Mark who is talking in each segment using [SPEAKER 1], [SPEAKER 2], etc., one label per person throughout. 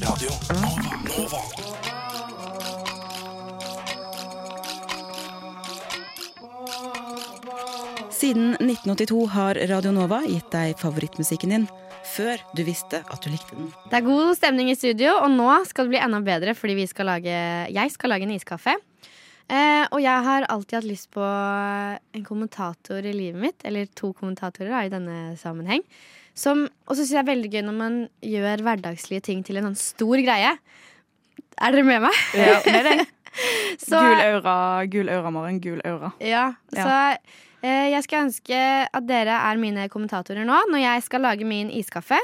[SPEAKER 1] Radio Nova. Nova.
[SPEAKER 2] Siden 1982 har Radio Nova gitt deg favorittmusikken din før du visste at du likte den.
[SPEAKER 3] Det er god stemning i studio, og nå skal det bli enda bedre fordi vi skal lage, jeg skal lage en iskaffe. Eh, og jeg har alltid hatt lyst på en kommentator i livet mitt, eller to kommentatorer da, i denne sammenheng. Som, og så syns jeg det er veldig gøy når man gjør hverdagslige ting til en sånn stor greie. Er dere med meg?
[SPEAKER 4] Ja, med deg.
[SPEAKER 3] Så-
[SPEAKER 4] Gul aura, gul aura, Maren. Gul aura.
[SPEAKER 3] Ja, så eh, jeg skal ønske at dere er mine kommentatorer nå når jeg skal lage min iskaffe.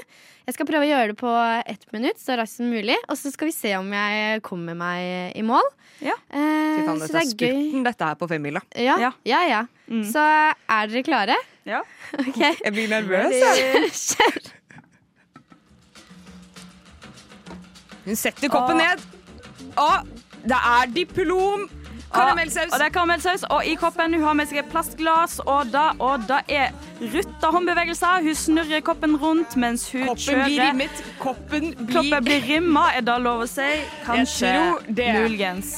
[SPEAKER 3] Jeg skal prøve å gjøre det på ett minutt så raskt som mulig, og så skal vi se om jeg kommer meg i mål.
[SPEAKER 4] Ja.
[SPEAKER 3] Eh,
[SPEAKER 5] Fy faen,
[SPEAKER 3] så
[SPEAKER 5] dette
[SPEAKER 3] det
[SPEAKER 5] er
[SPEAKER 3] er gøy.
[SPEAKER 5] spurten, dette her på femmila.
[SPEAKER 3] Ja, ja,
[SPEAKER 4] Ja. Mm.
[SPEAKER 3] ja. Så er dere klare?
[SPEAKER 4] Ja.
[SPEAKER 3] Ok.
[SPEAKER 5] Jeg blir nervøs.
[SPEAKER 3] Kjør.
[SPEAKER 5] Hun setter koppen
[SPEAKER 4] Ah.
[SPEAKER 5] ned. Å, det er diplom! Karamellsaus.
[SPEAKER 4] Ah, Og det er karamellsaus. Og i koppen hun har med seg et plastglass, og da, og da er rutta håndbevegelser. Hun snurrer koppen rundt mens hun
[SPEAKER 5] Koppen blir
[SPEAKER 4] kjører.
[SPEAKER 5] rimmet. Koppen blir
[SPEAKER 4] Koppen blir rimma, er det lov å si? Kanskje.
[SPEAKER 5] tror det.
[SPEAKER 4] Muligens.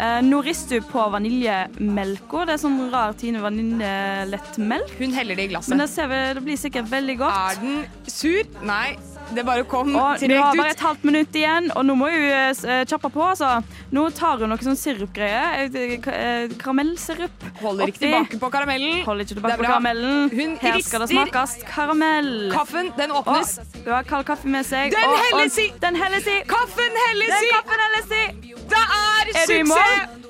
[SPEAKER 4] Eh, nå rister hun på vaniljemelka. Det er sånn rar Tine vanilje-lettmelk.
[SPEAKER 5] Hun heller det i glasset.
[SPEAKER 4] Men det, ser vi, det blir sikkert veldig godt.
[SPEAKER 5] Er den sur? Nei, det bare kom
[SPEAKER 4] Og vi har
[SPEAKER 5] direkte
[SPEAKER 4] bare
[SPEAKER 5] ut.
[SPEAKER 4] et halvt minutt igjen, og nå må hun eh, s- eh, kjappe på. Altså. Nå tar hun noe sånn sirupgreier. Eh, ka- eh, Karamellsirup.
[SPEAKER 5] Holder ikke
[SPEAKER 4] oppi.
[SPEAKER 5] tilbake på karamellen.
[SPEAKER 4] Holder ikke
[SPEAKER 5] Det
[SPEAKER 4] tilbake
[SPEAKER 5] er
[SPEAKER 4] på
[SPEAKER 5] bra.
[SPEAKER 4] karamellen.
[SPEAKER 5] Hun
[SPEAKER 4] Her skal det
[SPEAKER 5] rister.
[SPEAKER 4] smakes karamell.
[SPEAKER 5] Kaffen, den
[SPEAKER 4] Og
[SPEAKER 5] åpnes.
[SPEAKER 4] hun har kald kaffe med seg.
[SPEAKER 5] Den
[SPEAKER 4] og-
[SPEAKER 5] helles i.
[SPEAKER 4] og- Den helles i.
[SPEAKER 5] Kaffen helles
[SPEAKER 4] Den
[SPEAKER 5] i!
[SPEAKER 4] kaffen helles i.
[SPEAKER 5] Det er,
[SPEAKER 4] Er du i
[SPEAKER 5] suksess!
[SPEAKER 4] mål?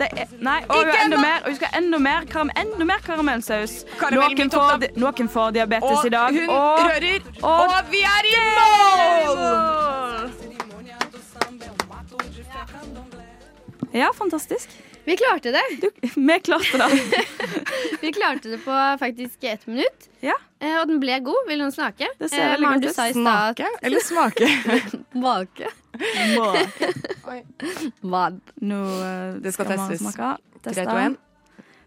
[SPEAKER 4] Det er, nei, og hun
[SPEAKER 5] Ikke
[SPEAKER 4] har enda
[SPEAKER 5] ennå.
[SPEAKER 4] mer, og hun skal ha enda mer, karam, enda mer karamellsaus.
[SPEAKER 5] Karamell
[SPEAKER 4] noen,
[SPEAKER 5] min
[SPEAKER 4] får,
[SPEAKER 5] topp,
[SPEAKER 4] di- noen får diabetes
[SPEAKER 5] Og
[SPEAKER 4] i dag.
[SPEAKER 5] hun
[SPEAKER 4] og
[SPEAKER 5] rører.
[SPEAKER 4] og-
[SPEAKER 5] Og vi er i mål!
[SPEAKER 4] Ja, fantastisk.
[SPEAKER 3] Vi klarte det.
[SPEAKER 4] Du, vi klarte det.
[SPEAKER 3] Vi klarte det på faktisk ett minutt.
[SPEAKER 4] Ja.
[SPEAKER 3] Eh, og den ble god. Vil noen snake?
[SPEAKER 4] Det ser veldig
[SPEAKER 3] Maren,
[SPEAKER 4] godt
[SPEAKER 3] du
[SPEAKER 4] ut.
[SPEAKER 3] sa i stad at
[SPEAKER 5] Eller smake.
[SPEAKER 3] Make. Hva?
[SPEAKER 4] Nå eh,
[SPEAKER 5] Det skal
[SPEAKER 4] man
[SPEAKER 5] testes.
[SPEAKER 4] smake. Teste.
[SPEAKER 5] Tre, to, en.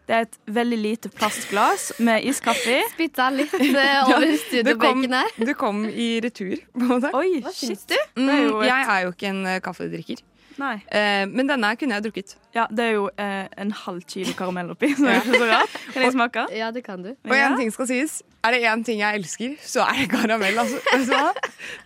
[SPEAKER 4] Det er et veldig lite plastglass med iskaffe i.
[SPEAKER 3] Spytta litt eh, over
[SPEAKER 5] Det kom,
[SPEAKER 3] studiobenken her.
[SPEAKER 5] det kom i retur. på en måte.
[SPEAKER 4] Oi,
[SPEAKER 3] Hva
[SPEAKER 4] shit.
[SPEAKER 3] syns du?
[SPEAKER 4] er jo
[SPEAKER 5] Mm,
[SPEAKER 4] et-
[SPEAKER 5] jeg er jo ikke en eh, kaffedrikker.
[SPEAKER 4] Nei.
[SPEAKER 5] Eh, men denne kunne jeg drukket.
[SPEAKER 4] Ja, det er jo eh, en halv kilo karamell oppi, så det er ikke så rart. Kan jeg smake?
[SPEAKER 3] Ja, det kan du.
[SPEAKER 5] Og en ting skal sies. Er det én ting jeg elsker, så er det karamell. Altså. Vet du hva?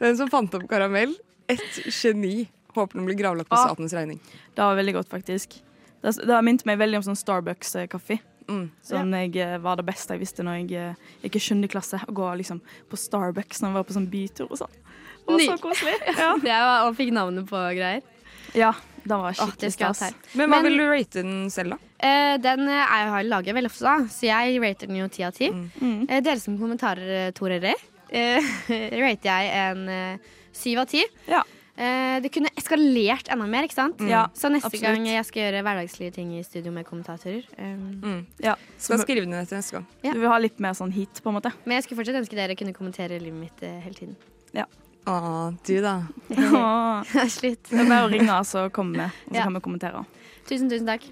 [SPEAKER 5] Den som fant opp karamell, et geni. Håper den blir gravlagt på
[SPEAKER 4] Ah.
[SPEAKER 5] statens regning.
[SPEAKER 4] Det var veldig godt, faktisk. Det, det har minnet meg veldig om sånn Starbucks-kaffe.
[SPEAKER 5] Mm.
[SPEAKER 4] Som jeg eh, var det beste jeg visste når jeg eh, gikk i 7. klasse. Å gå liksom, på Starbucks når jeg var på sånn bytur og sånn. Det var så
[SPEAKER 3] Ny.
[SPEAKER 4] koselig. Ja,
[SPEAKER 3] Det var, og fikk navnet på greier.
[SPEAKER 4] ja det var
[SPEAKER 3] Åh, det
[SPEAKER 4] skikkelig
[SPEAKER 3] skal jeg
[SPEAKER 4] stas.
[SPEAKER 3] ta her.
[SPEAKER 5] Men hva
[SPEAKER 3] Men-
[SPEAKER 5] vil du rate den selv, da?
[SPEAKER 3] Eh, den eh, er, har jeg laget veldig ofte, da, så jeg rater den jo ti av ti.
[SPEAKER 4] Mm.
[SPEAKER 3] Eh, dere som kommentarer, torere, eh, rater jeg en eh, syv av ti.
[SPEAKER 4] Ja. Mm.
[SPEAKER 3] Eh, det kunne eskalert enda mer, ikke sant?
[SPEAKER 4] Ja,
[SPEAKER 3] Så neste
[SPEAKER 4] absolutt.
[SPEAKER 3] gang jeg skal gjøre hverdagslige ting i studio med kommentatorer. eh,
[SPEAKER 4] Mm. Ja.
[SPEAKER 5] Skal skrive den etter neste gang.
[SPEAKER 3] Ja.
[SPEAKER 4] Du vil ha litt mer sånn hit, på en måte.
[SPEAKER 3] men jeg skulle fortsatt ønske dere kunne kommentere livet mitt eh, hele tiden.
[SPEAKER 5] Å, du, da.
[SPEAKER 4] Åh.
[SPEAKER 3] Slutt.
[SPEAKER 4] Det er bare å ringe, så kommer vi, og så
[SPEAKER 3] Ja.
[SPEAKER 4] kan vi kommentere.
[SPEAKER 3] Tusen, tusen takk.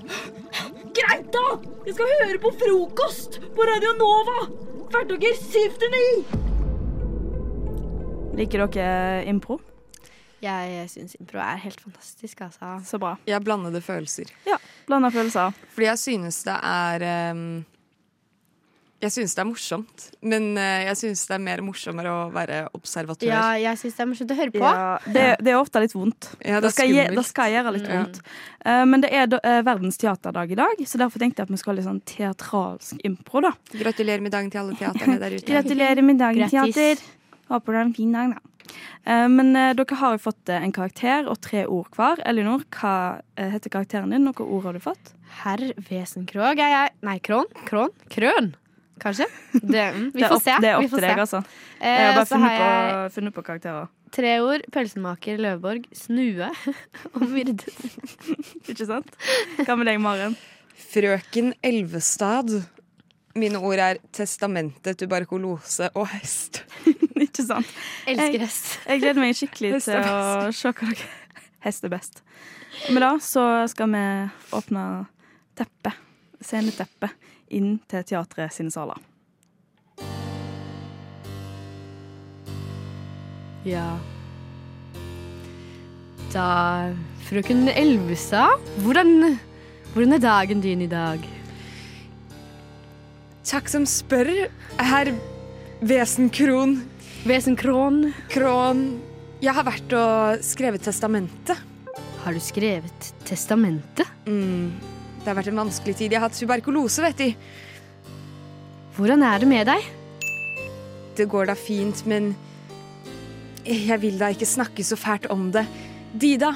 [SPEAKER 6] Greit, da! Jeg skal høre på frokost på Radio Nova! Hverdager 7 til 9.
[SPEAKER 4] Liker dere eh, impro?
[SPEAKER 3] Jeg syns impro er helt fantastisk, altså.
[SPEAKER 4] Så bra.
[SPEAKER 5] Jeg blandede følelser.
[SPEAKER 4] Ja. Blanda følelser.
[SPEAKER 5] Fordi jeg synes det er ehm, Jeg synes det er morsomt. Men eh, jeg synes det er mer morsommere å være observatør.
[SPEAKER 3] Ja, jeg syns det er morsomt å høre på.
[SPEAKER 4] Ja, det, det er ofte litt vondt.
[SPEAKER 5] Ja, det er
[SPEAKER 4] det, skal gjøre,
[SPEAKER 5] skummelt. Mm.
[SPEAKER 4] det skal gjøre litt vondt. Eh, men det er da, eh, verdens teaterdag i dag, så derfor tenkte jeg at vi skal ha litt sånn teatralsk impro. da.
[SPEAKER 5] Gratulerer med dagen til alle teaterne der ute.
[SPEAKER 4] Gratulerer med dagen,
[SPEAKER 3] Grattis.
[SPEAKER 4] teater. Håper du har en fin dag, da. Eh, men eh, dere har jo fått eh, en karakter og tre ord hver. Elinor, hva eh, heter karakteren din? Hvilke ord har du fått?
[SPEAKER 3] Herr Vesenkrog er jeg. Nei, Kron. Kron. Krøn. Kanskje. Det, mm, vi
[SPEAKER 4] Det er
[SPEAKER 3] får
[SPEAKER 4] opp-
[SPEAKER 3] se.
[SPEAKER 4] Det er
[SPEAKER 3] vi
[SPEAKER 4] opp
[SPEAKER 3] får
[SPEAKER 4] til deg,
[SPEAKER 3] se.
[SPEAKER 4] altså. Jeg har
[SPEAKER 3] Eh,
[SPEAKER 4] bare
[SPEAKER 3] så har
[SPEAKER 4] funnet
[SPEAKER 3] jeg
[SPEAKER 4] på, funnet på karakterer.
[SPEAKER 3] tre ord. Pølsemaker, Løveborg, snue og myrdet.
[SPEAKER 4] Ikke sant? Hva med deg, Maren?
[SPEAKER 5] Frøken Elvestad. Mine ord er testamente, tuberkulose og hest.
[SPEAKER 4] Ikke sant?
[SPEAKER 3] Elsker hest.
[SPEAKER 4] Jeg gleder meg skikkelig
[SPEAKER 5] Hest
[SPEAKER 4] til
[SPEAKER 5] er
[SPEAKER 4] å se hva dere Hest er best. Men da så skal vi åpne teppet. sceneteppet inn til teatret sine saler.
[SPEAKER 3] Ja. Da, frøken Elvestad, hvordan, hvordan er dagen din i dag?
[SPEAKER 5] Takk som spør, herr Vesenkron
[SPEAKER 3] Vesenkron,
[SPEAKER 5] Kron. Jeg har vært og skrevet testamentet.
[SPEAKER 3] har du skrevet testamentet?
[SPEAKER 5] Mm. Det har vært en vanskelig tid. Jeg har hatt tuberkulose, vet de.
[SPEAKER 3] Hvordan er det med deg?
[SPEAKER 5] Det går da fint, men jeg vil da ikke snakke så fælt om det. Dida,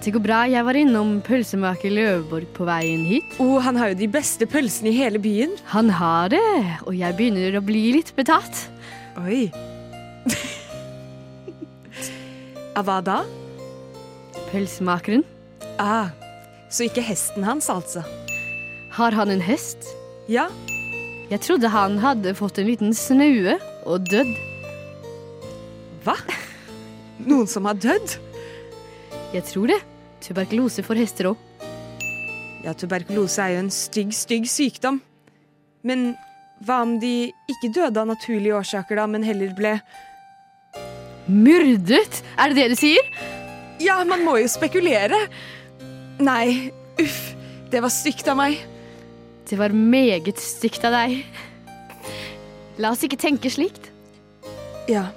[SPEAKER 3] Det går bra, jeg var innom pølsemaker Løveborg på veien hit.
[SPEAKER 5] oh, han har jo de beste pølsene i hele byen.
[SPEAKER 3] Han har det, og jeg begynner å bli litt betatt.
[SPEAKER 5] Oi. ah, hva da?
[SPEAKER 3] Pølsemakeren,
[SPEAKER 5] Ah, så ikke hesten hans, altså.
[SPEAKER 3] har han en hest?
[SPEAKER 5] Ja,
[SPEAKER 3] Jeg trodde han hadde fått en liten snaue og dødd.
[SPEAKER 5] hva? Noen som har dødd?
[SPEAKER 3] Jeg tror det. Tuberkulose for hester òg.
[SPEAKER 5] Ja, tuberkulose er jo en stygg, stygg sykdom. Men hva om de ikke døde av naturlige årsaker, da, men heller ble
[SPEAKER 3] Myrdet? Er det det du sier?
[SPEAKER 5] Ja, man må jo spekulere. Nei, uff. Det var stygt av meg.
[SPEAKER 3] Det var meget stygt av deg. La oss ikke tenke slikt.
[SPEAKER 5] Ja.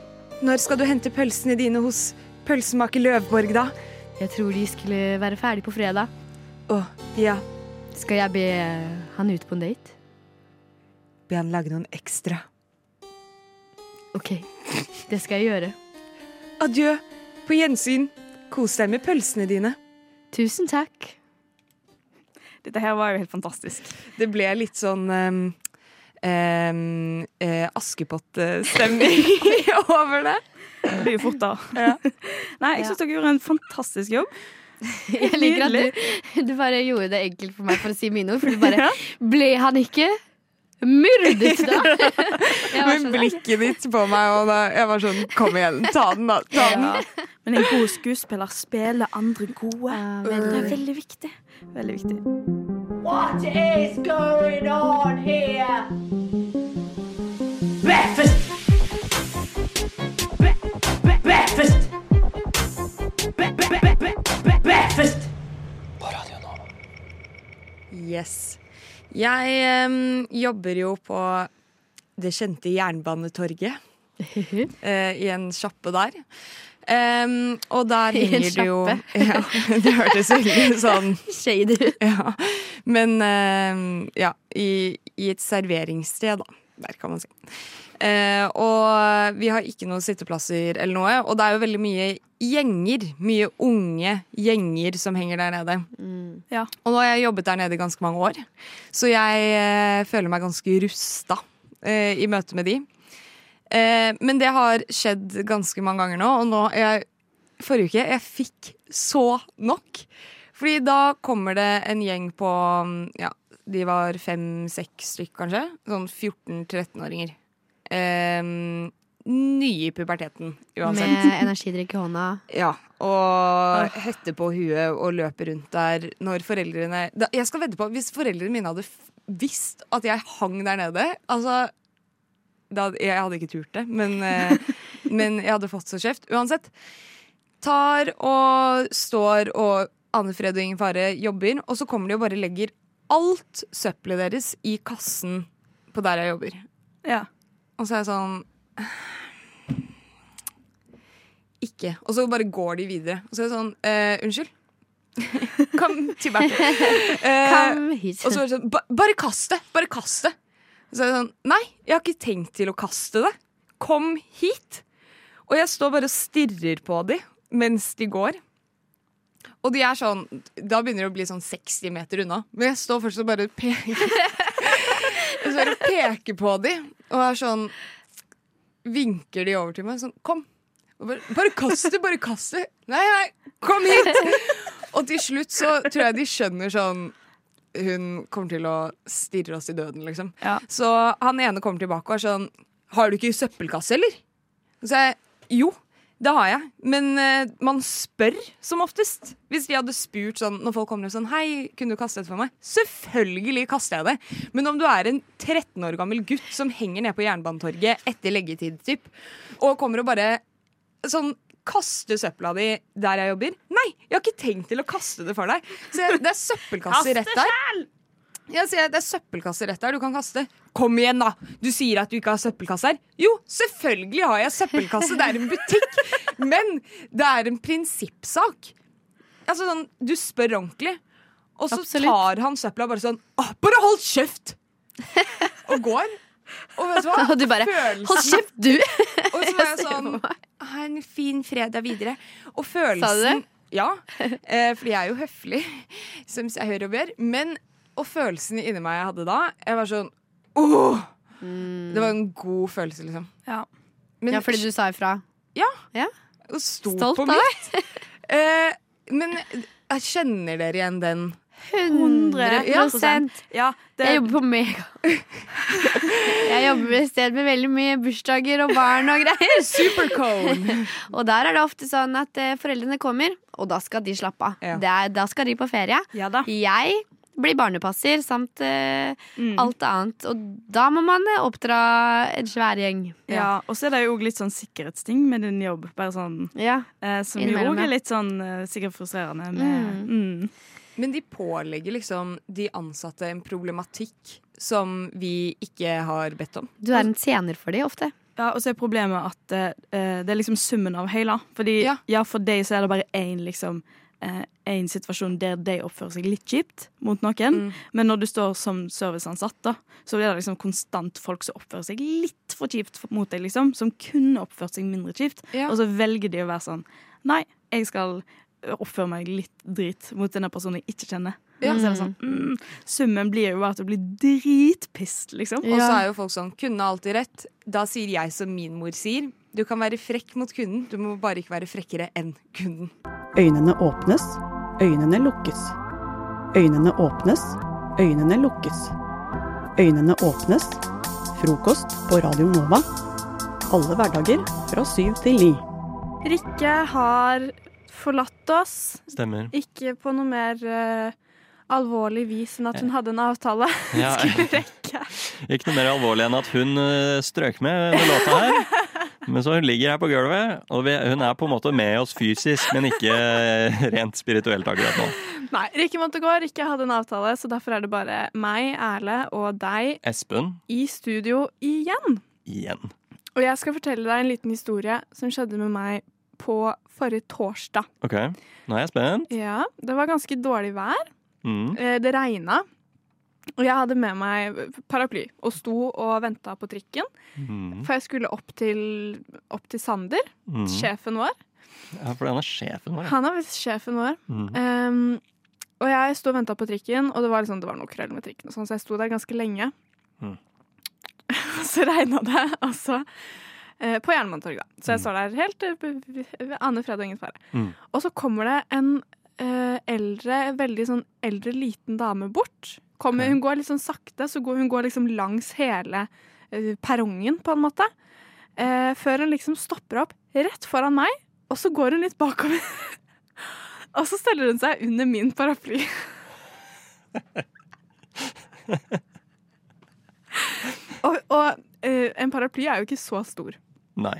[SPEAKER 5] Når skal du hente pølsene dine hos pølsemaker Løvborg, da?
[SPEAKER 3] Jeg tror de skulle være ferdig på fredag.
[SPEAKER 5] Å, ja.
[SPEAKER 3] Skal jeg be han ut på en date?
[SPEAKER 5] Be han lage noen ekstra.
[SPEAKER 3] OK, det skal jeg gjøre.
[SPEAKER 5] Adjø. På gjensyn. Kos deg med pølsene dine.
[SPEAKER 3] Tusen takk.
[SPEAKER 4] Dette her var jo helt fantastisk.
[SPEAKER 5] Det ble litt sånn ehm, ehm, eh, Askepott-stemning over det.
[SPEAKER 4] Det blir jo fortere. Nei, jeg syns dere gjorde en fantastisk jobb.
[SPEAKER 3] Jeg liker at du, du bare gjorde det enkelt for meg for å si mine ord. For du bare Ble han ikke myrdet, da? Jeg var
[SPEAKER 5] Men
[SPEAKER 3] sånn,
[SPEAKER 5] blikket ditt på meg, og da, jeg var sånn Kom igjen, ta den, da. Ta den.
[SPEAKER 4] Men en god skuespiller spiller andre gode.
[SPEAKER 3] Ja,
[SPEAKER 4] Det er
[SPEAKER 3] veldig.
[SPEAKER 4] veldig viktig. Veldig viktig.
[SPEAKER 7] What is going on here? Breakfast. Bre- bre- Breakfast. Bre- bre- bre- bre- Breakfast.
[SPEAKER 8] På Radio Nova.
[SPEAKER 5] Yes. Jeg em, jobber jo på det kjente Jernbanetorget, eh, i en sjappe der. Em, og der
[SPEAKER 3] I en
[SPEAKER 5] henger det jo
[SPEAKER 3] sjappe?
[SPEAKER 5] ja, Det hørtes veldig sånn
[SPEAKER 3] Shady.
[SPEAKER 5] ja. Men em, ja, i, i et serveringssted, da. Der kan man si. Eh, og vi har ikke noen sitteplasser eller noe. Og det er jo veldig mye gjenger. Mye unge gjenger som henger der nede.
[SPEAKER 4] Ja.
[SPEAKER 5] Og nå har jeg jobbet der nede i ganske mange år, så jeg eh, føler meg ganske rusta eh, i møte med de. Eh, men det har skjedd ganske mange ganger nå, og nå jeg, Forrige uke jeg fikk så nok. Fordi da kommer det en gjeng på mm, ja, de var fem-seks stykk, kanskje. Sånn 14-13-åringer. Eh, nye i puberteten, uansett.
[SPEAKER 3] Med energidrikk i hånda.
[SPEAKER 5] Ja, og hette på huet og løpe rundt der når foreldrene da, Jeg skal vedde på, hvis foreldrene mine hadde f- visst at jeg hang der nede Altså, da, hadde- jeg hadde ikke turt det, men, eh, men jeg hadde fått så kjeft. Uansett. Tar og står og Anne Fred og Ingen Fare jobber, og så kommer de og bare legger alt søppelet deres i kassen på der jeg jobber.
[SPEAKER 4] Ja.
[SPEAKER 5] Og så er jeg sånn Ikke. Og så bare går de videre. Og så er jeg sånn eh, Unnskyld? Kom tilbake. Eh,
[SPEAKER 3] Kom hit.
[SPEAKER 5] og så er det sånn ba, Bare kast det! Bare kast det! Og så er jeg sånn Nei, jeg har ikke tenkt til å kaste det. Kom hit! Og jeg står bare og stirrer på de mens de går. Og de er sånn Da begynner det å bli sånn 60 meter unna. Men jeg står fortsatt og bare peker Og så bare peker på de og er sånn Vinker de over til meg sånn Kom! Og bare, bare kast det! Bare kast det! Nei, nei! Kom hit! Og til slutt så tror jeg de skjønner sånn Hun kommer til å stirre oss i døden, liksom.
[SPEAKER 4] Ja.
[SPEAKER 5] Så han ene kommer tilbake og er sånn Har du ikke søppelkasse, eller? Og så er jeg, jo, Det har jeg. Men eh, man spør som oftest. Hvis de hadde spurt sånn når folk kommer og sånn Hei, kunne du kaste dette for meg? Selvfølgelig kaster jeg det. Men om du er en 13 år gammel gutt som henger nede på Jernbanetorget etter leggetid, typ, og kommer og bare sånn Kaste søpla di der jeg jobber? Nei, jeg har ikke tenkt til å kaste det for deg. Så jeg, det er søppelkasser rett der. Ja, sier jeg, det er søppelkasser rett der du kan kaste. Kom igjen, da! Du sier at du ikke har søppelkasse her. Jo, selvfølgelig har jeg søppelkasse. Det er en butikk. Men det er en prinsippsak. Altså sånn, Du spør ordentlig, og så
[SPEAKER 3] Absolutt.
[SPEAKER 5] tar han søpla bare sånn Åh, Bare hold kjeft! Og går. Og vet du hva?
[SPEAKER 3] Og du bare,
[SPEAKER 5] Følelsen-
[SPEAKER 3] Hold kjeft, du!
[SPEAKER 5] Og så var jeg
[SPEAKER 3] ser
[SPEAKER 5] sånn
[SPEAKER 3] på meg.
[SPEAKER 5] Ha en fin fredag videre. Og
[SPEAKER 3] Sa du
[SPEAKER 5] følelsen
[SPEAKER 3] det?
[SPEAKER 5] Ja. Eh, fordi jeg er jo høflig, som jeg hører og ber. Men og følelsen inni meg jeg hadde da, jeg var sånn Åh! Det var en god følelse, liksom.
[SPEAKER 4] Ja.
[SPEAKER 5] Men
[SPEAKER 3] Ja, fordi du sa ifra.
[SPEAKER 5] og sto
[SPEAKER 3] Stolt
[SPEAKER 5] på
[SPEAKER 3] av deg.
[SPEAKER 5] mitt. Eh, men jeg kjenner dere igjen den?
[SPEAKER 4] 100
[SPEAKER 3] Ja, sant.
[SPEAKER 4] Ja, det,
[SPEAKER 3] Jeg jobber på Mega. Jeg jobber et sted med veldig mye bursdager og barn og greier.
[SPEAKER 5] Supercone!
[SPEAKER 3] Og der er det ofte sånn at eh, foreldrene kommer, og da skal de slappe av.
[SPEAKER 5] Ja.
[SPEAKER 3] Det er- Da skal de på ferie.
[SPEAKER 4] ja da.
[SPEAKER 3] Jeg blir barnepasser samt eh,
[SPEAKER 4] Mm.
[SPEAKER 3] alt annet. Og da må man eh, oppdra en svær gjeng.
[SPEAKER 4] Ja, og så er det jo også litt sånn sikkerhetsting med din jobb. Bare sånn,
[SPEAKER 3] Ja.
[SPEAKER 4] eh, som jo
[SPEAKER 3] Innimellom,
[SPEAKER 4] også
[SPEAKER 3] ja.
[SPEAKER 4] er litt sånn eh, sikkert frustrerende. Med, mm.
[SPEAKER 5] Men de pålegger liksom de ansatte en problematikk som vi ikke har bedt om.
[SPEAKER 3] Du er en tjener for de ofte.
[SPEAKER 4] Ja, Og så er problemet at eh, det er liksom summen av hele. Fordi
[SPEAKER 5] Ja.
[SPEAKER 4] ja. for deg så er det bare én liksom, eh, én situasjon der de oppfører seg litt kjipt mot noen.
[SPEAKER 3] Mm.
[SPEAKER 4] Men når du står som serviceansatt, da, så blir det liksom konstant folk som oppfører seg litt for kjipt for- mot deg, liksom. Som kunne oppført seg mindre kjipt.
[SPEAKER 5] Ja.
[SPEAKER 4] Og så velger de å være sånn Nei, jeg skal oppføre meg litt drit mot denne personen jeg ikke kjenner.
[SPEAKER 5] Ja.
[SPEAKER 4] Og så er det sånn, mm, summen blir jo bare at du blir dritpissed, liksom.
[SPEAKER 5] Og så er jo folk sånn Kunden har alltid rett. Da sier jeg som min mor sier. Du kan være frekk mot kunden, du må bare ikke være frekkere enn kunden.
[SPEAKER 9] Øynene åpnes, øynene lukkes. Øynene åpnes, øynene lukkes. Øynene åpnes. Frokost på Radio Nova. Alle hverdager fra syv til ni.
[SPEAKER 6] Rikke har forlatt oss.
[SPEAKER 10] Stemmer.
[SPEAKER 6] Ikke på noe mer eh, alvorlig vis enn at hun hadde en avtale.
[SPEAKER 10] Ja.
[SPEAKER 6] Skulle rekke.
[SPEAKER 10] Ikke noe mer alvorlig enn at hun eh, strøk med under låta her. Men så hun ligger her på gulvet, og vi, hun er på en måte med oss fysisk, men ikke eh, rent spirituelt akkurat nå.
[SPEAKER 6] Nei, Rikke måtte gå. Rikke hadde en avtale, så derfor er det bare meg, Erle og deg
[SPEAKER 10] Espen
[SPEAKER 6] i studio igjen.
[SPEAKER 10] igjen.
[SPEAKER 6] Og jeg skal fortelle deg en liten historie som skjedde med meg på forrige torsdag.
[SPEAKER 10] OK, nå er jeg spent.
[SPEAKER 6] Ja, Det var ganske dårlig vær.
[SPEAKER 10] Mm.
[SPEAKER 6] Eh, Det regna, og jeg hadde med meg paraply og sto og venta på trikken.
[SPEAKER 10] Mm.
[SPEAKER 6] For jeg skulle opp til, opp til Sander,
[SPEAKER 10] Mm.
[SPEAKER 6] sjefen vår.
[SPEAKER 10] Ja, for han er sjefen vår. ja.
[SPEAKER 6] Han er visst sjefen vår.
[SPEAKER 10] Mm.
[SPEAKER 6] Ehm, og jeg sto og venta på trikken, og det var, liksom, det var noe krøll med trikken, og sånn, så jeg sto der ganske lenge.
[SPEAKER 10] Mm.
[SPEAKER 6] så regna det, altså. eh, På Jernbanetorget, da. Så jeg står der helt eh, b- b- ved Ane fred og ingen fare.
[SPEAKER 10] Mm.
[SPEAKER 6] Og så kommer det en eh, eldre, veldig sånn eldre liten dame bort. Kommer,
[SPEAKER 10] Ok.
[SPEAKER 6] Hun går litt sånn sakte, så går, hun går liksom langs hele eh, perrongen, på en måte. Eh, før hun liksom stopper opp rett foran meg, og så går hun litt bakover. og så steller hun seg under min paraply. og og eh, en paraply er jo ikke så stor.
[SPEAKER 10] Nei.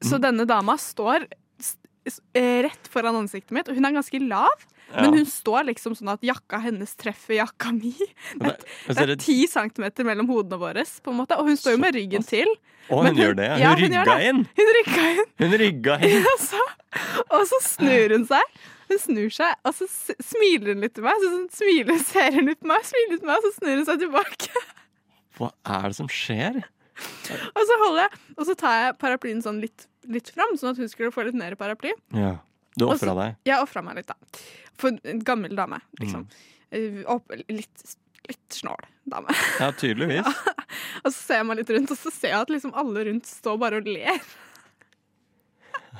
[SPEAKER 6] Så
[SPEAKER 10] Mm.
[SPEAKER 6] denne dama står s- s- eh, rett foran ansiktet mitt, og hun er ganske lav.
[SPEAKER 10] Ja.
[SPEAKER 6] Men hun står liksom sånn at jakka hennes treffer jakka mi.
[SPEAKER 10] Men altså, hvis
[SPEAKER 6] Det
[SPEAKER 10] dere-
[SPEAKER 6] er ti centimeter mellom hodene våre, på en måte. Og hun står jo med ryggen til.
[SPEAKER 10] Å, hun
[SPEAKER 6] men hun-
[SPEAKER 10] gjør det. ja.
[SPEAKER 6] ja,
[SPEAKER 10] Hun
[SPEAKER 6] hun gjør
[SPEAKER 10] rygga
[SPEAKER 6] det.
[SPEAKER 10] inn!
[SPEAKER 6] Hun rykka inn.
[SPEAKER 10] Hun rygga inn.
[SPEAKER 6] Og så, og så snur hun seg. Hun snur seg, og så s- smiler hun litt til meg. Så sånn, smiler, ser hun ut på meg, smiler ut på meg, og så snur hun seg tilbake.
[SPEAKER 10] Hva er det som skjer?
[SPEAKER 6] Og så holder jeg, og så tar jeg paraplyen sånn litt, litt fram, sånn at hun skulle få litt mer paraply.
[SPEAKER 10] Ja. Du
[SPEAKER 6] Og
[SPEAKER 10] ofra
[SPEAKER 6] så-
[SPEAKER 10] deg. Mm.
[SPEAKER 6] Jeg ofra meg litt, da. For en gammel dame, liksom. Eh, Opp, litt, litt snål dame.
[SPEAKER 10] Ja, tydeligvis.
[SPEAKER 6] Og så ser jeg meg litt rundt, og så ser jeg at liksom alle rundt står bare og ler.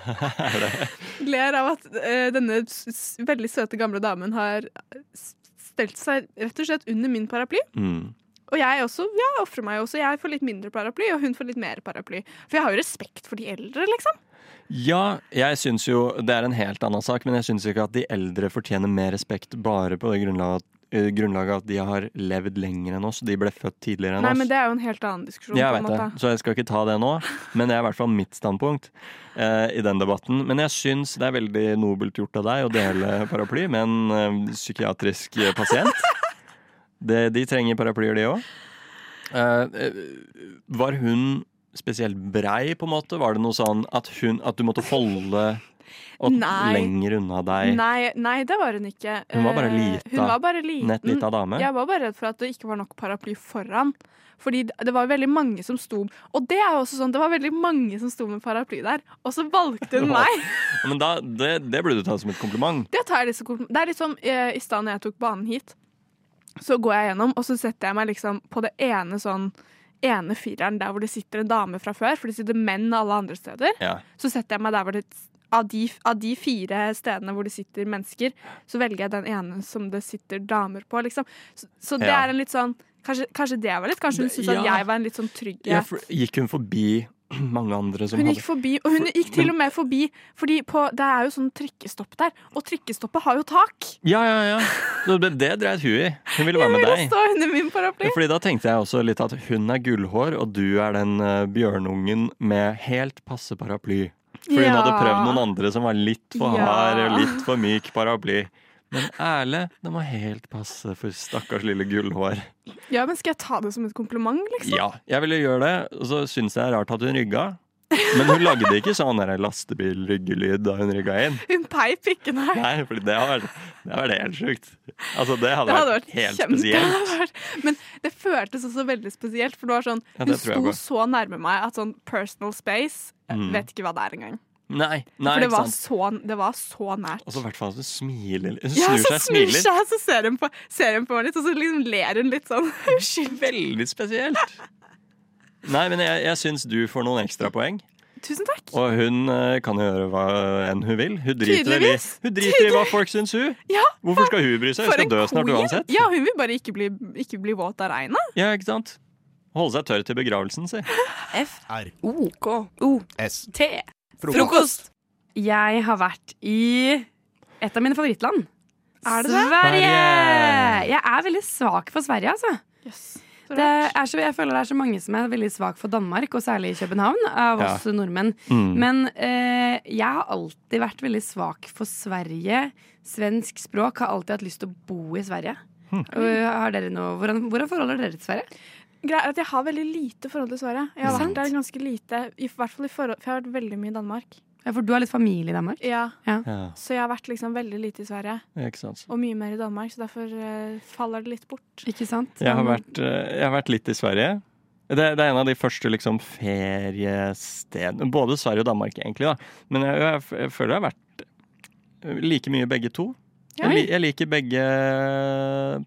[SPEAKER 6] ler av at eh, denne s s veldig søte gamle damen har s- stelt seg rett og slett under min paraply.
[SPEAKER 10] Mm.
[SPEAKER 6] Og jeg også, ja, ofrer meg også. Jeg får litt mindre paraply, og hun får litt mer paraply. For jeg har jo respekt for de eldre, liksom.
[SPEAKER 10] Ja, jeg syns jo det er en helt annen sak, men jeg syns ikke at de eldre fortjener mer respekt bare på det grunnlaget, eh, grunnlaget at de har levd lenger enn oss. De ble født tidligere enn
[SPEAKER 6] Nei,
[SPEAKER 10] oss.
[SPEAKER 6] men det er jo en helt annen diskusjon.
[SPEAKER 10] Jeg
[SPEAKER 6] på en
[SPEAKER 10] vet det,
[SPEAKER 6] måte.
[SPEAKER 10] så jeg skal ikke ta det nå. Men det er i hvert fall mitt standpunkt eh, i den debatten. Men jeg syns det er veldig nobelt gjort av deg å dele paraply med en eh, psykiatrisk eh, pasient. Det, de trenger paraplyer, de òg. Eh, eh, var hun spesielt brei, på en måte? Var det noe sånn at, hun, at du måtte holde og
[SPEAKER 6] Nei.
[SPEAKER 10] lenger unna deg?
[SPEAKER 6] Nei, nei, det var hun ikke.
[SPEAKER 10] Hun var bare
[SPEAKER 6] Eh,
[SPEAKER 10] lita.
[SPEAKER 6] Hun var bare liten.
[SPEAKER 10] Nett litt av dame?
[SPEAKER 6] Jeg var bare redd for at det ikke var nok paraply foran. Fordi det det var veldig mange som sto Og det er jo også sånn, det var veldig mange som sto med paraply der, og så valgte hun meg!
[SPEAKER 10] Men da, det, det burde du ta som et kompliment.
[SPEAKER 6] Det tar jeg litt så kort Det er litt som eh, i stad når jeg tok banen hit, så går jeg gjennom, og så setter jeg meg liksom på det ene sånn ene fireren der hvor det sitter en dame fra før, for det sitter menn alle andre steder.
[SPEAKER 10] Ja.
[SPEAKER 6] Så setter jeg meg der hvor det av de, av de fire stedene hvor det sitter mennesker, så velger jeg den ene som det sitter damer på, liksom. Så, så det
[SPEAKER 10] Ja.
[SPEAKER 6] er en litt sånn Kanskje, kanskje det var litt Kanskje hun syntes at
[SPEAKER 10] Ja.
[SPEAKER 6] jeg var en litt sånn trygg
[SPEAKER 10] Ja, for, gikk hun forbi mange andre som
[SPEAKER 6] hun
[SPEAKER 10] hadde
[SPEAKER 6] gikk forbi, og hun
[SPEAKER 10] For-
[SPEAKER 6] gikk til
[SPEAKER 10] men-
[SPEAKER 6] og med forbi, fordi på, det er jo sånn trikkestopp der, og trikkestoppet har jo tak!
[SPEAKER 10] Ja, ja, ja. Så Det, det dreit hun i. Hun ville være med
[SPEAKER 6] Jeg vil
[SPEAKER 10] deg.
[SPEAKER 6] stå under min paraply.
[SPEAKER 10] Fordi Da tenkte jeg også litt at hun er gullhår, og du er den eh, bjørnungen med helt passe paraply. Fordi hun hadde prøvd noen andre som var litt for
[SPEAKER 6] Ja.
[SPEAKER 10] hard og litt for myk paraply. Men Erle, den var helt passe for stakkars lille gullhår.
[SPEAKER 6] Ja, men skal jeg ta det som et kompliment, liksom?
[SPEAKER 10] Ja, jeg ville gjøre det, og så syns jeg det er rart at hun rygga. Men hun lagde ikke sånn der lastebilryggelyd da hun rygga inn.
[SPEAKER 6] Hun peip ikke, nei.
[SPEAKER 10] Nei, for det hadde vært, det hadde vært helt sjukt. Altså, det hadde,
[SPEAKER 6] Det hadde
[SPEAKER 10] vært,
[SPEAKER 6] vært
[SPEAKER 10] helt
[SPEAKER 6] kjempe-
[SPEAKER 10] spesielt.
[SPEAKER 6] det hadde vært- Men det føltes også veldig spesielt, for det var sånn
[SPEAKER 10] Ja,
[SPEAKER 6] Hun
[SPEAKER 10] det tror jeg
[SPEAKER 6] sto
[SPEAKER 10] på.
[SPEAKER 6] så nærme meg at sånn personal space jeg
[SPEAKER 10] Mm.
[SPEAKER 6] Vet ikke hva det er engang.
[SPEAKER 10] Nei, nei,
[SPEAKER 6] For det
[SPEAKER 10] ikke
[SPEAKER 6] var,
[SPEAKER 10] sant.
[SPEAKER 6] så, det var så nært.
[SPEAKER 10] Og så i hvert fall at hun smiler litt. Hun
[SPEAKER 6] ja,
[SPEAKER 10] snur
[SPEAKER 6] så
[SPEAKER 10] seg,
[SPEAKER 6] snur
[SPEAKER 10] smiler.
[SPEAKER 6] seg, så ser hun på, ser hun på meg litt, og så liksom ler hun litt sånn uskyldig.
[SPEAKER 10] Veldig spesielt. Nei, men jeg, jeg syns du får noen ekstrapoeng.
[SPEAKER 6] Tusen takk.
[SPEAKER 10] Og hun eh, kan jo gjøre hva enn hun vil. Hun driter, i,
[SPEAKER 6] Tydeligvis.
[SPEAKER 10] hun driter i hva folk syns hun.
[SPEAKER 6] Ja,
[SPEAKER 10] Hvorfor skal hun bry seg? Hun
[SPEAKER 6] for
[SPEAKER 10] skal
[SPEAKER 6] en
[SPEAKER 10] dø snart
[SPEAKER 6] queen.
[SPEAKER 10] uansett.
[SPEAKER 6] Ja, hun vil bare ikke bli, ikke bli våt av regnet.
[SPEAKER 10] Ja, ikke sant? Holde seg tørr til begravelsen, si.
[SPEAKER 11] R.
[SPEAKER 12] K-O-T.
[SPEAKER 11] S.
[SPEAKER 12] Oh, Frokost. Jeg har vært i et av mine favorittland.
[SPEAKER 6] Er det det?
[SPEAKER 12] Sverige!
[SPEAKER 10] Sverige!
[SPEAKER 12] Jeg er veldig svak for Sverige, altså.
[SPEAKER 6] Så
[SPEAKER 12] Det
[SPEAKER 6] rart.
[SPEAKER 12] er så, jeg føler det er så mange som er veldig svak for Danmark, og særlig København, av
[SPEAKER 10] Ja.
[SPEAKER 12] oss nordmenn.
[SPEAKER 10] Mm.
[SPEAKER 12] Men eh, jeg har alltid vært veldig svak for Sverige. Svensk språk. Har alltid hatt lyst til å bo i Sverige.
[SPEAKER 10] Hm.
[SPEAKER 12] Og Har dere noe, hvordan, hvordan forholder dere til Sverige?
[SPEAKER 6] Greia er at jeg har veldig lite forhold til Sverige. Jeg har vært der ganske lite, i hvert fall i forhold, for jeg har vært veldig mye i Danmark.
[SPEAKER 12] Ja, for du har litt familie i Danmark.
[SPEAKER 6] Ja,
[SPEAKER 10] Ja,
[SPEAKER 6] Så jeg har vært liksom veldig lite i Sverige,
[SPEAKER 10] ikke sant.
[SPEAKER 6] og mye mer i Danmark, så derfor eh, faller det litt bort.
[SPEAKER 12] Ikke sant?
[SPEAKER 10] Jeg har vært, eh, jeg har vært litt i Sverige. Det, det er en av de første liksom, feriestedene Både Sverige og Danmark, egentlig. Da. Men jeg, jeg, f- jeg føler jeg har vært like mye begge to. Jeg, li- jeg liker begge eh,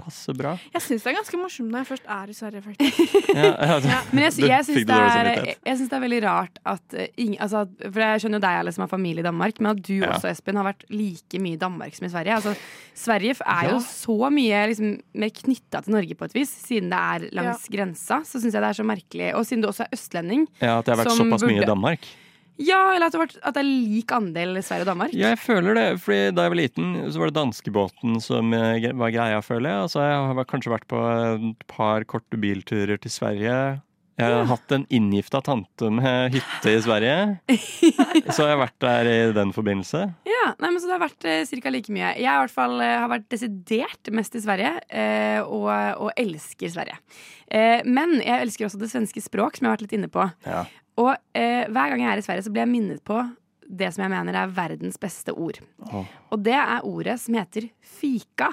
[SPEAKER 10] passe bra.
[SPEAKER 6] eh, Jeg syns det er ganske morsomt når jeg først er i Sverige, faktisk.
[SPEAKER 10] Ja, altså,
[SPEAKER 12] Men jeg, sy-
[SPEAKER 10] du-
[SPEAKER 12] jeg syns
[SPEAKER 10] fikk du
[SPEAKER 12] det, er-
[SPEAKER 10] dårlig
[SPEAKER 12] jeg
[SPEAKER 10] samvittighet?
[SPEAKER 12] jeg syns det er veldig rart at eh, ingen, altså, at- For jeg skjønner jo deg, alle som har familie i Danmark, men at du
[SPEAKER 10] Ja.
[SPEAKER 12] også, Espen, har vært like mye i Danmark som i Sverige. Altså, Sverige f- er
[SPEAKER 10] Ja.
[SPEAKER 12] jo så mye liksom, mer knytta til Norge på et vis, siden det er langs grensa. Så syns jeg det er så merkelig. Og siden du også er østlending.
[SPEAKER 10] Ja, At jeg har vært
[SPEAKER 12] som
[SPEAKER 10] såpass mye
[SPEAKER 12] burde-
[SPEAKER 10] i Danmark?
[SPEAKER 12] Ja, eller at, det har vært- at det er lik andel Sverige og Danmark.
[SPEAKER 10] Ja, jeg føler det. fordi da jeg var liten, så var det danskebåten som eh, gre- var greia, føler jeg. Altså, jeg har vært- kanskje vært på eh, et par korte bilturer til Sverige. Jeg har hatt en inngifta tante med hytte i Sverige. så jeg har vært der i den forbindelse.
[SPEAKER 12] Ja, nei, men Så det har vært eh, cirka like mye. Jeg i hvert fall eh, har vært desidert mest i Sverige, eh, og, og elsker Sverige. Eh, men jeg elsker også det svenske språk, som jeg har vært litt inne på.
[SPEAKER 10] Ja.
[SPEAKER 12] Og eh, hver gang jeg er i Sverige, så blir jeg minnet på det som jeg mener er verdens beste ord.
[SPEAKER 10] Åh.
[SPEAKER 12] Og det er ordet som heter fika.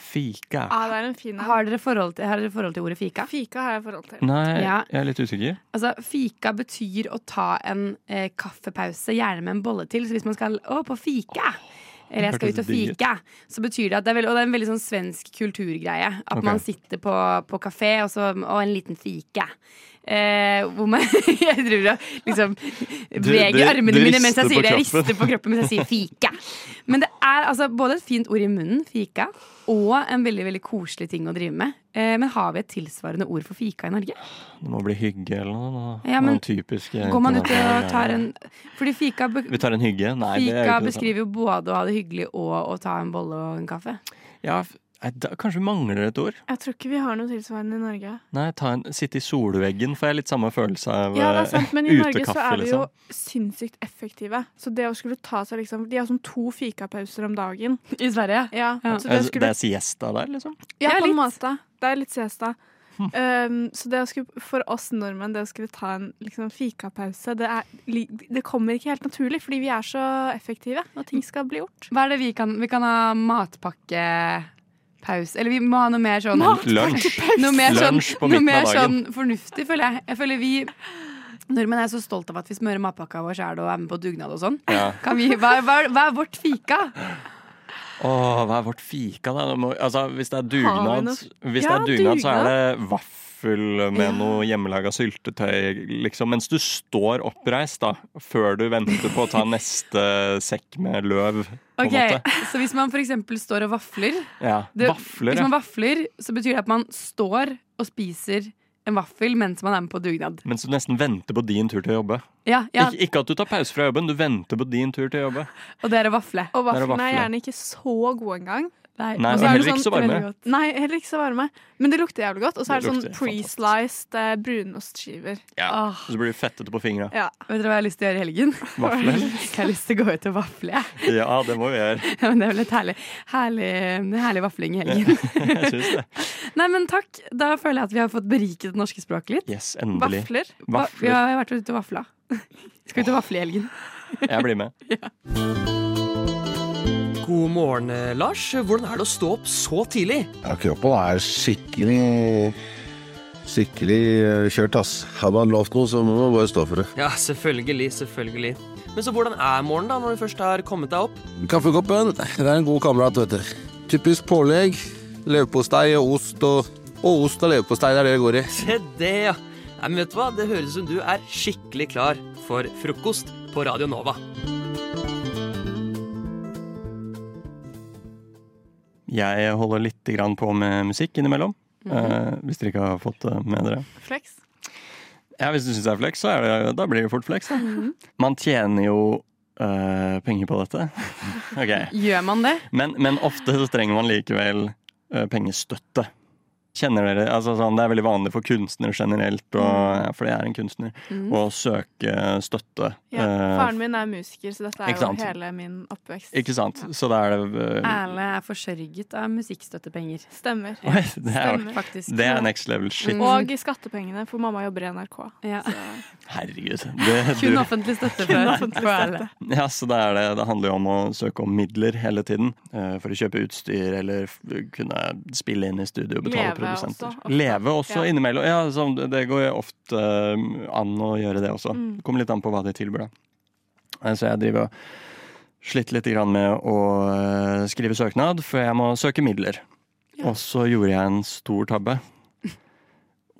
[SPEAKER 10] Fika.
[SPEAKER 6] Ja,
[SPEAKER 12] Ah,
[SPEAKER 6] det er en fin en.
[SPEAKER 12] Har dere forhold til, har dere forhold til ordet fika?
[SPEAKER 6] Fika har jeg forhold til.
[SPEAKER 10] Nei,
[SPEAKER 12] Ja.
[SPEAKER 10] jeg er litt usikker.
[SPEAKER 12] Altså, Fika betyr å ta en eh, kaffepause, gjerne med en bolle til. Så hvis man skal å, på fika, eller jeg skal ut
[SPEAKER 10] hørtes
[SPEAKER 12] og
[SPEAKER 10] digg ut.
[SPEAKER 12] fika, så betyr det at det er veldig, Og det er en veldig sånn svensk kulturgreie. At
[SPEAKER 10] Ok.
[SPEAKER 12] man sitter på, på kafé, og så og en liten fika. Eh, hvor man Jeg driver og liksom
[SPEAKER 10] Du-
[SPEAKER 12] beveger
[SPEAKER 10] du-
[SPEAKER 12] armene
[SPEAKER 10] du
[SPEAKER 12] mine mens jeg
[SPEAKER 10] rister på
[SPEAKER 12] sier det. Jeg
[SPEAKER 10] kroppen.
[SPEAKER 12] rister på kroppen mens jeg sier fika. Men det er altså både et fint ord i munnen, fika, Og en veldig veldig koselig ting å drive med. Eh, men har vi et tilsvarende ord for fika i Norge?
[SPEAKER 10] Det må bli hygge eller noe. da.
[SPEAKER 12] Ja, men
[SPEAKER 10] Noen typiske
[SPEAKER 12] Går man ut og
[SPEAKER 10] internasjonale
[SPEAKER 12] tar
[SPEAKER 10] greier.
[SPEAKER 12] en Fordi fika, be
[SPEAKER 10] Vi tar en hygge? Nei, det
[SPEAKER 12] fika
[SPEAKER 10] er jo ikke det samme.
[SPEAKER 12] beskriver jo både å ha det hyggelig og å ta en bolle og en kaffe.
[SPEAKER 10] Ja, f- nei, da, kanskje vi mangler et ord.
[SPEAKER 6] Jeg tror ikke vi har noe tilsvarende i Norge.
[SPEAKER 10] Nei, ta en, Sitte i solveggen får jeg litt samme følelse av
[SPEAKER 6] Ja, det er sant, men i Norge så
[SPEAKER 10] utekaffe, liksom.
[SPEAKER 6] er vi jo sinnssykt effektive. Så det å skulle ta seg liksom De har sånn to fikapauser om dagen.
[SPEAKER 12] I Sverige.
[SPEAKER 6] Ja,
[SPEAKER 12] Ja.
[SPEAKER 6] så det
[SPEAKER 10] Det er, Eh, Altså, det
[SPEAKER 6] skulle
[SPEAKER 10] er siesta der, liksom?
[SPEAKER 6] Ja,
[SPEAKER 12] Ja,
[SPEAKER 6] på en
[SPEAKER 12] litt.
[SPEAKER 6] måte. Det er litt siesta. Um, så det å skulle, for oss nordmenn, det å skulle ta en liksom, fikapause, det, er, li- det kommer ikke helt naturlig, fordi vi er så effektive når ting skal bli gjort.
[SPEAKER 12] Hva er det vi kan Vi kan ha matpakkepaus. Eller vi må ha noe mer sånn
[SPEAKER 10] Lunsj.
[SPEAKER 12] Noe mer, sånn,
[SPEAKER 10] Lunsj på
[SPEAKER 12] noe
[SPEAKER 10] midten av
[SPEAKER 12] mer
[SPEAKER 10] dagen.
[SPEAKER 12] sånn fornuftig, føler jeg. Jeg føler vi nordmenn er så stolte av at vi smører matpakka vår sjæl og er med på dugnad og sånn.
[SPEAKER 10] Ja.
[SPEAKER 12] Kan vi, hva, hva, hva er vårt fika?
[SPEAKER 10] Åh, hva er vårt fika, da? Det Må, altså, hvis det er
[SPEAKER 6] Har vi
[SPEAKER 10] dugnad,
[SPEAKER 6] noe-
[SPEAKER 10] hvis
[SPEAKER 6] Ja,
[SPEAKER 10] det er dugnad, så er
[SPEAKER 6] dugnad.
[SPEAKER 10] det vaffel med noe hjemmelaga syltetøy, liksom. Mens du står oppreist, da, før du venter på å ta neste sekk med løv, på en
[SPEAKER 12] Ok,
[SPEAKER 10] måte.
[SPEAKER 12] Så hvis man f.eks. står og vafler
[SPEAKER 10] Ja,
[SPEAKER 12] det,
[SPEAKER 10] Vafler,
[SPEAKER 12] Hvis
[SPEAKER 10] ja.
[SPEAKER 12] man vafler, så betyr det at man står og spiser en vaffel mens man er med på dugnad.
[SPEAKER 10] Mens du nesten venter på din tur til å jobbe.
[SPEAKER 12] Ja, ja,
[SPEAKER 10] Ikke, ikke at du tar pause fra jobben, du venter på din tur til å jobbe.
[SPEAKER 12] Og det er å vafle.
[SPEAKER 6] Og
[SPEAKER 10] Det er å
[SPEAKER 6] vaflene er
[SPEAKER 10] vafle.
[SPEAKER 6] gjerne ikke så gode engang.
[SPEAKER 12] Nei,
[SPEAKER 10] Nei,
[SPEAKER 12] og
[SPEAKER 10] og
[SPEAKER 12] så er det
[SPEAKER 10] heller ikke så varme.
[SPEAKER 12] veldig godt.
[SPEAKER 6] sånn Nei, heller ikke så varme. Men det lukter jævlig godt. Og så er
[SPEAKER 10] Det
[SPEAKER 6] det sånn
[SPEAKER 10] lukter
[SPEAKER 6] pre-sliced eh, brunostskiver.
[SPEAKER 12] Åh,
[SPEAKER 10] Så blir du fettete på fingra.
[SPEAKER 6] Ja.
[SPEAKER 12] vet dere hva jeg har lyst til å gjøre i helgen?
[SPEAKER 10] Vafler.
[SPEAKER 12] Jeg har lyst til å gå ut og vafle. jeg.
[SPEAKER 10] Ja, det må vi gjøre.
[SPEAKER 12] Ja, men det er vel et herlig, herlig, herlig vafling i helgen.
[SPEAKER 10] Jeg syns det.
[SPEAKER 12] Nei, men takk. Da føler jeg at vi har fått beriket det norske språket litt.
[SPEAKER 10] Yes, endelig.
[SPEAKER 6] Vafler.
[SPEAKER 12] Va- Vi
[SPEAKER 10] Vafler.
[SPEAKER 12] har vært ute og vafla. Skal ut og vafle i helgen.
[SPEAKER 10] Jeg blir med.
[SPEAKER 13] God morgen, eh, Lars. Hvordan er det å stå opp så tidlig?
[SPEAKER 14] Ja, kroppen er skikkelig Skikkelig eh, kjørt, ass. Har man lovt noe, så må man bare stå for det.
[SPEAKER 13] Ja, selvfølgelig, selvfølgelig. Men så hvordan er morgenen da, når du først har kommet deg opp?
[SPEAKER 14] Kaffekoppen, det er en god kamerat, vet du. Typisk pålegg. Leverpostei og ost og Og ost og leverpostei, det er det det går i.
[SPEAKER 13] Se det, ja. Nei, men vet du hva? Det høres ut som du er skikkelig klar for frokost på Radio Nova.
[SPEAKER 10] Jeg holder litt grann på med musikk innimellom.
[SPEAKER 6] Mhm.
[SPEAKER 10] eh, hvis dere ikke har fått det med dere.
[SPEAKER 6] Flex.
[SPEAKER 10] Ja, Hvis du syns det er flex, så er det, da blir det fort flex. Da.
[SPEAKER 6] Mhm.
[SPEAKER 10] Man tjener jo eh, penger på dette. ok.
[SPEAKER 12] Gjør man det?
[SPEAKER 10] Men, men ofte så trenger man likevel eh, pengestøtte. Kjenner dere, altså sånn, Det er veldig vanlig for kunstnere generelt, og,
[SPEAKER 6] Mhm.
[SPEAKER 10] ja, for jeg er en kunstner, å søke støtte.
[SPEAKER 6] Ja.
[SPEAKER 10] eh,
[SPEAKER 6] Faren min er musiker, så dette er
[SPEAKER 10] Ikke
[SPEAKER 6] jo
[SPEAKER 10] sant?
[SPEAKER 6] hele min oppvekst.
[SPEAKER 10] ikke sant? Så da er det eh,
[SPEAKER 12] Erle er forsørget av musikkstøttepenger,
[SPEAKER 6] Stemmer.
[SPEAKER 10] Oi, det, er,
[SPEAKER 6] Stemmer.
[SPEAKER 12] faktisk.
[SPEAKER 10] det er next level shit.
[SPEAKER 12] Mm.
[SPEAKER 6] Og i skattepengene, for mamma jobber i NRK.
[SPEAKER 12] Ja.
[SPEAKER 10] Herregud. Det,
[SPEAKER 12] Kun
[SPEAKER 10] du,
[SPEAKER 12] offentlig støtte fra fra Erle.
[SPEAKER 10] Ja, så det, er det. det handler jo om å søke om midler hele tiden. eh, For å kjøpe utstyr eller f- kunne spille inn i studio og betale
[SPEAKER 6] Leve
[SPEAKER 10] produsenter.
[SPEAKER 6] også, ofte.
[SPEAKER 10] Leve også
[SPEAKER 6] Ja.
[SPEAKER 10] innimellom. Ja, sånn, det- det går jo ofte um, an å gjøre det også.
[SPEAKER 6] Mm.
[SPEAKER 10] Det kommer litt an på hva de tilbyr, da. Eh, Så jeg driver og sliter litt grann med å eh, skrive søknad, for jeg må søke midler. Og så gjorde jeg en stor tabbe.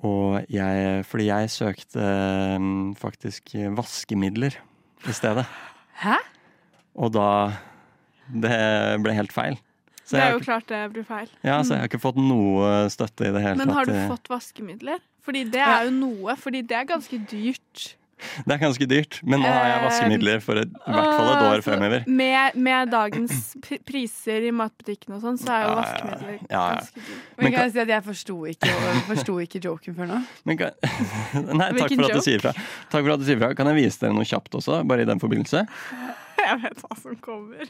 [SPEAKER 10] Og jeg, fordi jeg søkte mm, faktisk vaskemidler i stedet.
[SPEAKER 12] Hæ?
[SPEAKER 10] Og da Det ble helt feil. Så
[SPEAKER 6] Det
[SPEAKER 10] jeg,
[SPEAKER 6] er
[SPEAKER 10] har
[SPEAKER 6] jo
[SPEAKER 10] ikke-
[SPEAKER 6] klart det blir feil.
[SPEAKER 10] ja, så jeg har ikke fått noe støtte i det hele
[SPEAKER 6] Men har du
[SPEAKER 10] tatt.
[SPEAKER 6] fått vaskemidler? Fordi det er jo noe, fordi det er ganske dyrt.
[SPEAKER 10] Det er ganske dyrt, men nå har jeg
[SPEAKER 6] Eh,
[SPEAKER 10] vaskemidler for et, i hvert fall et
[SPEAKER 6] Ah,
[SPEAKER 10] år
[SPEAKER 6] så
[SPEAKER 10] fremover.
[SPEAKER 6] Med, med dagens pri- priser i matbutikken og sånn, så er jo
[SPEAKER 10] Ja, ja, ja.
[SPEAKER 6] vaskemidler
[SPEAKER 10] Ja, ja.
[SPEAKER 6] ganske dyrt.
[SPEAKER 10] Men
[SPEAKER 12] Men kan jeg si at jeg forsto ikke, forsto ikke joken før nå?
[SPEAKER 10] Men kan, nei, takk
[SPEAKER 6] Hvilken
[SPEAKER 10] for at du
[SPEAKER 6] joke?
[SPEAKER 10] sier fra. Takk for at du sier fra. Kan jeg vise dere noe kjapt også, bare i den forbindelse?
[SPEAKER 6] Jeg vet hva som kommer.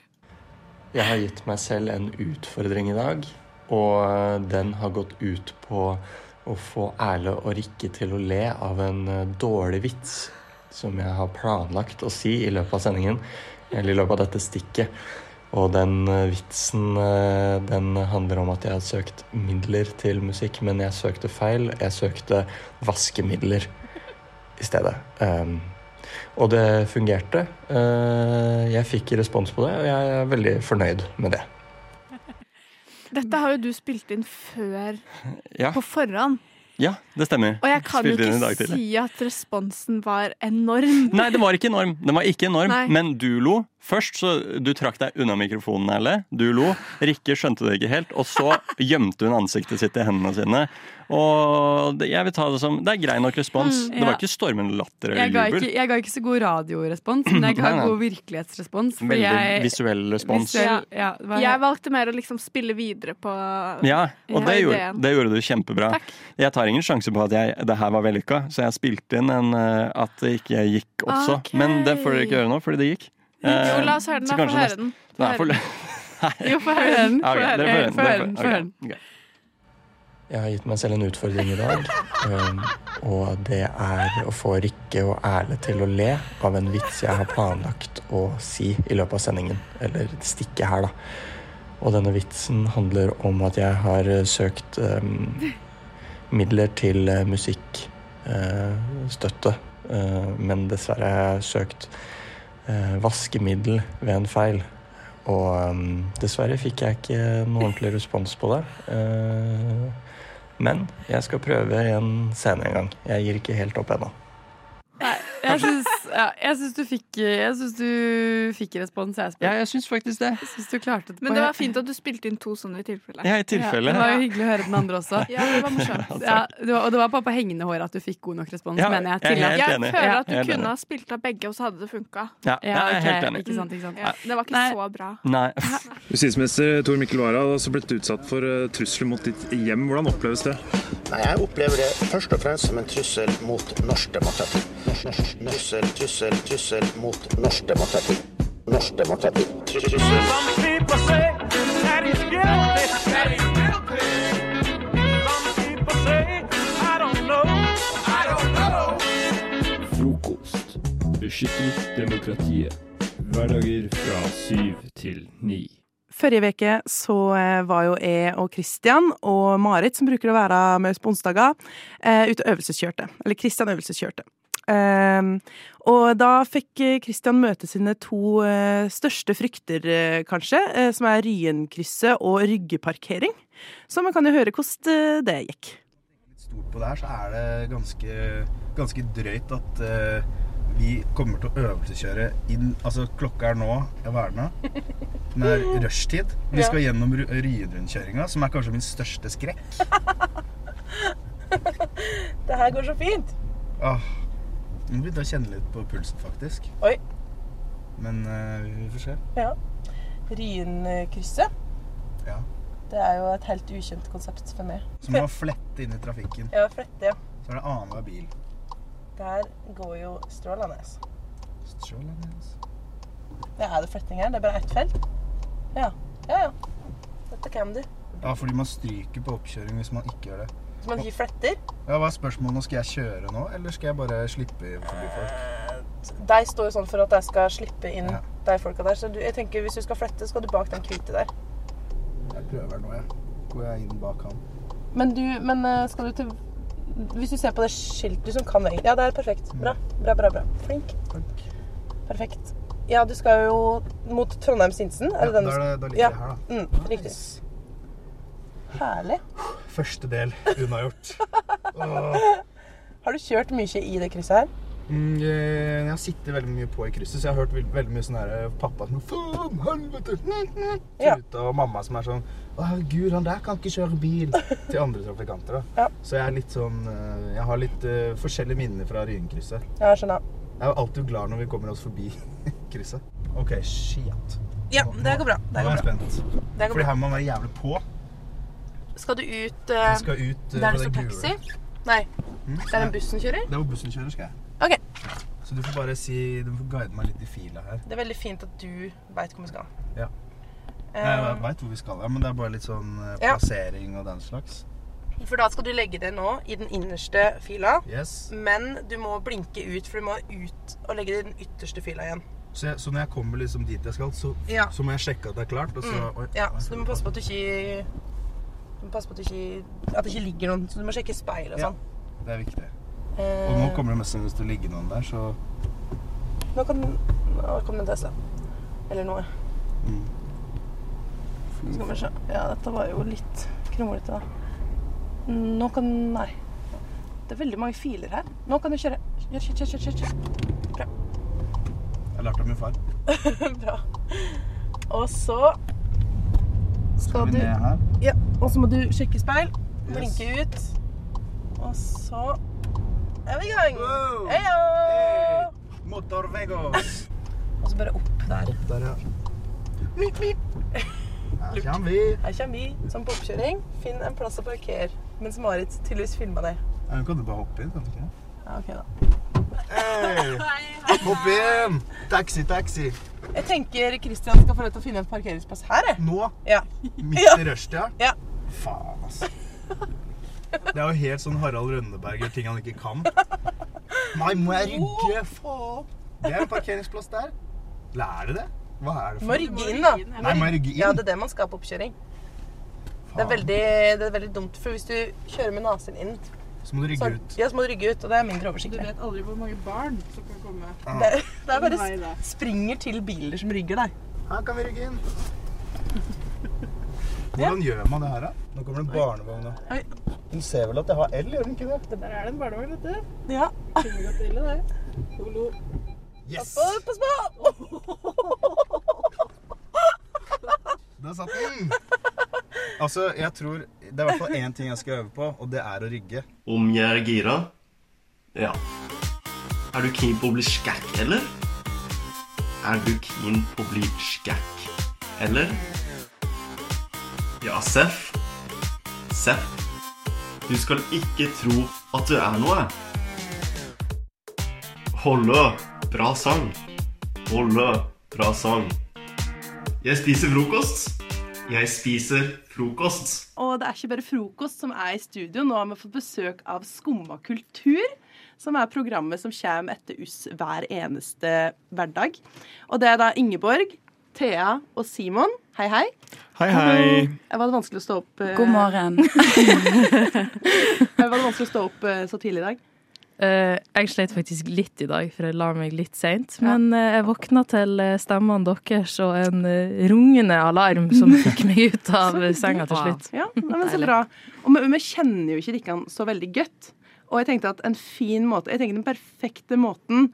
[SPEAKER 10] Jeg har gitt meg selv en utfordring i dag, og eh, den har gått ut på å få Erle og Rikke til å le av en eh, dårlig vits som jeg har planlagt å si i løpet av sendingen, eller i løpet av dette stikket. Og den eh, vitsen, eh, den handler om at jeg har søkt midler til musikk, men jeg søkte feil. Jeg søkte vaskemidler i stedet. Um, og det fungerte. Eh, Jeg fikk respons på det, og jeg er veldig fornøyd med det.
[SPEAKER 6] Dette har jo du spilt inn før
[SPEAKER 10] Ja,
[SPEAKER 6] på forhånd,
[SPEAKER 10] det stemmer.
[SPEAKER 6] og jeg kan jo
[SPEAKER 10] Spilte inn i dag
[SPEAKER 6] ikke
[SPEAKER 10] tidlig.
[SPEAKER 6] si at responsen var enorm.
[SPEAKER 10] Nei, det var ikke enorm. Den var ikke enorm,
[SPEAKER 6] Nei.
[SPEAKER 10] men du lo, Først så du trakk deg unna mikrofonen, Erle. Du lo. Rikke skjønte det ikke helt. Og så gjemte hun ansiktet sitt i hendene sine. Og det, jeg vil ta det som Det er grei nok respons.
[SPEAKER 15] Mm,
[SPEAKER 10] Det
[SPEAKER 15] ja.
[SPEAKER 10] var ikke stormende latter
[SPEAKER 15] Jeg
[SPEAKER 10] eller
[SPEAKER 15] ga,
[SPEAKER 10] jubel.
[SPEAKER 15] ikke, jeg ga ikke så god radiorespons, men jeg ga
[SPEAKER 10] Nei, nei.
[SPEAKER 15] god virkelighetsrespons. fordi
[SPEAKER 10] Veldig
[SPEAKER 15] jeg,
[SPEAKER 10] visuell respons.
[SPEAKER 15] Visuell, ja, det var-
[SPEAKER 6] Jeg valgte mer å liksom spille videre på
[SPEAKER 10] Ja, og
[SPEAKER 6] på
[SPEAKER 10] det gjorde,
[SPEAKER 6] ideen.
[SPEAKER 10] det gjorde du kjempebra. Jeg tar ingen sjanse på at jeg, det her var vellykka, så jeg spilte inn en, eh, at det ikke jeg gikk også.
[SPEAKER 6] Ok.
[SPEAKER 10] Men det får dere ikke gjøre nå, fordi det gikk. Eh,
[SPEAKER 6] Jo, la oss høre den,
[SPEAKER 10] så
[SPEAKER 6] da. Få
[SPEAKER 10] kanskje
[SPEAKER 6] høre
[SPEAKER 10] neste-
[SPEAKER 6] den. Få
[SPEAKER 10] Nei,
[SPEAKER 6] høre
[SPEAKER 10] for...
[SPEAKER 6] den.
[SPEAKER 10] Nei.
[SPEAKER 6] Jo, få høre den.
[SPEAKER 10] Ja, ok,
[SPEAKER 6] Få høre den. Få høre
[SPEAKER 10] dere dere
[SPEAKER 6] den,
[SPEAKER 10] får
[SPEAKER 6] få høre
[SPEAKER 10] ok, ok.
[SPEAKER 16] Jeg har gitt meg selv en utfordring i dag. øhm, og det er å få Rikke og Erle til å le av en vits jeg har planlagt å si i løpet av sendingen. Eller stikket her, da. Og denne vitsen handler om at jeg har eh, søkt øhm, midler til øh, musikkstøtte. øh, men dessverre har jeg søkt eh, vaskemiddel ved en feil. Og øhm, dessverre fikk jeg ikke noen ordentlig respons på det. Eh, men jeg skal prøve igjen senere en gang. Jeg gir ikke helt opp ennå.
[SPEAKER 15] Jeg syns, ja, jeg syns du fikk Jeg syns du fikk respons. Jeg
[SPEAKER 10] ja, jeg syns faktisk det.
[SPEAKER 15] Jeg syns du klarte det
[SPEAKER 6] Men
[SPEAKER 15] på-
[SPEAKER 6] det var fint at du spilte inn to sånne i tilfelle.
[SPEAKER 10] Ja, i tilfelle.
[SPEAKER 15] Ja, det var jo hyggelig å høre den andre også.
[SPEAKER 6] Ja, det var morsomt.
[SPEAKER 15] Ja, det var, og det var bare på hengende håret at du fikk god nok respons,
[SPEAKER 10] Ja,
[SPEAKER 15] mener jeg.
[SPEAKER 10] jeg er
[SPEAKER 15] til at-
[SPEAKER 10] helt enig.
[SPEAKER 6] Jeg føler at du
[SPEAKER 10] Helt enig.
[SPEAKER 6] kunne ha spilt av begge, og så hadde det funka.
[SPEAKER 10] Ja, jeg er helt enig.
[SPEAKER 15] Ikke sant, ikke sant.
[SPEAKER 6] Ja, det var ikke så bra.
[SPEAKER 10] Nei.
[SPEAKER 17] Justisminister Tor Mikkel Wara har også blitt utsatt for eh, trusler mot ditt hjem. Hvordan oppleves det?
[SPEAKER 18] Nei, Jeg opplever det først og fremst som en trussel mot norsk demokrati. Norsk, norsk, trussel, trussel, trussel mot norsk demokrati. Norsk demokrati. Trussel.
[SPEAKER 19] Frokost. Beskytter demokratiet. Hverdager fra syv til ni.
[SPEAKER 20] Forrige veke så eh, var jo jeg og Kristian og Marit, som bruker å være med oss på onsdager, eh, ute og øvelseskjørte. Eller Kristian øvelseskjørte. Ehm, og da fikk eh, Kristian møte sine to eh, største frykter, eh, kanskje, eh, som er Ryenkrysset og Ryggeparkering. Så man kan jo høre hvordan eh, det gikk.
[SPEAKER 21] stort på det her, så er det ganske, ganske drøyt at eh, vi kommer til å øvelseskjøre inn Altså, klokka er nå ja, Hva er den, da? Den er rushtid. Vi
[SPEAKER 22] Ja.
[SPEAKER 21] skal gjennom Ru- Ryenrundkjøringa, som er kanskje min største skrekk.
[SPEAKER 20] Det her går så fint.
[SPEAKER 21] Åh, Ah, Nå begynte jeg å kjenne litt på pulsen, faktisk.
[SPEAKER 20] Oi.
[SPEAKER 21] Men eh, vi får se.
[SPEAKER 20] Ja. Ryenkrysset.
[SPEAKER 21] Ja.
[SPEAKER 20] Det er jo et helt ukjent konsept for meg.
[SPEAKER 21] Så må man flette inn i trafikken.
[SPEAKER 20] Ja, flette.
[SPEAKER 21] Så er det annenhver bil.
[SPEAKER 20] Der går jo strålende.
[SPEAKER 21] Strålende.
[SPEAKER 20] Det er det fletting her. Det er bare ett felt. Ja, ja. ja. Dette kan du.
[SPEAKER 21] Ja, fordi man stryker på oppkjøring hvis man ikke gjør det.
[SPEAKER 20] Så man ikke fletter.
[SPEAKER 21] Ja, Hva er spørsmålet nå? Skal jeg kjøre nå, eller skal jeg bare slippe forbi folk?
[SPEAKER 20] De står jo sånn for at de skal slippe inn de folka der. Så du, jeg tenker hvis du skal flette, skal du bak den hvite der.
[SPEAKER 21] Jeg prøver nå, jeg. Går jeg inn bak han.
[SPEAKER 20] Men du, men eh, skal du til Hvis du ser på det skiltet du som kan egentlig Ja, det er perfekt. Bra. Bra, bra, bra. Flink. Perfekt. Ja, du skal jo mot Trondheim-Sinsen. Er
[SPEAKER 21] Ja,
[SPEAKER 20] det den du
[SPEAKER 21] da er
[SPEAKER 20] skal
[SPEAKER 21] det- da ligger det her, da.
[SPEAKER 20] Mm, riktig. Herlig.
[SPEAKER 21] Første del unnagjort.
[SPEAKER 20] Har du kjørt mye i det krysset her?
[SPEAKER 21] Mm, jeg har sittet veldig mye på i krysset, så jeg har hørt veld- veldig mye sånn her pappa som Faen, helvete! Truta, og mamma som er sånn Å, herregud, han der kan ikke kjøre bil! Til andre trafikanter, da. Så jeg er litt sånn eh, Jeg har litt eh, forskjellige minner fra Ryenkrysset.
[SPEAKER 20] Ja, skjønner.
[SPEAKER 21] Jeg er jo alltid glad når vi kommer oss forbi krysset. OK, shit.
[SPEAKER 20] Ja, det går bra. Det
[SPEAKER 21] Nå
[SPEAKER 20] går
[SPEAKER 21] er jeg
[SPEAKER 20] bra. Det
[SPEAKER 21] spent.
[SPEAKER 20] går
[SPEAKER 21] Fordi
[SPEAKER 20] bra.
[SPEAKER 21] her må man være jævlig på.
[SPEAKER 20] Skal du ut
[SPEAKER 21] Jeg skal ut,
[SPEAKER 20] der
[SPEAKER 21] eh, på
[SPEAKER 20] det
[SPEAKER 21] den
[SPEAKER 20] står
[SPEAKER 21] gule.
[SPEAKER 20] taxi? Nei.
[SPEAKER 21] Mm.
[SPEAKER 20] Det er den bussen kjører?
[SPEAKER 21] Det er hvor bussen kjører, skal jeg.
[SPEAKER 20] OK.
[SPEAKER 21] Så du får bare si Du får guide meg litt i fila her.
[SPEAKER 20] Det er veldig fint at du veit hvor vi skal.
[SPEAKER 21] Ja. Jeg
[SPEAKER 20] Eh,
[SPEAKER 21] veit hvor vi skal, ja, men det er bare litt sånn eh,
[SPEAKER 20] Ja.
[SPEAKER 21] plassering og den slags.
[SPEAKER 20] For da skal du legge det nå i den innerste fila.
[SPEAKER 21] Yes.
[SPEAKER 20] Men du må blinke ut, for du må ut og legge det i den ytterste fila igjen.
[SPEAKER 21] Så, jeg, så når jeg kommer liksom dit jeg skal, så,
[SPEAKER 20] Ja.
[SPEAKER 21] så må jeg sjekke at det er klart. Og så,
[SPEAKER 20] Mm.
[SPEAKER 21] oi,
[SPEAKER 20] ja, så du må passe på at du ikke Du må passe på at, du ikke, at det ikke ligger noen. Så du må sjekke speil og
[SPEAKER 21] Ja.
[SPEAKER 20] sånn.
[SPEAKER 21] det er viktig.
[SPEAKER 20] Eh,
[SPEAKER 21] Og nå kommer det mest sannsynligvis til å ligge noen der, så
[SPEAKER 20] nå kan Nå kom det en Tesla. Eller noe. Skal vi se. Ja, dette var jo litt kronglete, da. Nå kan Nei. Det er veldig mange filer her. Nå kan du kjøre. Kjør, kjør, kjør, kjør, kjør. kjør. Bra.
[SPEAKER 21] ja, Jeg lærte av min far.
[SPEAKER 20] Bra. Og så
[SPEAKER 21] Skal vi
[SPEAKER 20] du-
[SPEAKER 21] ned her?
[SPEAKER 20] Ja, og så må du sjekke speil.
[SPEAKER 21] Yes.
[SPEAKER 20] Blinke ut. Og så er vi i gang. Heia!
[SPEAKER 21] Motorvegos.
[SPEAKER 20] Og så bare opp der.
[SPEAKER 21] Opp der, ja.
[SPEAKER 20] Mip, mip.
[SPEAKER 21] Her kommer vi.
[SPEAKER 20] Her kommer vi som på oppkjøring. Finn en plass å parkere. Mens Marit tydeligvis filma det.
[SPEAKER 21] Ja, Hun kan du bare hoppe inn, kan du ikke?
[SPEAKER 20] Ja, ok da.
[SPEAKER 21] Hei! Hopp inn! Taxi, taxi.
[SPEAKER 20] Jeg tenker Christian skal få lov til å finne en parkeringsplass her. Jeg.
[SPEAKER 21] Nå?
[SPEAKER 20] Ja.
[SPEAKER 21] Midt i rushtida?
[SPEAKER 20] Ja.
[SPEAKER 21] Faen, altså. Det er jo helt sånn Harald Rønneberger, ting han ikke kan. Nei, må jeg rygge? Faen. Det er en parkeringsplass der. Lærer du det? Hva er det
[SPEAKER 20] Må
[SPEAKER 21] for
[SPEAKER 20] rygge inn, da.
[SPEAKER 21] Nei, må jeg rygge inn?
[SPEAKER 20] Ja, det er det man skal på oppkjøring. Det er, veldig, det er veldig dumt, for hvis du kjører med nesen inn
[SPEAKER 21] Så må du rygge
[SPEAKER 20] så-
[SPEAKER 21] ut.
[SPEAKER 20] Ja, så må du rygge ut, og det er mindre oversiktlig.
[SPEAKER 22] Du vet aldri hvor mange barn som kan komme.
[SPEAKER 21] Ah.
[SPEAKER 20] Det, det er bare
[SPEAKER 22] Nei, da.
[SPEAKER 20] s- springer til biler som rygger deg.
[SPEAKER 21] Her kan vi rygge inn. Hvordan gjør man det her, da? Nå kommer det en barnevogn. da. Hun ser vel at jeg har L, gjør hun ikke det?
[SPEAKER 22] Der er det en barnevogn, vet du.
[SPEAKER 20] Ja.
[SPEAKER 22] Kunne gått ille, det. Holo.
[SPEAKER 21] Yes!
[SPEAKER 20] Pass på, pass
[SPEAKER 21] Der satt den! Mm. Altså, jeg tror Det er i hvert fall én ting jeg skal øve på, og det er å rygge.
[SPEAKER 23] Om jeg er gira? Ja. Er du keen på å bli skækk, eller? Er du keen på å bli skækk, eller? Ja, Seff. Seff. Du skal ikke tro at du er noe. Hollø. Bra sang. Hollø. Bra sang. Jeg spiser frokost. Jeg spiser frokost.
[SPEAKER 20] Og det er ikke bare frokost som er i studio. Nå har vi fått besøk av Skumma kultur, som er programmet som kommer etter oss hver eneste hverdag. Og det er da Ingeborg, Thea og Simon. Hei, hei.
[SPEAKER 24] Hei, hei.
[SPEAKER 20] Jeg var det vanskelig å stå opp eh,
[SPEAKER 22] God morgen.
[SPEAKER 20] Jeg var det vanskelig å stå opp eh, så tidlig i dag.
[SPEAKER 22] Eh, jeg sleit faktisk litt i dag, for jeg la meg litt seint. Men eh, jeg våkna til eh, stemmene deres og en eh, rungende alarm som fikk meg ut av eh, senga til slutt.
[SPEAKER 20] Ja, nei, men så
[SPEAKER 22] Deilig.
[SPEAKER 20] bra. Og vi, vi kjenner jo ikke Rikkan så veldig godt. Og jeg tenkte at en fin måte, jeg tenker den perfekte måten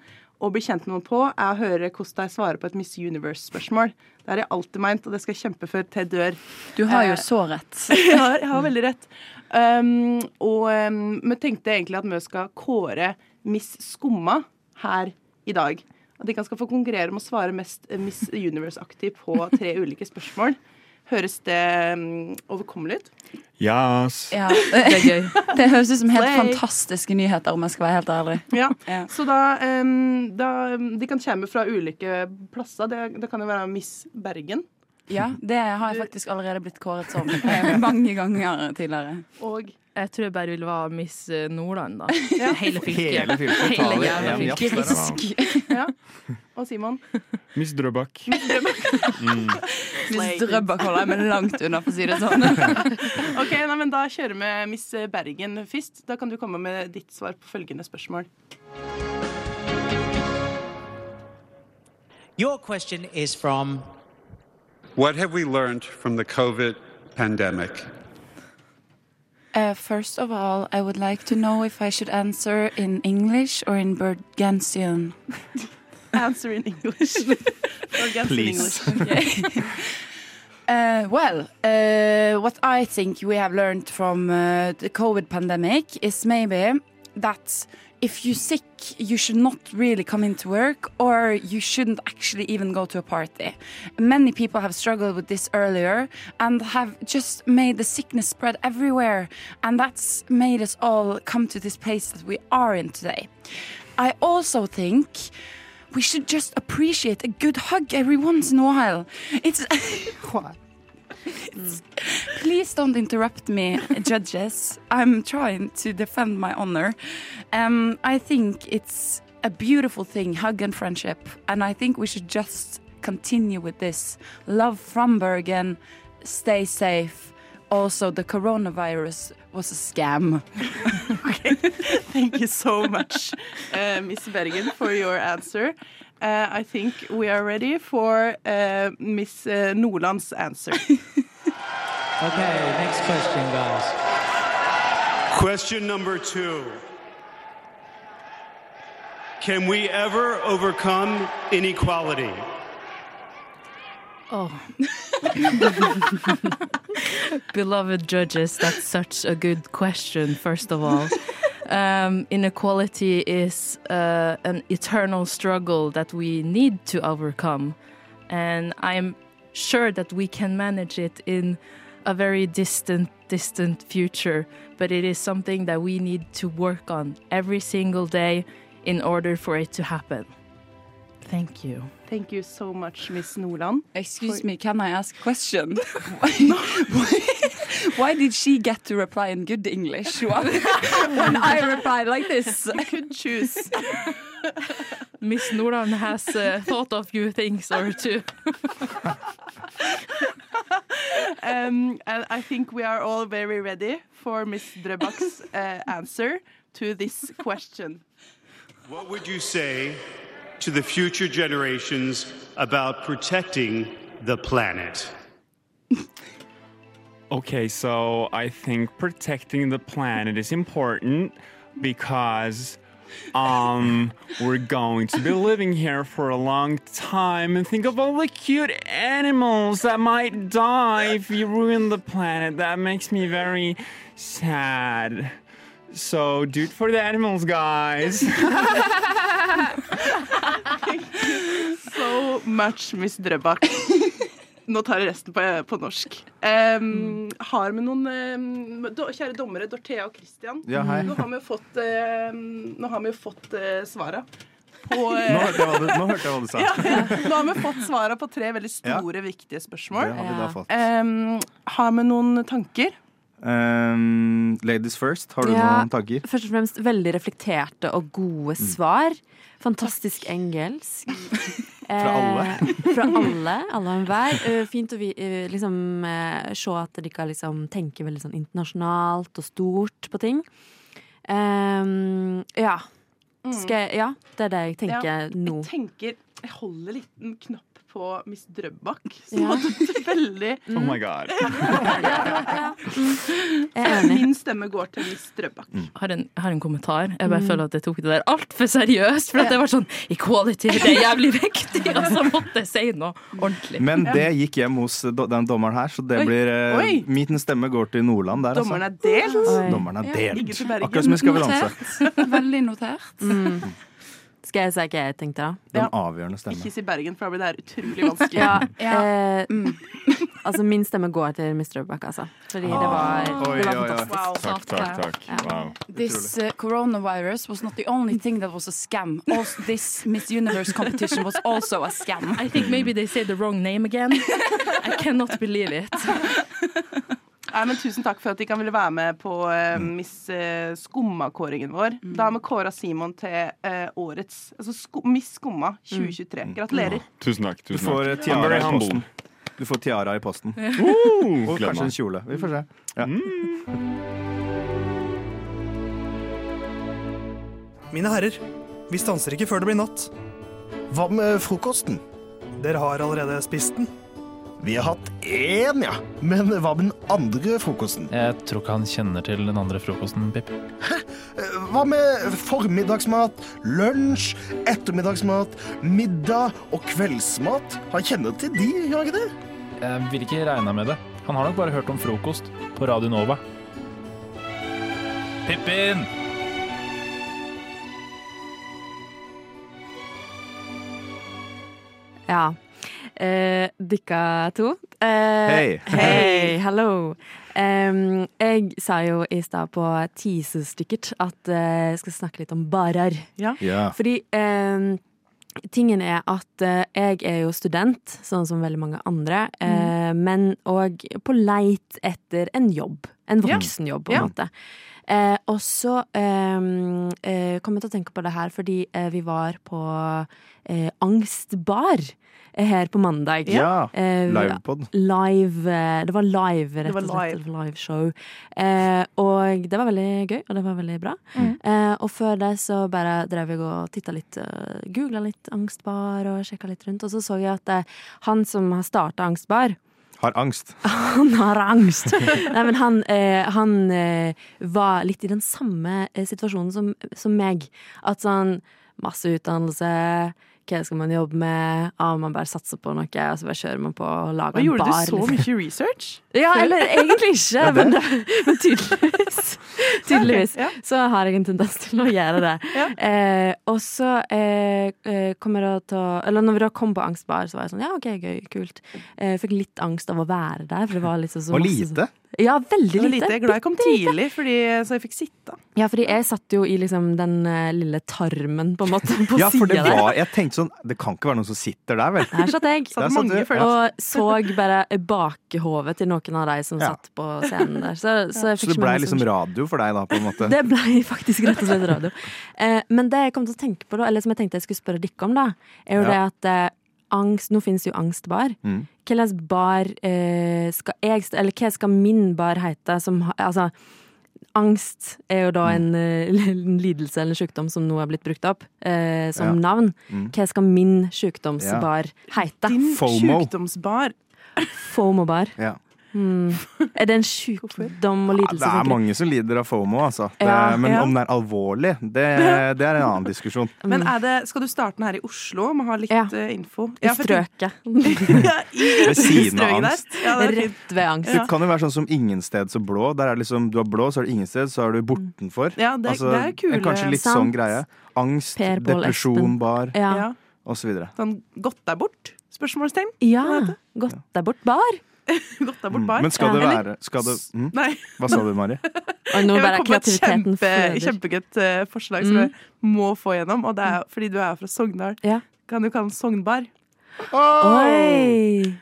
[SPEAKER 20] å bli kjent med noen på, er å høre hvordan de svarer på et Miss Universe-spørsmål. Det har jeg alltid meint, og det skal jeg kjempe for til jeg dør.
[SPEAKER 22] Du har jo
[SPEAKER 20] Eh,
[SPEAKER 22] så rett.
[SPEAKER 20] jeg, har, jeg har veldig rett. Um, og um, vi tenkte egentlig at vi skal kåre Miss Skumma her i dag. At de kan skal få konkurrere om å svare mest eh, Miss Universe-aktig på tre ulike spørsmål. Høres det um, overkommelig ut?
[SPEAKER 24] Yes.
[SPEAKER 22] Ja, det er gøy. Det høres ut som helt
[SPEAKER 20] Slay.
[SPEAKER 22] fantastiske nyheter, om jeg skal være helt ærlig.
[SPEAKER 20] Ja. Så da, um, da um, De kan komme fra ulike plasser. Det, det kan jo være Miss Bergen.
[SPEAKER 22] Ja, det har jeg faktisk allerede blitt kåret som eh, mange ganger tidligere.
[SPEAKER 20] Og
[SPEAKER 22] jeg tror jeg bare vil være Miss Nordland, da. Hele fylket.
[SPEAKER 24] Hele fylket. Ta
[SPEAKER 22] Hele
[SPEAKER 24] det
[SPEAKER 22] jævla
[SPEAKER 24] en jafs
[SPEAKER 22] fylket.
[SPEAKER 24] der, da.
[SPEAKER 20] Ja. Og Simon.
[SPEAKER 24] Miss Drøbak. Mm.
[SPEAKER 22] Miss Drøbak holder jeg meg langt unna, for å si det sånn.
[SPEAKER 20] Ok, nei, men Da kjører vi Miss Bergen først. Da kan du komme med ditt svar på følgende spørsmål.
[SPEAKER 25] Your question is from
[SPEAKER 26] What have we learned from the COVID pandemic?
[SPEAKER 22] Uh, first of all, I would like to know if I should answer in English or in Bergensian.
[SPEAKER 20] Answer in English. Bergensian
[SPEAKER 22] Please.
[SPEAKER 20] English.
[SPEAKER 22] Okay. Uh, well, uh, what I think we have learned from uh, the COVID pandemic is maybe that if you're sick, you should not really come into work or you shouldn't actually even go to a party. Many people have struggled with this earlier and have just made the sickness spread everywhere. And that's made us all come to this place that we are in today. I also think we should just appreciate a good hug every once in a while. It's. It's- Please don't interrupt me, judges. I'm trying to defend my honor. Um, I think it's a beautiful thing, hug and friendship. And I think we should just continue with this. Love from Bergen. Stay safe. Also, the coronavirus was a scam.
[SPEAKER 20] Thank you so much, uh, Miss Bergen, for your answer. Uh, I think we are ready for uh, Miss uh, Nordland's answer.
[SPEAKER 26] Okay, next question, guys. Question number two. Can we ever overcome inequality?
[SPEAKER 27] Oh. Beloved judges, that's such a good question, first of all. Um, inequality is uh, an eternal struggle that we need to overcome. And I'm sure that we can manage it in a very distant, distant future. But it is something that we need to work on every single day in order for it to happen. Thank you.
[SPEAKER 20] Thank you so much, Miss Nordland.
[SPEAKER 27] Excuse me, can I ask a question? why, why did she get to reply in good English while- when I replied like this? I
[SPEAKER 20] could choose.
[SPEAKER 27] Miss Nordland has uh, thought of you things or two.
[SPEAKER 20] Um, and I think we are all very ready for Miss Drøbak's uh, answer to this question.
[SPEAKER 26] What would you say to the future generations about protecting the planet?
[SPEAKER 24] Okay, so I think protecting the planet is important because um we're going to be living here for a long time and think of all the cute animals that might die if you ruin the planet. That makes me very sad. So do it for the animals, guys.
[SPEAKER 20] So much, Miss Drøbak. Nå tar jeg resten på, på norsk. Um, Har vi noen um, do, Kjære dommere, Dorthea og Christian.
[SPEAKER 23] Ja, hei.
[SPEAKER 20] Nå har vi jo fått, um, nå har vi jo fått eh, svara. På, eh,
[SPEAKER 23] Nå hørte jeg hva du, nå hørte jeg hva du sa.
[SPEAKER 20] Ja, ja. Nå har vi fått svara på tre veldig
[SPEAKER 23] Ja.
[SPEAKER 20] store, viktige spørsmål.
[SPEAKER 23] Det har vi da fått.
[SPEAKER 20] Um, har vi noen tanker?
[SPEAKER 23] Ehm, ladies first, har du
[SPEAKER 28] Ja,
[SPEAKER 23] noen tanker? Mm.
[SPEAKER 28] Først og fremst veldig reflekterte og gode svar. Fantastisk engelsk.
[SPEAKER 23] Fra alle.
[SPEAKER 28] Eh, fra alle. Alle og enhver. Eh, Fint å vi, eh, liksom, eh, se at de kan liksom, tenke veldig sånn internasjonalt og stort på ting. Ehm, ja. Skal jeg, ja. Det er det Mm. jeg tenker
[SPEAKER 20] Ja,
[SPEAKER 28] nå.
[SPEAKER 20] Jeg tenker, jeg holder en liten knapp på Miss Drøbak, som
[SPEAKER 28] Ja. Mm.
[SPEAKER 20] hadde et veldig
[SPEAKER 24] oh my god.
[SPEAKER 20] Så Mm. Min stemme går til Miss Drøbak.
[SPEAKER 21] Mm,
[SPEAKER 27] har en, jeg har en kommentar. Jeg bare
[SPEAKER 20] Mm.
[SPEAKER 27] føler at jeg tok det der altfor seriøst. For at det var sånn Equality, det er jævlig viktig! Og så måtte jeg si noe ordentlig.
[SPEAKER 23] Men det gikk hjem hos do- den dommeren her, så det
[SPEAKER 27] Oi.
[SPEAKER 23] blir eh,
[SPEAKER 27] Oi.
[SPEAKER 23] Min stemme går til Nordland der, altså.
[SPEAKER 27] Dommeren er
[SPEAKER 20] delt.
[SPEAKER 28] Oi.
[SPEAKER 23] Dommeren er
[SPEAKER 28] sånn. Ja.
[SPEAKER 23] delt.
[SPEAKER 28] Ikke til Bergen.
[SPEAKER 23] Akkurat som i Skal vi danse.
[SPEAKER 28] Notert. Veldig notert. Mm. Skal jeg si hva jeg tenkte, da?
[SPEAKER 23] Den avgjørende
[SPEAKER 20] Ikke
[SPEAKER 23] stemmen.
[SPEAKER 20] si Bergen, for da blir det her utrolig vanskelig.
[SPEAKER 28] Ja, eh,
[SPEAKER 29] Mm.
[SPEAKER 28] altså min stemme går til Mr. Drøbak, altså. Fordi det var,
[SPEAKER 27] Ah. Oi,
[SPEAKER 28] det var
[SPEAKER 27] oi, oi.
[SPEAKER 28] fantastisk.
[SPEAKER 27] Takk, takk, takk.
[SPEAKER 28] Ja.
[SPEAKER 27] Utrolig.
[SPEAKER 22] This eh,
[SPEAKER 27] uh,
[SPEAKER 22] coronavirus was not the only thing that was a scam. Also, this Miss Universe competition was also a scam.
[SPEAKER 27] I think maybe they said the wrong name again. I cannot believe it.
[SPEAKER 20] Eh, Nei, men tusen takk for at de kan ville være med på eh,
[SPEAKER 21] Mm.
[SPEAKER 20] Miss eh, Skumma-kåringen vår.
[SPEAKER 28] Mm.
[SPEAKER 20] Da har vi kåra Simon til eh, årets altså sko Miss Skumma
[SPEAKER 21] Mm.
[SPEAKER 20] 2023. Gratulerer.
[SPEAKER 24] Tusen takk.
[SPEAKER 23] Du
[SPEAKER 24] tusen
[SPEAKER 23] får eh,
[SPEAKER 24] takk. I'm
[SPEAKER 23] tiara
[SPEAKER 24] very
[SPEAKER 23] i
[SPEAKER 24] humble.
[SPEAKER 23] posten. Du får tiara i posten.
[SPEAKER 24] Ja.
[SPEAKER 23] Og
[SPEAKER 24] Uh, Oh, gleder
[SPEAKER 23] kanskje
[SPEAKER 24] meg.
[SPEAKER 23] en kjole. Vi får se. Ja.
[SPEAKER 13] Mm. Mine herrer, vi stanser ikke før det blir natt. Hva med frokosten? Dere har allerede spist den.
[SPEAKER 21] Vi har hatt én, ja. Men hva med den andre frokosten?
[SPEAKER 18] Jeg tror ikke han kjenner til den andre frokosten, Pip.
[SPEAKER 21] Eh, Hva med formiddagsmat, lunsj, ettermiddagsmat, middag og kveldsmat? Han kjenner til de, gjør han ikke det?
[SPEAKER 18] Jeg vil ikke regne med det. Han har nok bare hørt om frokost på Radio Nova. Pippin!
[SPEAKER 28] Ja. Eh, Dykka to. Eh,
[SPEAKER 18] Hei.
[SPEAKER 28] Hei, hallo. Em, jeg sa jo i stad på teaserstykket at eh, jeg skal snakke litt om barer.
[SPEAKER 29] Ja.
[SPEAKER 28] Fordi em, tingen er at eh, jeg er jo student, sånn som veldig mange andre,
[SPEAKER 29] Mm.
[SPEAKER 28] eh, men òg på leit etter en jobb. En
[SPEAKER 29] Ja.
[SPEAKER 28] voksenjobb, på en
[SPEAKER 29] Ja.
[SPEAKER 28] måte. Eh, og så em, eh, kom jeg til å tenke på det her fordi eh, vi var på eh, Angstbar eh, her på mandag.
[SPEAKER 23] Ja.
[SPEAKER 28] Eh,
[SPEAKER 23] Livepod.
[SPEAKER 28] Live, eh, det var live,
[SPEAKER 23] Det
[SPEAKER 28] rett
[SPEAKER 23] var
[SPEAKER 28] og slett. Det var Liveshow. Eh, og det var veldig gøy, og det var veldig bra.
[SPEAKER 23] Mm.
[SPEAKER 28] Eh, og før det så bare drev jeg og titta litt, uh, googla litt Angstbar og sjekka litt rundt. Og så så jeg at eh, han som har starta Angstbar,
[SPEAKER 23] Har angst.
[SPEAKER 28] han har angst. Nei, men han, eh, han eh, var litt i den samme eh, situasjonen som, som meg. At sånn masse utdannelse. Hva skal man jobbe med? Ah, man bare satser på noe, og så bare kjører man på og lager
[SPEAKER 20] Og
[SPEAKER 28] en
[SPEAKER 20] gjorde
[SPEAKER 28] bar.
[SPEAKER 20] du så
[SPEAKER 28] liksom.
[SPEAKER 20] mye research?
[SPEAKER 28] Ja, eller egentlig ikke,
[SPEAKER 20] Ja, det-
[SPEAKER 28] men, men tydeligvis. tydeligvis. Så har jeg en tendens til å gjøre det. Eh, og så eh, eh, kommer jeg da til å Eller når vi da kom på angstbar, så var jeg sånn ja, OK, gøy, kult. Eh, jeg fikk litt angst av å være der, for det var
[SPEAKER 21] Mm.
[SPEAKER 28] liksom så
[SPEAKER 20] Og
[SPEAKER 28] masse-
[SPEAKER 20] lite?
[SPEAKER 28] Ja, veldig
[SPEAKER 20] Det var
[SPEAKER 28] lite.
[SPEAKER 20] lite. Jeg er glad jeg kom
[SPEAKER 28] Bitte lite.
[SPEAKER 20] tidlig, fordi, eh, så jeg fikk sitte.
[SPEAKER 28] Ja, fordi jeg satt jo i liksom den eh, lille tarmen, på en måte, på
[SPEAKER 21] Ja, for det
[SPEAKER 28] siden der.
[SPEAKER 21] var Jeg tenkte sånn Det kan ikke være noen som sitter der, vel?
[SPEAKER 28] Her satt jeg
[SPEAKER 21] Der satt du, ja.
[SPEAKER 28] og så bare bakhovet til noen av de som
[SPEAKER 21] Ja.
[SPEAKER 28] satt på scenen der. Så, så, jeg fikk ikke
[SPEAKER 21] Så det
[SPEAKER 28] med meg
[SPEAKER 21] blei
[SPEAKER 28] så
[SPEAKER 21] liksom eh.
[SPEAKER 28] mye.
[SPEAKER 21] radio for deg da, på en måte?
[SPEAKER 28] Det blei faktisk rett og slett radio. Eh, men det jeg kom til å tenke på da, eller som jeg tenkte jeg skulle spørre dere om, da, er jo det
[SPEAKER 21] Ja.
[SPEAKER 28] at eh, angst Nå finnes jo angstbar.
[SPEAKER 21] Mm.
[SPEAKER 28] Hva slags bar eh, skal jeg Eller hva skal min bar hete som ha- Altså, angst er jo
[SPEAKER 21] Mm.
[SPEAKER 28] da en, eh, en lidelse eller en sykdom som nå er blitt brukt opp eh, som
[SPEAKER 20] Ja.
[SPEAKER 28] navn.
[SPEAKER 20] Mm.
[SPEAKER 28] Hva skal min sykdomsbar heite?
[SPEAKER 20] Din
[SPEAKER 28] FOMO.
[SPEAKER 20] sykdomsbar.
[SPEAKER 28] FOMO-bar.
[SPEAKER 21] Ja.
[SPEAKER 28] Mm. Er det en sykdom og
[SPEAKER 21] Ja,
[SPEAKER 28] lidelse?
[SPEAKER 21] Det er
[SPEAKER 28] som-
[SPEAKER 21] mange som lider av FOMO, altså. Det,
[SPEAKER 28] Ja,
[SPEAKER 21] men
[SPEAKER 20] ja.
[SPEAKER 21] om det er alvorlig, det, det er en annen diskusjon.
[SPEAKER 28] Mm.
[SPEAKER 20] Men er det, skal du starte den her i Oslo? Må ha litt eh, info.
[SPEAKER 28] I
[SPEAKER 20] for-
[SPEAKER 28] strøket.
[SPEAKER 20] ja, i-
[SPEAKER 21] Ved siden
[SPEAKER 20] strøket der.
[SPEAKER 21] av angst.
[SPEAKER 20] Ja, det er fint.
[SPEAKER 28] Rett ved angst.
[SPEAKER 21] Det kan jo være sånn som ingensteds og blå. Der er det liksom, du har blå, så er det ingensteds, så er du bortenfor. Altså,
[SPEAKER 20] Ja, det- det er kule-
[SPEAKER 21] Kanskje litt
[SPEAKER 20] Sant.
[SPEAKER 21] sånn greie. Angst,
[SPEAKER 20] Per, Pål,
[SPEAKER 21] depresjon,
[SPEAKER 20] Espen.
[SPEAKER 21] bar,
[SPEAKER 20] Ja. Ja.
[SPEAKER 21] og så videre.
[SPEAKER 20] Sånn godt der bort? Spørsmålstegn?
[SPEAKER 28] Ja. Godt der bort bar.
[SPEAKER 20] godt der bort bar.
[SPEAKER 21] Mm. Men skal det
[SPEAKER 20] Eller-
[SPEAKER 21] være skal det, mm?
[SPEAKER 20] Nei.
[SPEAKER 21] Hva sa du, Mari?
[SPEAKER 28] Og nå
[SPEAKER 20] Jeg
[SPEAKER 28] bare
[SPEAKER 20] kom på et
[SPEAKER 28] kreativiteten
[SPEAKER 20] kjempe,
[SPEAKER 28] fløder.
[SPEAKER 20] kjempegøtt eh, forslag som
[SPEAKER 28] Mm.
[SPEAKER 20] jeg må få gjennom. Og det er fordi du er fra Sogndal. Kan du kalle den Sognbar?
[SPEAKER 28] Oi!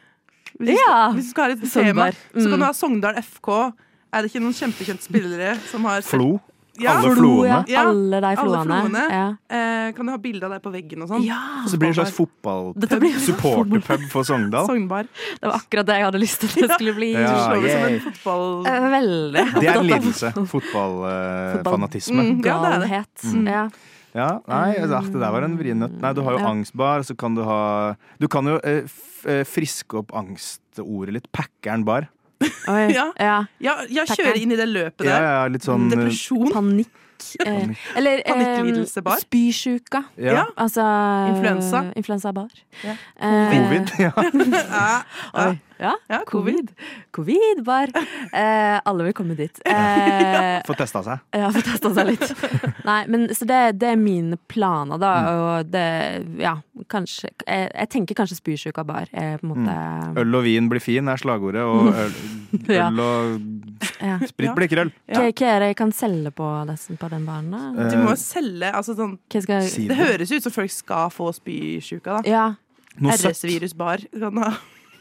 [SPEAKER 20] Hvis du,
[SPEAKER 28] Ja.
[SPEAKER 20] skal, hvis du skal ha et tema,
[SPEAKER 28] Sognbar.
[SPEAKER 20] så kan
[SPEAKER 28] Mm.
[SPEAKER 20] du ha Sogndal FK. Er det ikke noen kjempekjente spillere som har
[SPEAKER 21] Flo. Alle floene.
[SPEAKER 28] ja. Alle de floene.
[SPEAKER 20] Eh, kan du ha bilde av deg på veggen og sånn?
[SPEAKER 28] Ah,
[SPEAKER 21] Og så blir det en slags
[SPEAKER 20] Dette blir-
[SPEAKER 21] fotballpub. Supporterpub for Sogndal.
[SPEAKER 20] Sognbar.
[SPEAKER 28] Det var akkurat det jeg hadde lyst til at det skulle bli.
[SPEAKER 21] Ja, Du slår meg som en yay.
[SPEAKER 20] fotball...
[SPEAKER 28] Veldig.
[SPEAKER 21] Det er
[SPEAKER 28] opptatt
[SPEAKER 21] en
[SPEAKER 28] av
[SPEAKER 21] lidelse. Fotballfanatisme.
[SPEAKER 28] Mm, Galhet.
[SPEAKER 21] Mm.
[SPEAKER 28] Ja.
[SPEAKER 21] Ja, nei, altså, ah, det der var en vrienøtt. Nei, du har jo
[SPEAKER 28] Ja.
[SPEAKER 21] angstbar, så kan du ha Du kan jo eh, f eh, friske opp angstordet litt. Packeren bar.
[SPEAKER 20] Ja.
[SPEAKER 28] Ja.
[SPEAKER 20] jeg kjører inn i det løpet der.
[SPEAKER 21] Ja, ja, litt sånn eh,
[SPEAKER 20] Depresjon.
[SPEAKER 28] Panikk. Eh, eller
[SPEAKER 20] Panikklidelse
[SPEAKER 28] eh,
[SPEAKER 20] bar.
[SPEAKER 28] spysjuka.
[SPEAKER 21] Ja. Ja.
[SPEAKER 28] Altså
[SPEAKER 20] Influensa.
[SPEAKER 28] Influensa bar.
[SPEAKER 20] Ja.
[SPEAKER 28] Eh,
[SPEAKER 21] Covid, ja.
[SPEAKER 28] Oi. Ja, covid. Covid bar. Eh, alle vil komme dit. Eh,
[SPEAKER 21] Få testa seg.
[SPEAKER 28] Ja, få testa seg litt. Nei, men så det, det er mine planer, da.
[SPEAKER 21] Mm.
[SPEAKER 28] Og det Ja, kanskje Jeg, jeg tenker kanskje spysjuka bar er på en
[SPEAKER 21] Mm.
[SPEAKER 28] måte
[SPEAKER 21] Øl og vin blir fin, er slagordet. Og øl,
[SPEAKER 28] Ja.
[SPEAKER 21] øl og
[SPEAKER 28] ja.
[SPEAKER 21] Sprit blir krøll.
[SPEAKER 28] Hva hva er det jeg kan selge på, den- på den baren?
[SPEAKER 21] Eh.
[SPEAKER 28] da?
[SPEAKER 20] Du må jo selge altså sånn,
[SPEAKER 28] Si
[SPEAKER 20] Det
[SPEAKER 28] det.
[SPEAKER 20] høres ut som folk skal få spysjuka, da.
[SPEAKER 28] Eh, Ja. Noe søtt.
[SPEAKER 20] RS-virus bar. Kan ha.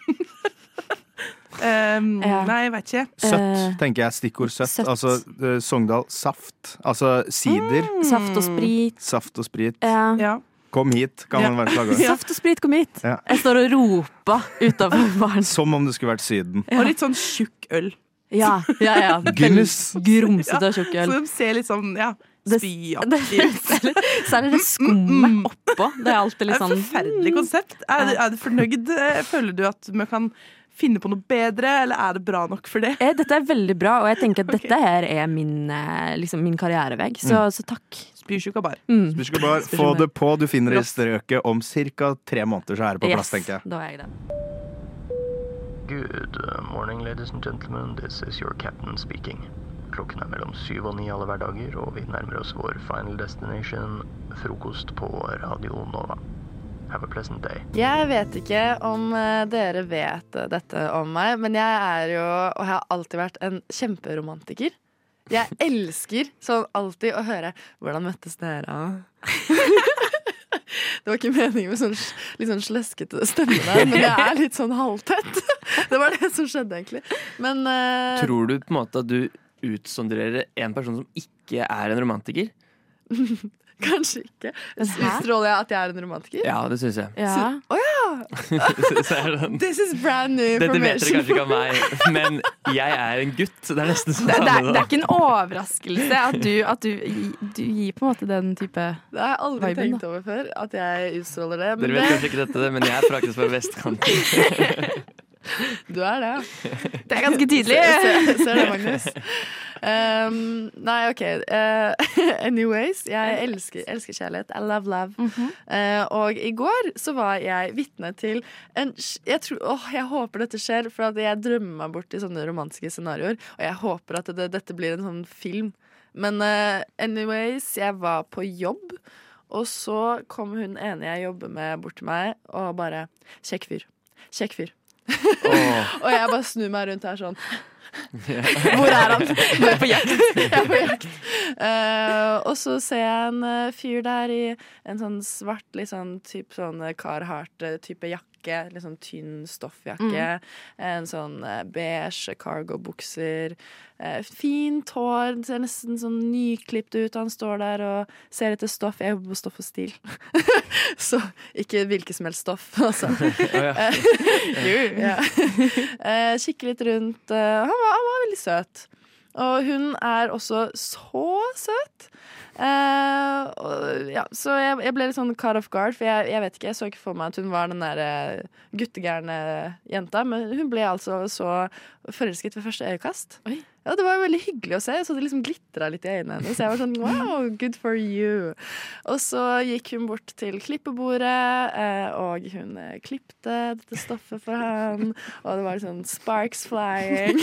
[SPEAKER 20] um, Nei, jeg vet ikke.
[SPEAKER 28] Eh,
[SPEAKER 21] Søtt, tenker jeg. Stikkord søtt.
[SPEAKER 20] søtt.
[SPEAKER 21] Altså eh, Sogndal saft. Altså sider.
[SPEAKER 28] Mm. Saft og sprit.
[SPEAKER 21] Saft og sprit.
[SPEAKER 28] Ja.
[SPEAKER 21] Kom hit, kan man være slagordet.
[SPEAKER 28] Saft og sprit, kom hit!
[SPEAKER 21] Ja.
[SPEAKER 28] Jeg står og roper utafor baren.
[SPEAKER 21] Som om det skulle vært Syden.
[SPEAKER 20] Og litt sånn tjukk øl.
[SPEAKER 28] Ja, ja, ja.
[SPEAKER 21] Guinness.
[SPEAKER 28] Grumsete og tjukk
[SPEAKER 20] Så
[SPEAKER 28] øl.
[SPEAKER 20] de ser litt sånn ja, spyaktig ut. Mm,
[SPEAKER 28] Så er det det skummet oppå. Det er alltid
[SPEAKER 20] Det
[SPEAKER 28] litt
[SPEAKER 20] er
[SPEAKER 28] sånn
[SPEAKER 20] et forferdelig konsept. Er, du- er du fornøyd? Eh, Føler du at vi kan finne på noe bedre, eller er det bra nok for det?
[SPEAKER 28] Eh, Dette er veldig bra, og jeg tenker at dette her er min, eh, liksom min karrierevegg. Så,
[SPEAKER 21] Mm.
[SPEAKER 28] så takk. Mm.
[SPEAKER 20] Spysjuka bar.
[SPEAKER 21] Spysjuka bar, få det på. Du finner det i strøket om ca. tre måneder, så er det på plass, tenker jeg.
[SPEAKER 28] Da er jeg den.
[SPEAKER 10] Good uh, morning, ladies and gentlemen. This is your captain speaking. Klokken er mellom syv og ni alle hverdager, og vi nærmer oss vår final destination, frokost på Radio Nova. Have a pleasant day.
[SPEAKER 30] Jeg vet ikke om eh, dere vet eh, dette om meg, men jeg er jo, og har alltid vært, en kjemperomantiker. Jeg elsker sånn alltid å høre 'Hvordan møttes dere?' Det var ikke meningen med sånn s- litt sånn sleskete stemme der, men jeg er litt sånn halvtett. Det var det som skjedde, egentlig. Men eh,
[SPEAKER 13] Tror du på en måte at du utsonderer en person som ikke er en romantiker?
[SPEAKER 30] kanskje ikke.
[SPEAKER 13] Hæ?
[SPEAKER 30] Utstråler jeg at jeg er en romantiker?
[SPEAKER 13] Ja, det syns jeg.
[SPEAKER 30] Så- Å ja!
[SPEAKER 13] Så er det sånn.
[SPEAKER 30] This is brand new
[SPEAKER 13] Dette vet dere kanskje
[SPEAKER 30] information
[SPEAKER 13] ikke
[SPEAKER 30] for
[SPEAKER 13] om meg, men jeg er en gutt. Så det er nesten sånn
[SPEAKER 30] Det- det er-
[SPEAKER 13] samme
[SPEAKER 30] det er
[SPEAKER 13] da.
[SPEAKER 30] ikke
[SPEAKER 31] En overraskelse at du, at du, gi- du gir på en måte den type
[SPEAKER 30] Det har jeg aldri
[SPEAKER 31] viben,
[SPEAKER 30] tenkt over før, at jeg utstråler det.
[SPEAKER 13] Dere
[SPEAKER 30] Men
[SPEAKER 13] vet kanskje
[SPEAKER 30] det,
[SPEAKER 13] ikke dette, men jeg er praktisk fra vestkanten.
[SPEAKER 30] du er det.
[SPEAKER 31] Det er ganske tydelig.
[SPEAKER 30] Se- se- Ser det, Magnus. Um, nei, OK. Eh, anyways, jeg elsker, elsker kjærlighet. I love love.
[SPEAKER 31] Mhm.
[SPEAKER 30] Eh, og i går så var jeg vitne til en sj- jeg, tror, åh, jeg håper dette skjer, for at jeg drømmer meg bort i sånne romantiske scenarioer. Og jeg håper at det, dette blir en sånn film. Men eh, anyways, jeg var på jobb, og så kom hun ene jeg jobber med, bort til meg og bare 'Kjekk fyr. Kjekk fyr'. og jeg bare snur meg rundt her sånn. Hvor er han? Nå er jeg på jakt. Jeg er på jakt. Eh, og så ser jeg en eh, fyr der i en sånn svart, litt sånn typ sånn Carhartt-type jakke. Litt sånn tynn stoffjakke.
[SPEAKER 5] Mm.
[SPEAKER 30] En sånn eh, beige cargo-bukser. eh, fint hår. Ser nesten sånn nyklipt ut. Han står der og ser etter stoff. Jeg jobber på Stoff og Stil. så ikke hvilket som helst stoff, altså.
[SPEAKER 5] ja.
[SPEAKER 30] Eh, jo. ja. Eh, kikke litt rundt. eh, Han var, han var veldig søt. Og hun er også så søt. Eh, og, ja, så jeg, jeg ble litt sånn cut off guard, for jeg, jeg vet ikke, jeg så ikke for meg at hun var den der eh, guttegærne jenta, men hun ble altså så forelsket ved første øyekast. Ja, Det var jo veldig hyggelig å se, så det liksom glitra litt i øynene hennes. Jeg var sånn wow, good for you. Og så gikk hun bort til klippebordet, eh, og hun eh, klipte dette stoffet for han, og det var sånn sparks flying.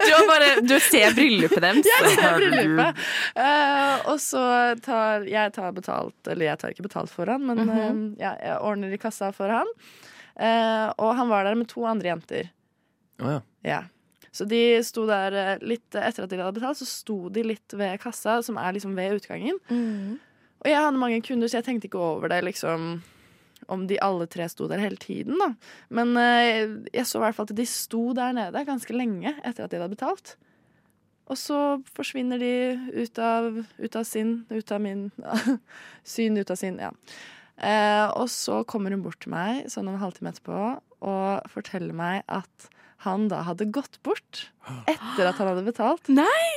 [SPEAKER 5] Du, har bare, du ser bryllupet deres.
[SPEAKER 30] Jeg ser bryllupet. Eh, og så tar jeg tar betalt Eller jeg tar ikke betalt for han, men
[SPEAKER 5] Mhm.
[SPEAKER 30] eh, ja, jeg ordner i kassa for han. Eh, og han var der med to andre jenter.
[SPEAKER 13] Å ja.
[SPEAKER 30] Ja. Så de sto der eh, litt etter at de hadde betalt, så sto de litt ved kassa, som er liksom ved utgangen. Og jeg hadde mange kunder, så jeg tenkte ikke over det, liksom. Om de alle tre sto der hele tiden, da. Men eh, jeg så i hvert fall at de sto der nede ganske lenge etter at de hadde betalt. Og så forsvinner de ut av, ut av sin, ut av min Syn ut av sin, ja. Eh, og så kommer hun bort til meg sånn en halvtime etterpå og forteller meg at han da hadde gått bort etter at han hadde betalt,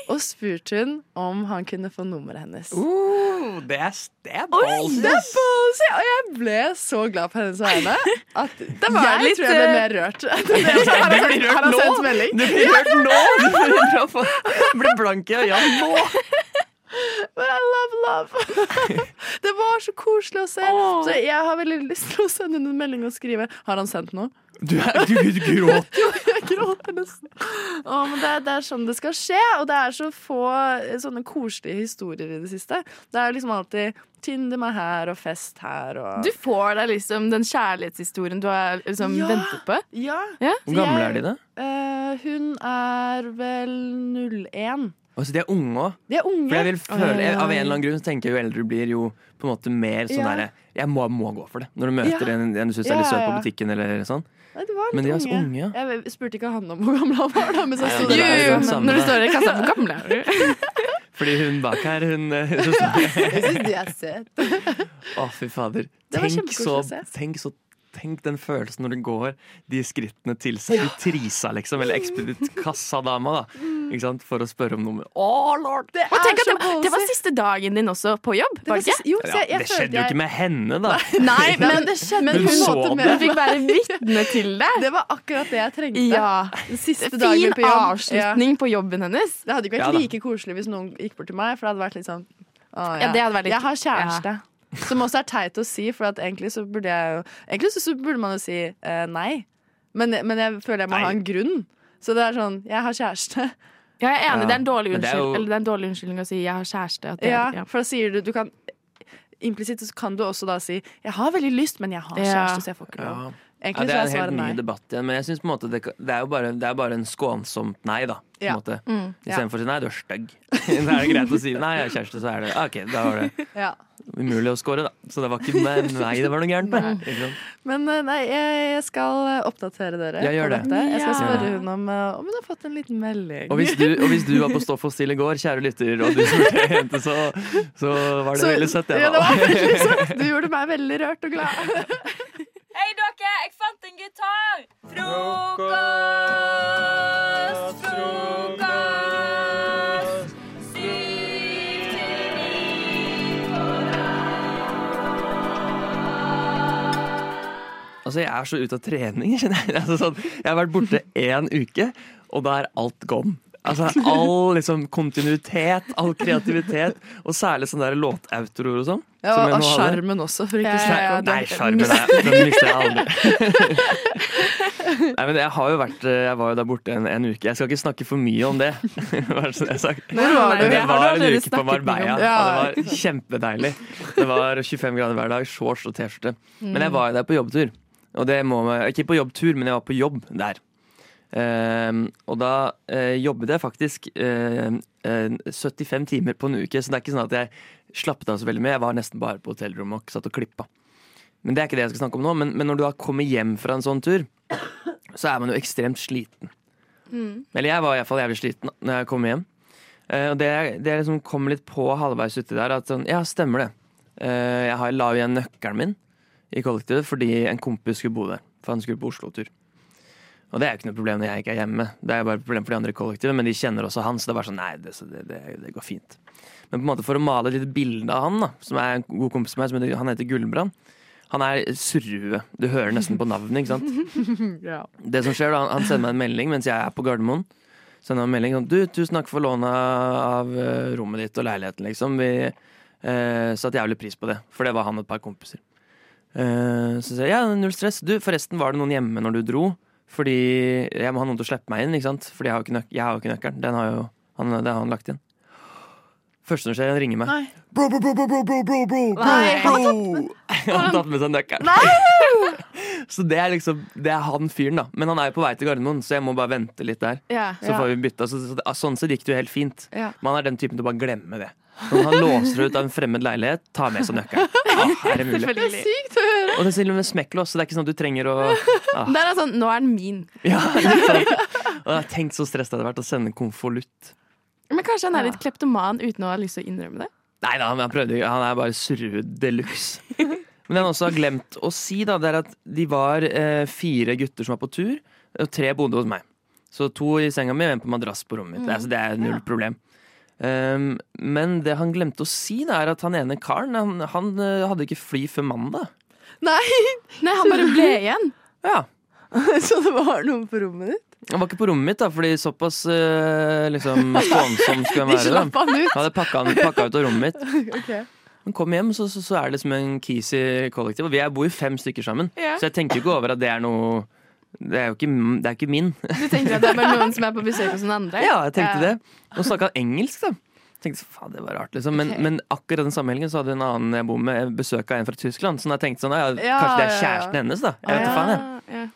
[SPEAKER 30] og spurt hun om han kunne få nummeret hennes.
[SPEAKER 13] Oh, det er stab
[SPEAKER 30] Oi, det er ballsy! Og jeg ble så glad på hennes vegne at
[SPEAKER 5] var
[SPEAKER 30] jeg
[SPEAKER 5] litt,
[SPEAKER 30] tror jeg ble
[SPEAKER 5] eh,
[SPEAKER 30] mer rørt.
[SPEAKER 13] Du blir
[SPEAKER 30] Han
[SPEAKER 13] rørt
[SPEAKER 30] har
[SPEAKER 13] nå!
[SPEAKER 30] sendt melding.
[SPEAKER 13] Du blir rørt nå! Du blir rørt nå. Du blir blank i øynene nå!
[SPEAKER 30] But I love love! det var så koselig å se. Så jeg har veldig lyst til å sende henne en melding og skrive Har han sendt noe?
[SPEAKER 13] Du, er- du, du gråter.
[SPEAKER 30] Jo, jeg gråter nesten. Å, men det, er, det er sånn det skal skje, og det er så få eh, sånne koselige historier i det siste. Det er liksom alltid Tinder meg her og fest her og
[SPEAKER 6] Du får deg liksom den kjærlighetshistorien du har liksom
[SPEAKER 30] Ja.
[SPEAKER 6] ventet på.
[SPEAKER 30] Ja.
[SPEAKER 6] Ja.
[SPEAKER 13] Hvor gamle er de, da?
[SPEAKER 30] Eh, hun er vel 01.
[SPEAKER 13] Altså, de er unge òg.
[SPEAKER 30] De er unge.
[SPEAKER 13] For jeg vil føle,
[SPEAKER 30] Oi, oi, oi.
[SPEAKER 13] Av en eller annen grunn så tenker jeg jo eldre du blir, jo på en måte mer sånn
[SPEAKER 30] Ja.
[SPEAKER 13] derre Jeg må, må gå for det. Når du møter
[SPEAKER 30] Ja.
[SPEAKER 13] en, en du syns
[SPEAKER 30] Ja,
[SPEAKER 13] er litt søt på
[SPEAKER 30] ja.
[SPEAKER 13] butikken eller sånn.
[SPEAKER 30] Nei, de var litt
[SPEAKER 13] Men de er så unge, ja.
[SPEAKER 30] Jeg spurte ikke han om hvor gammel han var, da. Mens
[SPEAKER 13] Nei,
[SPEAKER 30] jeg
[SPEAKER 13] ja,
[SPEAKER 30] sto
[SPEAKER 13] men det
[SPEAKER 30] der.
[SPEAKER 13] er jo det samme, da.
[SPEAKER 30] hvor gammel er du?
[SPEAKER 13] Fordi hun bak her, hun eh, så står
[SPEAKER 30] Jeg syns de er søte.
[SPEAKER 13] Å, fy fader.
[SPEAKER 30] Det var
[SPEAKER 13] Tenk
[SPEAKER 30] kjempekoselig
[SPEAKER 13] så,
[SPEAKER 30] å se.
[SPEAKER 13] tenk så Tenk den følelsen når du går de skrittene til seg i trisa, liksom. Eller ekspeditt kassadama, da. Ikke sant? For å spørre om nummer. Å, lord!
[SPEAKER 6] Det, og tenk at det, det var siste dagen din også på jobb, var det ikke?
[SPEAKER 13] Ja, det skjedde jo ikke med henne, da.
[SPEAKER 6] Nei, men,
[SPEAKER 30] det skjedde
[SPEAKER 6] men
[SPEAKER 13] Hun
[SPEAKER 6] hun,
[SPEAKER 13] så
[SPEAKER 6] hun
[SPEAKER 13] det.
[SPEAKER 6] fikk være vitne til det.
[SPEAKER 30] Det var akkurat det jeg trengte.
[SPEAKER 6] Ja.
[SPEAKER 30] Den siste dagen min
[SPEAKER 6] Fin
[SPEAKER 30] på jobb.
[SPEAKER 6] avslutning på jobben hennes.
[SPEAKER 30] Det hadde ikke
[SPEAKER 6] Ja
[SPEAKER 30] vært
[SPEAKER 6] da.
[SPEAKER 30] like koselig hvis noen gikk bort til meg, for det hadde vært litt sånn å,
[SPEAKER 6] Ja, det hadde vært litt-
[SPEAKER 30] Jeg har kjæreste. Som også er teit å si, for at egentlig så burde jeg jo Egentlig så så burde man jo si eh, nei, men, men jeg føler jeg må ha en grunn. Så det er sånn Jeg har kjæreste.
[SPEAKER 6] Ja, jeg er enig, det er en dårlig
[SPEAKER 30] Men det er
[SPEAKER 6] unnskyld-
[SPEAKER 30] jo-
[SPEAKER 6] eller det er en dårlig unnskyldning å si 'jeg har kjæreste'. At det
[SPEAKER 30] Ja,
[SPEAKER 6] er, ja.
[SPEAKER 30] for da sier du, du kan Implisitt så kan du også da si 'jeg har veldig lyst, men jeg har
[SPEAKER 6] Ja.
[SPEAKER 30] kjæreste, så jeg får ikke lov'.
[SPEAKER 13] Ja.
[SPEAKER 30] Egentlig
[SPEAKER 13] ja, det er
[SPEAKER 30] så er
[SPEAKER 13] en
[SPEAKER 30] svaret
[SPEAKER 13] helt
[SPEAKER 30] nei.
[SPEAKER 13] ny debatt igjen, men jeg synes på en måte det, ka- det, er jo bare, det er bare en skånsomt nei, da. På
[SPEAKER 30] Ja.
[SPEAKER 13] en måte.
[SPEAKER 30] Mm. Ja.
[SPEAKER 13] Istedenfor å si nei, du er stygg. da er det greit å si nei, jeg er kjæreste, så er det OK, da var det
[SPEAKER 30] Ja.
[SPEAKER 13] umulig å score, da. Så det var ikke nei, nei det var noe gærent med. Ikke sant?
[SPEAKER 30] Men eh, nei, jeg, jeg skal eh, oppdatere dere.
[SPEAKER 13] Ja, gjør
[SPEAKER 30] på
[SPEAKER 13] det.
[SPEAKER 30] dette. Jeg skal
[SPEAKER 13] Ja.
[SPEAKER 30] spørre hun om, eh, om hun har fått en liten melding.
[SPEAKER 13] Og hvis, du, og hvis du var på Stoff og Still i går, kjære lytter, og du spurte jente, så, så var det
[SPEAKER 30] Så-
[SPEAKER 13] veldig søtt, jeg,
[SPEAKER 30] Ja, det
[SPEAKER 13] da.
[SPEAKER 30] var veldig søtt. Du gjorde meg veldig rørt og glad.
[SPEAKER 5] Hei, dere! Jeg fant en gitar! Frokost! Frokost! Syv til ni på
[SPEAKER 13] Altså, jeg er så ute av trening, kjenner jeg. Altså, sånn, jeg har vært borte én uke, og da er alt gone. altså, all liksom, kontinuitet, all kreativitet, og særlig sånne der låtautoer og sånn.
[SPEAKER 30] Ja,
[SPEAKER 13] som jeg nå
[SPEAKER 30] og
[SPEAKER 13] hadde.
[SPEAKER 30] sjarmen også, for ikke
[SPEAKER 13] Nei,
[SPEAKER 30] å snakke om
[SPEAKER 13] Nei, sjarmen er- den likte jeg aldri. Nei, men jeg har jo vært eh, Jeg var jo der borte en, en uke. Jeg skal ikke snakke for mye om det. Bare så det er sagt.
[SPEAKER 30] Hvor var du?
[SPEAKER 13] Men
[SPEAKER 30] Det
[SPEAKER 13] Jeg
[SPEAKER 30] har
[SPEAKER 13] var
[SPEAKER 30] du
[SPEAKER 13] en
[SPEAKER 30] allerede
[SPEAKER 13] uke på
[SPEAKER 30] snakket mye om.
[SPEAKER 13] Marbella,
[SPEAKER 30] Ja.
[SPEAKER 13] og det var kjempedeilig. Det var 25 grader hver dag, shorts og T-skjorte. Men jeg var jo der på jobbtur. Og det må man, ikke på jobbtur, men jeg var på jobb der. Ehm, og da eh, jobbet jeg faktisk eh, eh, 75 timer på en uke, så det er ikke sånn at jeg slappet av så veldig mye. Jeg var nesten bare på hotellrommet og satt og klippa. Men det er ikke det jeg skal snakke om nå. Men, men når du da kommer hjem fra en sånn tur, så er man jo ekstremt sliten. Eller jeg var iallfall jævlig sliten når jeg kom hjem. Eh, Og det, det jeg liksom kom litt på halvveis uti der, at sånn, ja, stemmer det. Eh, Jeg har- la igjen nøkkelen min i kollektivet fordi en kompis skulle bo der. For han skulle på Oslo-tur. Og det er jo ikke noe problem når jeg ikke er hjemme. Det er jo bare et problem for de andre i kollektivet, men de kjenner også han, så det er bare sånn, nei, det, så det, det, det går fint. Men på en måte for å male et lite bilde av han, da, som er en god kompis av meg, som heter, han heter Gullbrand. Han er surrehue. Du hører nesten på navnet, ikke sant?
[SPEAKER 30] ja.
[SPEAKER 13] Det som skjer da, Han sender meg en melding mens jeg er på Gardermoen. Sender han en melding om du, tusen takk for lånet av eh, rommet ditt og leiligheten. liksom. Vi eh, satte jævlig pris på det, for det var han og et par kompiser. Eh, så sier jeg ja, null stress. Du, forresten, var det noen hjemme når du dro? Fordi jeg må ha noen til å slippe meg inn, ikke sant? Fordi jeg har jo ikke, nøk jeg har jo ikke nøkkelen. Den har jo han, det har han lagt inn. Første som skjer, han ringer meg.
[SPEAKER 7] Bro, bro, bro, bro, bro, bro, bro, bro.
[SPEAKER 13] Nei. Han har tatt med seg nøkkelen. Så det er liksom Det er han fyren, da. Men han er jo på vei til Gardermoen, så jeg må bare vente litt der.
[SPEAKER 6] Ja.
[SPEAKER 13] Så
[SPEAKER 6] Ja.
[SPEAKER 13] får vi bytta. Så, så, så, sånn sett gikk det jo helt fint.
[SPEAKER 6] Ja.
[SPEAKER 13] Men han er den typen til å bare glemme det. Når han låser ut av en fremmed leilighet, tar med seg nøkkelen. Ah, er det mulig?
[SPEAKER 30] Det er sykt å høre.
[SPEAKER 13] Og det er til og med smekklås, så det er ikke sånn at du trenger å ah.
[SPEAKER 6] Der er sånn, nå er den min.
[SPEAKER 13] Og jeg har tenkt så stresset det hadde vært å sende en konvolutt.
[SPEAKER 6] Men kanskje han er litt kleptoman uten å ha lyst til å innrømme det?
[SPEAKER 13] Nei da, men han prøvde ikke. Han er bare surrehud de luxe. Men det han også har glemt å si, da, det er at de var eh, fire gutter som var på tur, og tre bodde hos meg. Så to i senga mi og en på madrass på rommet mitt.
[SPEAKER 32] Mm.
[SPEAKER 13] Altså, det er null problem. Um, men det han glemte å si, da, er at han ene karen han, han eh, hadde ikke fly før mandag.
[SPEAKER 30] Nei.
[SPEAKER 6] Nei, han bare ble igjen.
[SPEAKER 13] Ja.
[SPEAKER 30] Så det var noen på rommet ditt?
[SPEAKER 13] Han var ikke på rommet mitt, da, fordi såpass eh, liksom, skånsom skulle han
[SPEAKER 30] De
[SPEAKER 13] være. da.
[SPEAKER 30] slapp han ut.
[SPEAKER 13] hadde pakka, han, pakka ut av rommet mitt.
[SPEAKER 30] Ok.
[SPEAKER 13] Men kom hjem, så, så, så er det liksom en kis i kollektiv. Og vi er, bor jo fem stykker sammen,
[SPEAKER 6] Ja.
[SPEAKER 13] så jeg tenker jo ikke over at det er noe Det er jo ikke, det er ikke min.
[SPEAKER 6] Du tenker at det er bare noen som er på besøk hos noen andre?
[SPEAKER 13] ja, jeg tenkte det. Og snakka han engelsk, da. Tenkte, faen, det var rart liksom men,
[SPEAKER 6] Ok.
[SPEAKER 13] men akkurat den samme helgen så hadde en annen jeg bor med, besøk av en fra Tyskland. Så jeg tenkte sånn, ja,
[SPEAKER 6] Ja,
[SPEAKER 13] kanskje det er
[SPEAKER 6] ja, ja.
[SPEAKER 13] kjæresten hennes, da. Jeg vet ikke faen, jeg.
[SPEAKER 6] Ja.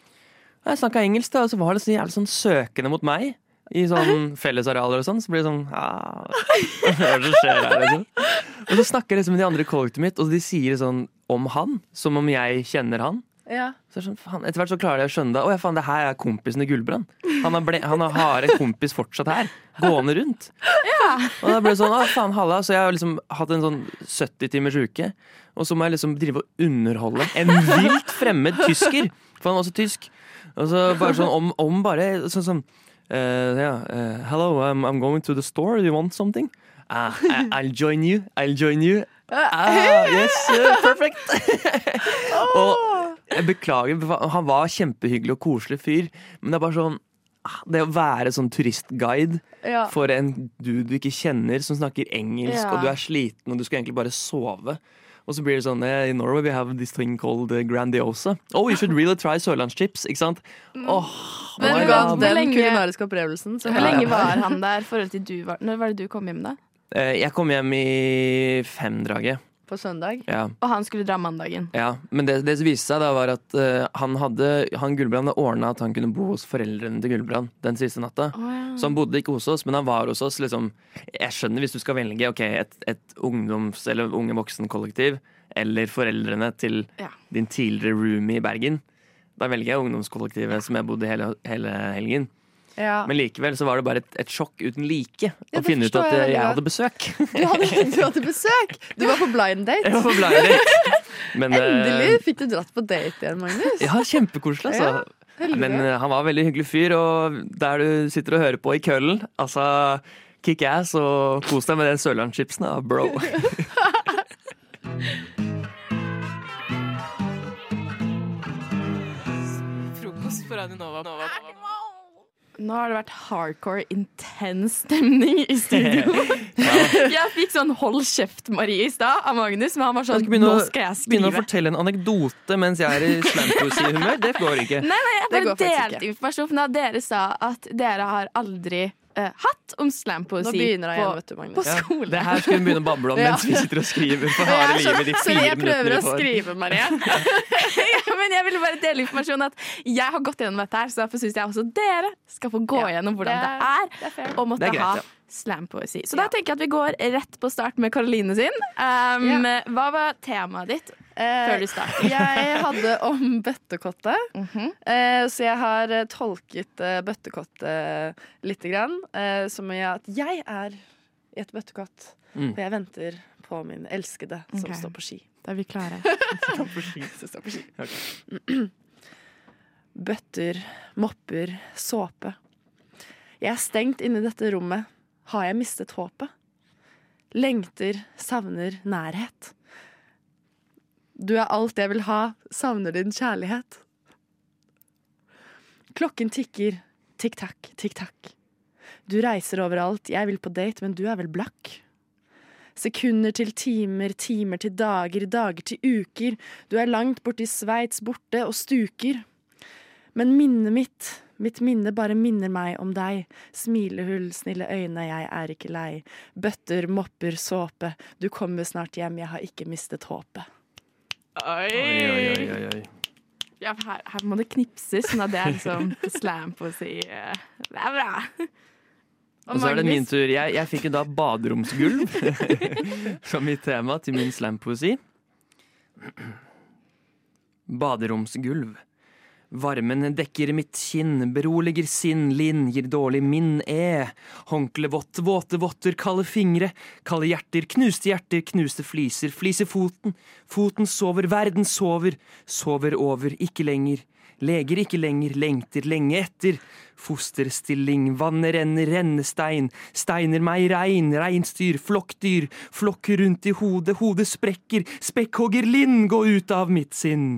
[SPEAKER 13] Og Jeg snakka engelsk, da, og så var det så jævlig sånn søkende mot meg. I sånn fellesarealer og sånn. Så blir det sånn ah, Hva er det som skjer her, liksom? Og så snakker jeg liksom med de andre i kollektivet mitt, og de sier sånn om han. Som om jeg kjenner han.
[SPEAKER 30] Ja.
[SPEAKER 13] Så er det sånn, faen, Etter hvert så klarer jeg å skjønne det. Å ja, faen, det her er kompisen til Gulbrand. Han, har ble- han har en kompis fortsatt her. Gående rundt. Og da ble det sånn, ah, faen halla Så jeg har liksom hatt en sånn 70 timers uke Og så må jeg liksom drive og underholde En vilt fremmed tysker For han var også tysk Og så bare sånn om, om bare Sånn sånn eh, ja, eh, Hello, I'm, I'm going to the store Do you want something? Ah, I, I'll join you I'll join you Ah, yes, eh, perfect Og jeg beklager Han var kjempehyggelig og koselig fyr Men det er bare sånn ah, Det å være sånn turistguide
[SPEAKER 30] Ja.
[SPEAKER 13] For en dude du ikke kjenner som snakker engelsk,
[SPEAKER 30] Ja.
[SPEAKER 13] og du er sliten og du skal egentlig bare sove. Og så blir det sånn eh, In Norway we have this thing called eh, grandiosa. Oh, you should really try sørlandschips, ikke sant?
[SPEAKER 30] Mm.
[SPEAKER 13] Åh,
[SPEAKER 6] Men
[SPEAKER 13] my
[SPEAKER 6] ga
[SPEAKER 13] God.
[SPEAKER 6] den
[SPEAKER 30] kulinariske opplevelsen.
[SPEAKER 6] Hvor lenge var han der i forhold til du var Når var det du kom hjem, da?
[SPEAKER 13] Eh, Jeg kom hjem i femdraget.
[SPEAKER 6] På søndag?
[SPEAKER 13] Ja.
[SPEAKER 6] Og han skulle dra mandagen.
[SPEAKER 13] Ja, men det, det som viste seg da var at eh, han hadde Han Gullbrand hadde ordna at han kunne bo hos foreldrene til Gullbrand den siste natta.
[SPEAKER 6] Å, ja.
[SPEAKER 13] Så han bodde ikke hos oss, men han var hos oss. Liksom, jeg skjønner hvis du skal velge ok, et, et ungdoms- eller unge voksenkollektiv eller foreldrene til
[SPEAKER 6] Ja.
[SPEAKER 13] din tidligere roomie i Bergen. Da velger jeg ungdomskollektivet som jeg bodde i hele, hele helgen.
[SPEAKER 30] Ja.
[SPEAKER 13] Men likevel så var det bare et, et sjokk uten like å
[SPEAKER 30] Ja, det
[SPEAKER 13] finne ut
[SPEAKER 30] forstår
[SPEAKER 13] at
[SPEAKER 30] jeg
[SPEAKER 13] jeg,
[SPEAKER 30] veldig godt.
[SPEAKER 13] hadde besøk.
[SPEAKER 30] Du hadde, du hadde besøk! Du var på blind date.
[SPEAKER 13] Jeg var på blind date. Men, eh,
[SPEAKER 30] Endelig fikk du dratt på date igjen, Magnus.
[SPEAKER 13] Ja, kjempekoselig, altså.
[SPEAKER 30] Ja, heldig.
[SPEAKER 13] Men eh, han var en veldig hyggelig fyr, og der du sitter og hører på i køllen, altså kick ass og kos deg med den sørlandschipsen, da, bro.
[SPEAKER 5] Frokost på Radio Nova.
[SPEAKER 31] Nå har det vært hardcore, intens stemning i studio. Jeg fikk sånn 'hold kjeft, Marie' i stad av Magnus, men han var
[SPEAKER 13] Jeg
[SPEAKER 31] sånn
[SPEAKER 13] skal begynne,
[SPEAKER 31] 'nå
[SPEAKER 13] å-
[SPEAKER 31] skal jeg
[SPEAKER 13] begynne å
[SPEAKER 31] skrive'.
[SPEAKER 13] fortelle en anekdote mens jeg er i slampoesihumør. Det går ikke.
[SPEAKER 31] Nei, nei, jeg
[SPEAKER 13] Det
[SPEAKER 31] bare
[SPEAKER 13] går faktisk
[SPEAKER 31] delte informasjon. For da dere sa at dere har aldri eh, hatt om
[SPEAKER 30] Nå
[SPEAKER 31] slampoesi
[SPEAKER 30] begynner jeg
[SPEAKER 31] på,
[SPEAKER 30] igjen, vet du, Magnus.
[SPEAKER 31] på skolen.
[SPEAKER 13] Det her skulle hun begynne å bable om
[SPEAKER 31] Ja.
[SPEAKER 13] mens vi sitter og skriver for
[SPEAKER 31] Jeg
[SPEAKER 13] harde livet
[SPEAKER 31] er
[SPEAKER 13] de
[SPEAKER 31] så-
[SPEAKER 13] fire
[SPEAKER 31] Sorry, jeg prøver
[SPEAKER 13] minuttene
[SPEAKER 31] å
[SPEAKER 13] vi får.
[SPEAKER 31] skrive, Marie. ja, men jeg ville bare dele informasjon at jeg har gått gjennom dette her, så derfor syns jeg også dere skal få gå gjennom hvordan det er, å måtte
[SPEAKER 13] Det er greit,
[SPEAKER 31] ha
[SPEAKER 13] ja.
[SPEAKER 31] slampoesi. Så da tenker jeg at vi går rett på start med Karoline sin. Um, Hva var temaet ditt før du startet?
[SPEAKER 30] Jeg hadde om bøttekottet,
[SPEAKER 31] Mhm.
[SPEAKER 30] eh, så jeg har eh, tolket eh, bøttekottet lite grann. Eh, som i at jeg er i et bøttekott,
[SPEAKER 31] Mm.
[SPEAKER 30] og jeg venter på min elskede som
[SPEAKER 31] Ok.
[SPEAKER 30] står på ski.
[SPEAKER 31] Da er vi klare.
[SPEAKER 30] Som står på ski. Bøtter, mopper, såpe. Jeg er stengt inne i dette rommet. Har jeg mistet håpet? Lengter, savner nærhet. Du er alt jeg vil ha, savner din kjærlighet. Klokken tikker, tikk-takk, tikk-takk. Du reiser overalt, jeg vil på date, men du er vel blakk? Sekunder til timer, timer til dager, dager til uker. Du er langt borti Sveits, borte og stuker. Men minnet mitt, mitt minne bare minner meg om deg. Smilehull, snille øyne, jeg er ikke lei. Bøtter, mopper, såpe. Du kommer snart hjem, jeg har ikke mistet håpet.
[SPEAKER 31] Oi! Ja, for her, her må det knipses, sånn at det er liksom slampoesi. eh, Det er bra.
[SPEAKER 13] Og så er det min tur. Jeg, jeg fikk jo da baderomsgulv som mitt tema til min slampoesi. Baderomsgulv. Varmen dekker mitt kinn, beroliger sinn, linn, gir dårlig minn, e. Håndkle vått, våte votter, kalde fingre, kalde hjerter, knuste hjerter, knuste fliser, fliser foten, foten sover, verden sover, sover over, ikke lenger. Leger ikke lenger, lengter lenge etter. Fosterstilling, vannet renner, rennestein. Steiner meg rein, reinsdyr, flokkdyr. Flokker rundt i hodet, hodet sprekker. Spekkhogger Linn, gå ut av mitt sinn.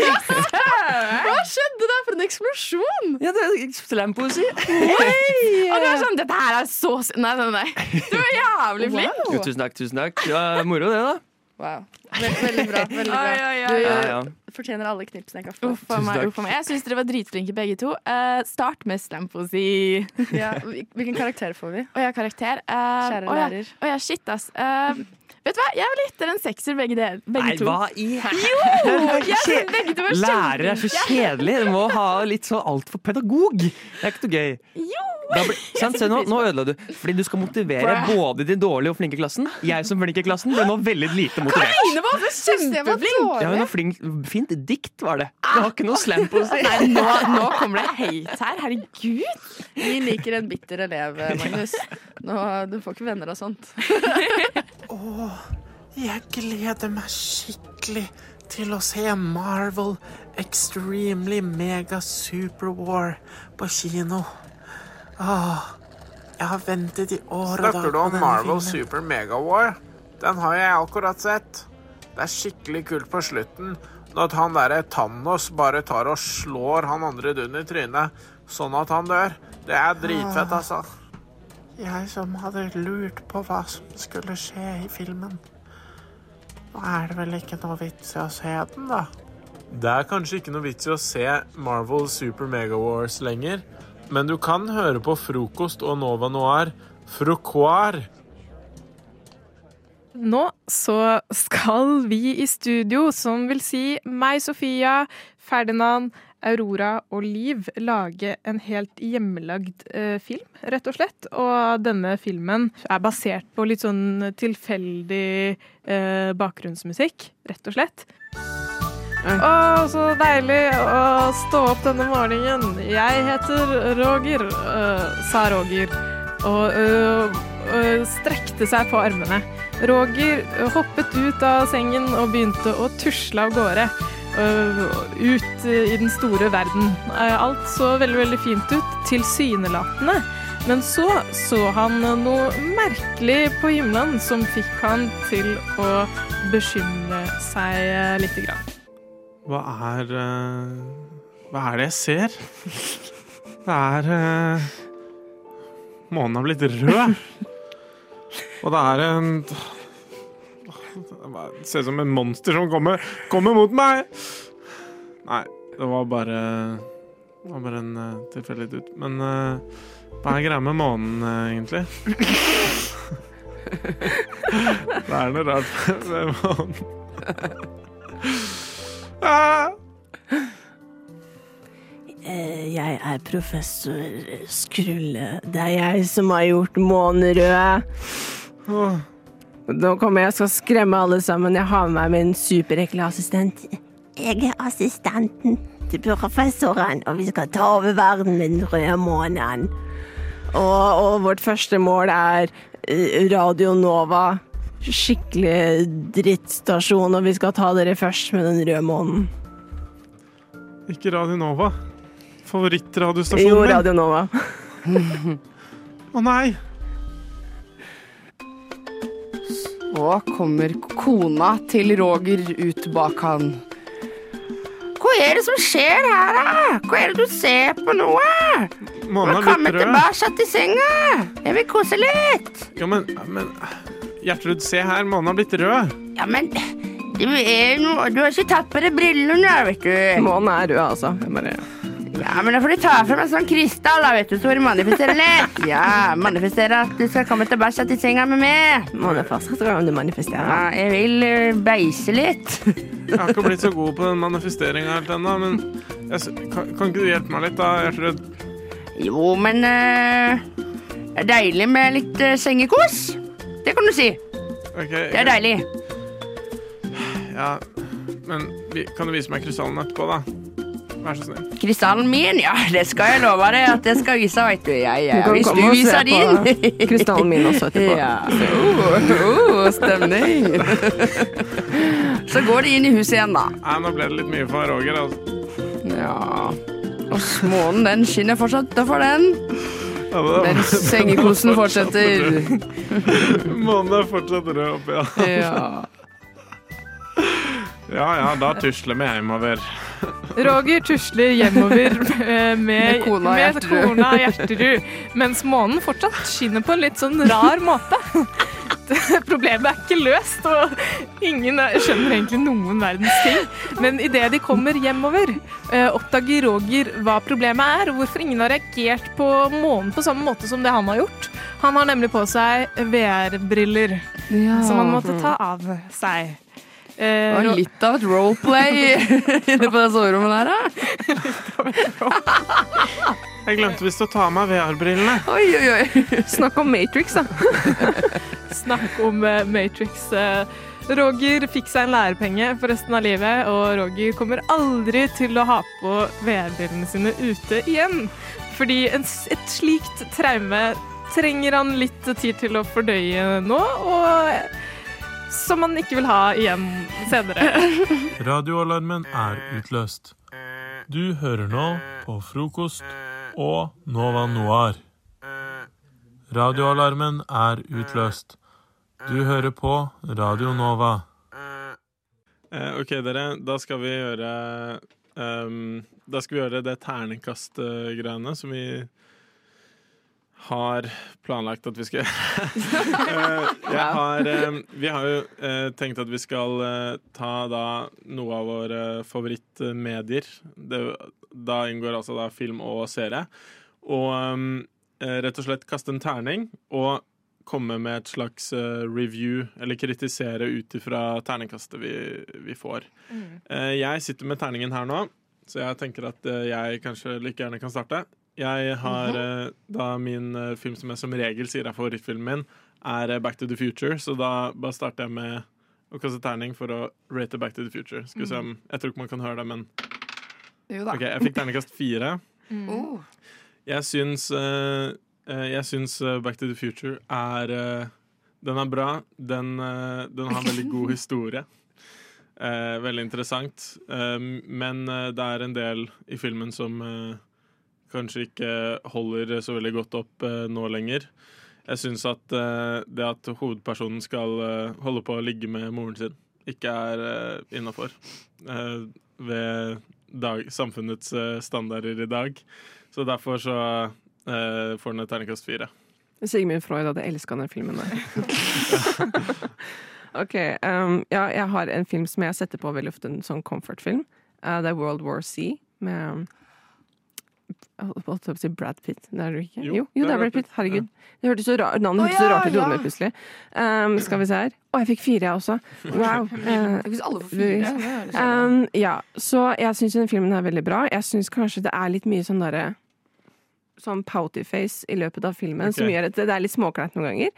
[SPEAKER 30] Hva skjedde der for en eksplosjon?
[SPEAKER 13] Ja, det er slampoesi.
[SPEAKER 31] Og det var sånn, dette her er så s- Nei, nei, nei. Du er jævlig flink.
[SPEAKER 13] Jo, tusen takk, tusen takk. Det var moro, det, da.
[SPEAKER 30] Wow. Veld, veldig bra. veldig bra.
[SPEAKER 31] Oi, oi,
[SPEAKER 30] Du
[SPEAKER 31] oi.
[SPEAKER 13] Ja, ja.
[SPEAKER 30] fortjener alle knipsene jeg kan få.
[SPEAKER 31] Uff a meg. uff a meg. Jeg syns dere var dritflinke begge to. Eh, start med slampoesi.
[SPEAKER 30] Ja, hvilken karakter får vi?
[SPEAKER 31] Og jeg har karakter. Eh,
[SPEAKER 30] Kjære
[SPEAKER 31] å ja,
[SPEAKER 30] lærer.
[SPEAKER 31] Å ja, shit, ass. Eh, vet du hva, jeg vil gitt dere en sekser, begge, del, begge
[SPEAKER 13] Nei,
[SPEAKER 31] to.
[SPEAKER 13] hva i
[SPEAKER 31] Jo! Jeg synes begge to er
[SPEAKER 13] Lærere er så
[SPEAKER 31] kjempeflinke.
[SPEAKER 13] kjedelig. Du må ha litt så altfor pedagog. Det er ikke noe gøy.
[SPEAKER 31] Jo!
[SPEAKER 13] Da blir- sant, se nå, nå ødela du. Fordi du skal motivere
[SPEAKER 31] Bra.
[SPEAKER 13] både de dårlige og flinke i klassen. Jeg som flink i klassen ble nå veldig lite motivert.
[SPEAKER 31] Karoline var også kjempeflink!
[SPEAKER 13] Ja, hun var flink. Fint dikt var det. Det var ikke noe slam på å si.
[SPEAKER 31] Nei, nå, nå kommer det hate her. Herregud.
[SPEAKER 30] Vi liker en bitter elev, Magnus. Nå, du får ikke venner av sånt.
[SPEAKER 1] Åh, jeg gleder meg skikkelig til å se Marvel Extremely Mega Super War på kino. Åh, jeg har ventet i år og dag
[SPEAKER 33] Snakker du
[SPEAKER 1] på
[SPEAKER 33] om
[SPEAKER 1] denne
[SPEAKER 33] Marvel
[SPEAKER 1] filmen.
[SPEAKER 33] Super Mega War? Den har jeg akkurat sett. Det er skikkelig kult på slutten. Når at han derre Thanos bare tar og slår han andre dun i trynet, sånn at han dør. Det er dritfett, altså.
[SPEAKER 1] Jeg som hadde lurt på hva som skulle skje i filmen. Nå er det vel ikke noe vits i å se den, da?
[SPEAKER 33] Det er kanskje ikke noe vits i å se Marvel Super Mega Wars lenger, men du kan høre på Frokost og Nova Noir. Frokoir.
[SPEAKER 15] Nå så skal vi i studio, som vil si meg, Sofia, Ferdinand, Aurora og Liv, lage en helt hjemmelagd eh, film, rett og slett. Og denne filmen er basert på litt sånn tilfeldig eh, bakgrunnsmusikk, rett og slett. Å, så deilig å stå opp denne morgenen. Jeg heter Roger, øh, sa Roger, og øh, øh, strekte seg på armene. Roger øh, hoppet ut av sengen og begynte å tusle av gårde. øh, ut øh, i den store verden. Eh, Alt så veldig, veldig fint ut, tilsynelatende. Men så så han noe merkelig på himmelen som fikk han til å øh, bekymre seg eh, lite grann.
[SPEAKER 1] Hva er eh,
[SPEAKER 33] Hva er det jeg ser? Det er eh, Månen har blitt rød. Og det er en Det ser ut som en monster som kommer, kommer mot meg! Nei, det var bare Det var bare en uh, tilfeldig dutt. Men eh, hva er greia med månen, eh, egentlig? det er noe rart med månen. Ah!
[SPEAKER 19] Eh, Jeg er professor Skrulle. Det er jeg som har gjort månerød. Nå kommer jeg og skal skremme alle sammen. Jeg har med meg min superekle assistent.
[SPEAKER 34] Jeg er assistenten til professoren, og vi skal ta over verden med den røde månen.
[SPEAKER 19] Og, og vårt første mål er eh, Radio Nova. Skikkelig drittstasjon, og vi skal ta dere først med den røde månen.
[SPEAKER 33] Ikke Radio Nova. Favorittradiostasjonen
[SPEAKER 19] Jo,
[SPEAKER 33] min.
[SPEAKER 19] Radio Nova.
[SPEAKER 33] Å nei!
[SPEAKER 7] Så kommer kona til Roger ut bak han. Hva er det som skjer her, da? Hva er det du ser på nå? da?
[SPEAKER 33] Månen er
[SPEAKER 7] Velkommen
[SPEAKER 33] litt rød.
[SPEAKER 7] tilbake til senga. Jeg vil kose litt.
[SPEAKER 33] Jo, men, men Gjertrud, se her. Månen har blitt rød.
[SPEAKER 7] Ja, men du er jo noe Du har ikke tatt på deg brillene, vet du.
[SPEAKER 19] Månen er rød, altså. Jeg bare...
[SPEAKER 7] Ja, men da får du ta frem en sånn krystall, da, vet du, så får du manifestere litt. Ja, manifestere at du skal komme tilbake til senga med meg.
[SPEAKER 19] Månen er fast, så kan du manifestere.
[SPEAKER 7] Ja, jeg vil eh, beise litt.
[SPEAKER 33] Jeg har ikke blitt så god på den manifesteringa helt ennå, men jeg, s- kan, kan ikke du hjelpe meg litt, da, Gjertrud?
[SPEAKER 7] Jo, men eh, det er deilig med litt eh, sengekos. Det kan du si.
[SPEAKER 33] Ok,
[SPEAKER 7] Det er deilig.
[SPEAKER 33] Ja, men vi, kan du vise meg krystallen etterpå, da? Vær så snill.
[SPEAKER 7] Krystallen min, ja, det skal jeg love deg at jeg skal vise, vet du. Ja, ja,
[SPEAKER 19] Du kan
[SPEAKER 7] hvis
[SPEAKER 19] komme og
[SPEAKER 7] du
[SPEAKER 19] se på
[SPEAKER 7] viser din.
[SPEAKER 19] krystallen min også etterpå.
[SPEAKER 7] Ja. Oh, oh, stemning. Så går de inn i huset igjen, da.
[SPEAKER 33] Nei, nå ble det litt mye for Roger, altså.
[SPEAKER 7] Ja. Og månen, den skinner fortsatt for den.
[SPEAKER 33] Ja, men det-
[SPEAKER 7] Den sengekosen fortsetter.
[SPEAKER 33] Månen er fortsatt rød oppe, ja.
[SPEAKER 7] Ja.
[SPEAKER 33] Ja ja, da tusler vi hjemover.
[SPEAKER 15] Roger tusler hjemover eh, med,
[SPEAKER 7] Med kona
[SPEAKER 15] med
[SPEAKER 7] Gjertrud.
[SPEAKER 15] kona Gjerterud, mens månen fortsatt skinner på en litt sånn rar måte. Det- Problemet er ikke løst, og ingen er- skjønner egentlig noen verdens ting. Men idet de kommer hjemover, eh, oppdager Roger hva problemet er, og hvorfor ingen har reagert på månen på samme måte som det han har gjort. Han har nemlig på seg VR-briller,
[SPEAKER 7] Ja.
[SPEAKER 15] som han måtte ta av seg. Eh,
[SPEAKER 7] Det var
[SPEAKER 15] Ro-
[SPEAKER 7] litt av et roleplay inne på det soverommet der, da.
[SPEAKER 33] Jeg glemte visst å ta av meg VR-brillene.
[SPEAKER 7] Oi, oi, oi.
[SPEAKER 15] Snakk om Matrix, da. Snakk om eh, Matrix. eh. Roger fikk seg en lærepenge for resten av livet, og Roger kommer aldri til å ha på VR-brillene sine ute igjen. Fordi en, s- et slikt traume trenger han litt tid til å fordøye nå, og eh, som han ikke vil ha igjen senere.
[SPEAKER 35] Radioalarmen er utløst. Du hører nå på frokost og Nova Noir. Radioalarmen er utløst. Du hører på Radio Nova.
[SPEAKER 33] Eh, OK, dere. Da skal vi gjøre ehm, Da skal vi gjøre det ternekast-greiene som vi har planlagt at vi skal gjøre. Eh, jeg har, ehm, vi har jo eh, tenkt at vi skal eh, ta da noe av våre eh, favorittmedier. Det, da inngår altså da film og serie. Og ehm, eh, rett og slett kaste en terning og komme med et slags eh, review, eller kritisere ut ifra terningkastet vi, vi får.
[SPEAKER 35] Mm.
[SPEAKER 33] Eh, jeg sitter med terningen her nå, så jeg tenker at eh, jeg kanskje like gjerne kan starte. Jeg har eh, da min eh, film som jeg som regel sier er favorittfilmen min, er eh, Back to the Future, så da bare starter jeg med å kaste terning for å rate Back to the Future. Skal vi se om, Jeg tror ikke man kan høre det, men
[SPEAKER 7] Jo
[SPEAKER 33] OK, jeg fikk terningkast fire.
[SPEAKER 7] Oh.
[SPEAKER 33] Jeg syns, eh, eh, jeg syns eh, Back to the Future er eh, Den er bra. Den, eh, den har veldig god historie. Eh, veldig interessant. Eh, men eh, det er en del i filmen som eh, kanskje ikke holder så veldig godt opp eh, nå lenger. Jeg syns at eh, det at hovedpersonen skal eh, holde på å ligge med moren sin, ikke er uh, innafor. eh, ved dag, samfunnets eh, standarder i dag. Så derfor så eh, får den et terningkast fire.
[SPEAKER 19] Sigmund Freud hadde elska den filmen der. ok. Um, ja, jeg har en film som jeg setter på veldig ofte, en sånn comfort-film. Uh, det er World War C med um, jeg holdt på å si Brad Pitt. Det er det ikke? Jo, jo, det er Brad Pitt. Herregud. Det hørtes så ra navnet
[SPEAKER 17] Å,
[SPEAKER 19] hørtes så
[SPEAKER 17] ja,
[SPEAKER 19] rart ut i
[SPEAKER 17] ja.
[SPEAKER 19] hodet mitt plutselig. Um, skal vi se her. Å, jeg fikk fire, jeg også. Wow. Eh,
[SPEAKER 17] Hvis alle får fire,
[SPEAKER 19] Louise.
[SPEAKER 17] det er det
[SPEAKER 19] Um, ja, så jeg syns den filmen er veldig bra. Jeg syns kanskje det er litt mye sånn derre Sånn pouty face i løpet av filmen,
[SPEAKER 15] Ok.
[SPEAKER 19] som gjør at det det er litt småkleint noen ganger.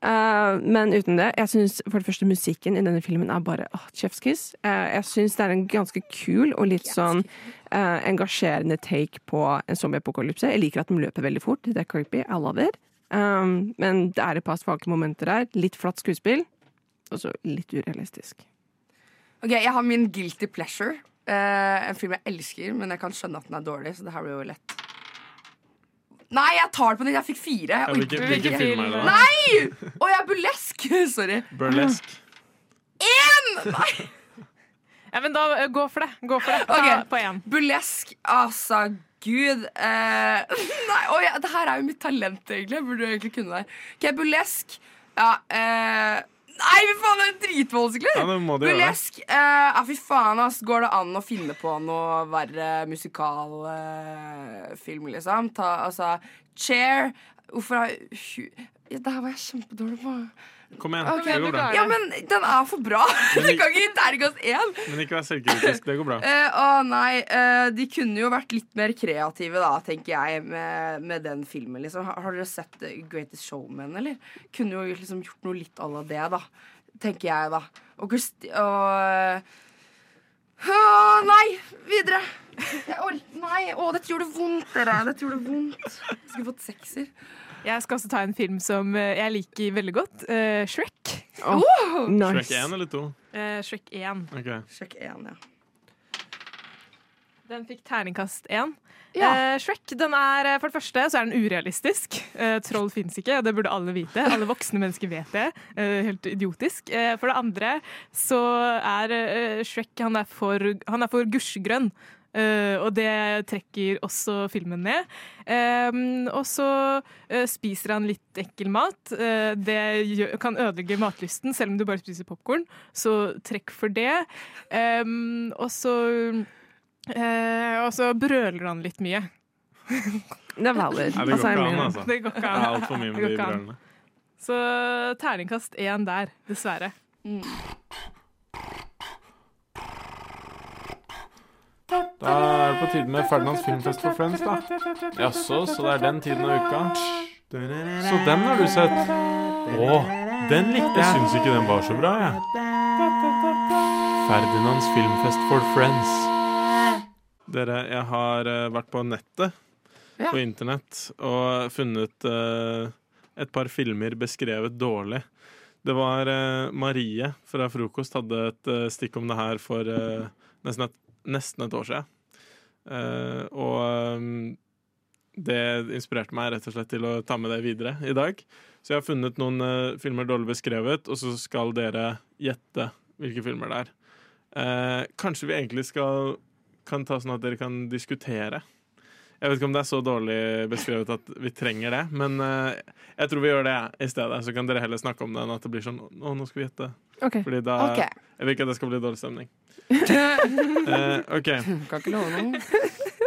[SPEAKER 19] Eh, men uten det, jeg syns for det første musikken i denne filmen er bare oh, chefskiss. jeg syns det er en ganske kul og litt sånn eh, engasjerende take på en zombieapokalypse. Jeg liker at de løper veldig fort, det er creepy, I love it. Um, men det er et par svake momenter der. Litt flatt skuespill, og så litt urealistisk.
[SPEAKER 17] Ok, Jeg har min guilty pleasure. Eh, en film jeg elsker, men jeg kan skjønne at den er dårlig. Så det her blir jo lett Nei, jeg tar det på nytt! Jeg fikk fire. Jeg
[SPEAKER 33] Ja, hvilken-
[SPEAKER 17] orker
[SPEAKER 33] hvilken
[SPEAKER 17] ikke.
[SPEAKER 33] film er det da?
[SPEAKER 17] Nei! Å, jeg er burlesk! Sorry.
[SPEAKER 33] Burlesk.
[SPEAKER 17] Én! Nei!
[SPEAKER 15] Ja, men da eh, gå for det. Gå for det. Ta
[SPEAKER 17] Ok.
[SPEAKER 15] på én.
[SPEAKER 17] Burlesk, altså. Gud. eh, nei, oi, det her er jo mitt talent, egentlig. Jeg burde jo egentlig kunne det her. Ok, burlesk. Ja, eh, Nei, fy faen, det er dritvanskelig!
[SPEAKER 33] Ja, det må du gjøre.
[SPEAKER 17] burlesk. eh, ja, fy faen, ass. Går det an å finne på noe verre musikalfilm, liksom? Ta, altså Chair. Hvorfor har hu- ja, Det her var jeg kjempedårlig på.
[SPEAKER 33] Kom igjen,
[SPEAKER 17] Ok,
[SPEAKER 33] det går bra.
[SPEAKER 17] Ja, men den er for bra! Det
[SPEAKER 33] Men vi-
[SPEAKER 17] kan ikke gi terningkast én.
[SPEAKER 33] Men ikke vær selvkritisk, det går bra.
[SPEAKER 17] Eh, å nei, eh, de kunne jo vært litt mer kreative, da, tenker jeg, med, med den filmen. Liksom. Har, har dere sett eh, Greatest Showman, eller? Kunne jo liksom gjort noe litt à la det, da. Tenker jeg, da. Og Christi... Og eh, Å nei! Videre. Jeg ork- nei, å, dette gjorde vondt, dere. Dette gjorde vondt. Jeg skulle fått sekser.
[SPEAKER 15] Jeg skal også ta en film som eh, jeg liker veldig godt. eh, Shrek.
[SPEAKER 17] Åh,
[SPEAKER 33] Nice. Shrek 1 eller 2?
[SPEAKER 15] Eh, Shrek 1.
[SPEAKER 33] Ok.
[SPEAKER 17] Shrek 1, ja.
[SPEAKER 15] Den fikk terningkast 1.
[SPEAKER 17] Ja.
[SPEAKER 15] Eh, Shrek den er, eh, for det første så er den urealistisk. Eh, troll fins ikke, og det burde alle vite. Alle voksne mennesker vet det. Eh, helt idiotisk. Eh, for det andre så er eh, Shrek han er for, han er for gusjegrønn. Eh, og det trekker også filmen ned. Eh, og så eh, spiser han litt ekkel mat. Eh, det gjør, kan ødelegge matlysten, selv om du bare spiser popkorn. Så trekk for det. Eh, og så Eh, og så brøler han litt mye.
[SPEAKER 19] Det er valid.
[SPEAKER 33] Nei, det går ikke an, altså.
[SPEAKER 15] Det går ikke an.
[SPEAKER 33] Det er alt for mye med
[SPEAKER 15] Det går
[SPEAKER 33] de
[SPEAKER 15] ikke an.
[SPEAKER 33] brølene.
[SPEAKER 15] Så terningkast én der, dessverre.
[SPEAKER 19] Mm.
[SPEAKER 33] Da er det på tide med Ferdinands filmfest for friends, da. Jaså, så det er den tiden av uka. Så den har du sett. Å, den likte jeg. Jeg syns ikke den var så bra, jeg. Ferdinands filmfest for friends. Dere, jeg har eh, vært på nettet,
[SPEAKER 17] Ja.
[SPEAKER 33] på internett, og funnet eh, et par filmer beskrevet dårlig. Det var eh, Marie fra Frokost hadde et eh, stikk om det her for eh, nesten, et, nesten et år siden. Eh, og eh, det inspirerte meg rett og slett til å ta med det videre i dag. Så jeg har funnet noen eh, filmer dårlig beskrevet, og så skal dere gjette hvilke filmer det er. Eh, kanskje vi egentlig skal kan ta sånn at dere kan diskutere. Jeg vet ikke om det er så dårlig beskrevet at vi trenger det, men eh, jeg tror vi gjør det i stedet. Så kan dere heller snakke om det enn at det blir sånn Å, nå skal vi gjette.
[SPEAKER 19] Ok.
[SPEAKER 33] Fordi da
[SPEAKER 19] Ok.
[SPEAKER 33] Jeg vil ikke at det skal bli dårlig stemning. Eh, OK.
[SPEAKER 17] Kan ikke love noe.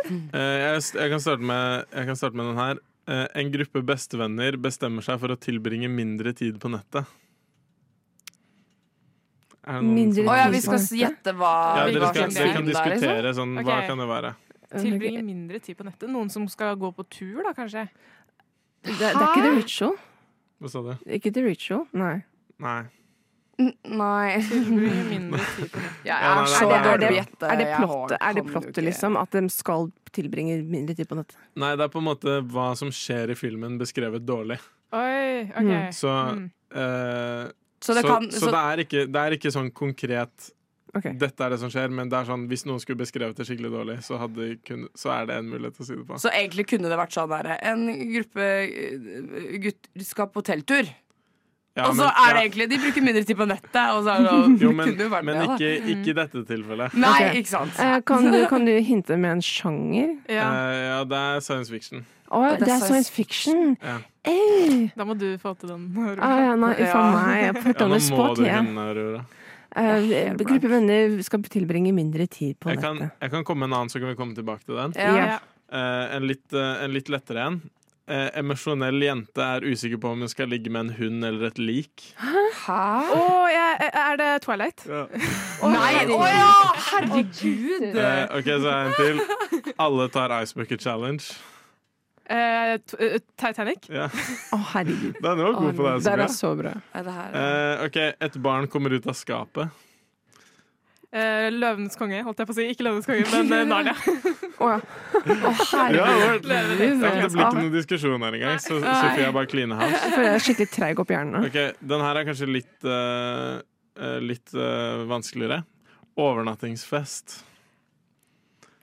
[SPEAKER 33] Eh, jeg, jeg, kan starte med, jeg kan starte med den her. Eh, en gruppe bestevenner bestemmer seg for å tilbringe mindre tid på nettet. Er det noen
[SPEAKER 17] Mindre
[SPEAKER 33] som-
[SPEAKER 17] Å ja, vi skal gjette hva-
[SPEAKER 33] ja, dere,
[SPEAKER 17] hva
[SPEAKER 33] skal,
[SPEAKER 17] slags
[SPEAKER 33] dere kan
[SPEAKER 17] film det er, liksom?
[SPEAKER 33] diskutere sånn, hva
[SPEAKER 15] Ok.
[SPEAKER 33] kan det være.
[SPEAKER 15] Tilbringe mindre tid på nettet. Noen som skal gå på tur, da, kanskje?
[SPEAKER 19] Det, det er ikke The Ritual.
[SPEAKER 33] Hva sa du?
[SPEAKER 19] Ikke The Ritual, nei.
[SPEAKER 33] Nei.
[SPEAKER 17] Nei.
[SPEAKER 19] Ja,
[SPEAKER 17] Ja,
[SPEAKER 33] nei, nei, nei,
[SPEAKER 19] er det,
[SPEAKER 33] nei.
[SPEAKER 19] er det
[SPEAKER 17] Jeg har-
[SPEAKER 19] plottet, er det
[SPEAKER 17] kan jo
[SPEAKER 19] plottet
[SPEAKER 17] ikke-
[SPEAKER 19] liksom? At de skal tilbringe mindre tid på nettet?
[SPEAKER 33] Nei, det er på en måte hva som skjer i filmen beskrevet dårlig.
[SPEAKER 15] Oi,
[SPEAKER 19] Mm.
[SPEAKER 15] OK.
[SPEAKER 33] Så,
[SPEAKER 15] Mm.
[SPEAKER 33] eh,
[SPEAKER 15] Så
[SPEAKER 33] så,
[SPEAKER 15] det
[SPEAKER 33] det
[SPEAKER 15] kan-
[SPEAKER 33] så,
[SPEAKER 15] så-
[SPEAKER 33] det, er ikke, det er ikke sånn konkret Dette er det som skjer, men det er sånn, hvis noen skulle beskrevet det skikkelig dårlig, så, hadde, de kun, så er det en mulighet til å si det på.
[SPEAKER 17] Så egentlig kunne det vært sånn der En gruppe eh, gutter skal på hotelltur.
[SPEAKER 33] Ja,
[SPEAKER 17] og så
[SPEAKER 33] men-
[SPEAKER 17] er det
[SPEAKER 33] ja.
[SPEAKER 17] egentlig De bruker mindre tid på nettet, og så er det sånn,
[SPEAKER 33] Jo, men,
[SPEAKER 17] kunne jo vært
[SPEAKER 33] men
[SPEAKER 17] det, da.
[SPEAKER 33] ikke, ikke i dette tilfellet.
[SPEAKER 17] Nei,
[SPEAKER 33] Ok.
[SPEAKER 17] ikke sant.
[SPEAKER 19] Eh, kan, du, kan du hinte med en sjanger?
[SPEAKER 33] Eh, ja, det er science fiction.
[SPEAKER 19] Å, det er science fiction!
[SPEAKER 33] Ja.
[SPEAKER 19] Au!
[SPEAKER 15] Da må du få til den.
[SPEAKER 19] Ah, ja, nei, uff a meg. Jeg
[SPEAKER 33] Ja,
[SPEAKER 19] put on the
[SPEAKER 33] nå må
[SPEAKER 19] spot,
[SPEAKER 33] du
[SPEAKER 19] jeg.
[SPEAKER 33] henne, Aurora.
[SPEAKER 19] Eh, gruppe venner skal tilbringe mindre tid på
[SPEAKER 33] Jeg kan,
[SPEAKER 19] nettet.
[SPEAKER 33] jeg kan komme med en annen, så kan vi komme tilbake til den.
[SPEAKER 19] Ja. Ja.
[SPEAKER 33] Eh, en, litt, eh, en litt lettere en. Eh, emosjonell jente er usikker på om hun skal ligge med en hund eller et lik.
[SPEAKER 15] Hæ? Å, jeg, er det Twilight?
[SPEAKER 33] Ja.
[SPEAKER 15] Å,
[SPEAKER 17] Nei,
[SPEAKER 15] herregud.
[SPEAKER 17] å ja, herregud!
[SPEAKER 33] Eh, OK, så er en til. Alle tar Ice Bucket Challenge.
[SPEAKER 15] Eh, t- eh, Titanic?
[SPEAKER 33] Ja.
[SPEAKER 19] Å, herregud.
[SPEAKER 33] Den var god på deg,
[SPEAKER 19] Den
[SPEAKER 33] Sofia.
[SPEAKER 19] er så bra.
[SPEAKER 33] Eh, OK, et barn kommer ut av skapet.
[SPEAKER 15] Eh, Løvenes konge, holdt jeg på å si. Ikke Løvenes konge, men eh, Narnia.
[SPEAKER 19] Å ja.
[SPEAKER 33] Ja, det, var,
[SPEAKER 15] Løvenes
[SPEAKER 33] ja, men det
[SPEAKER 15] konge.
[SPEAKER 33] blir ikke noen diskusjon her engang, så
[SPEAKER 19] Nei.
[SPEAKER 33] Sofia bare kliner hans.
[SPEAKER 19] Jeg føler jeg er skikkelig treig opp hjernen. nå.
[SPEAKER 33] Ok, Den her er kanskje litt eh, eh, Litt eh, vanskeligere. Overnattingsfest.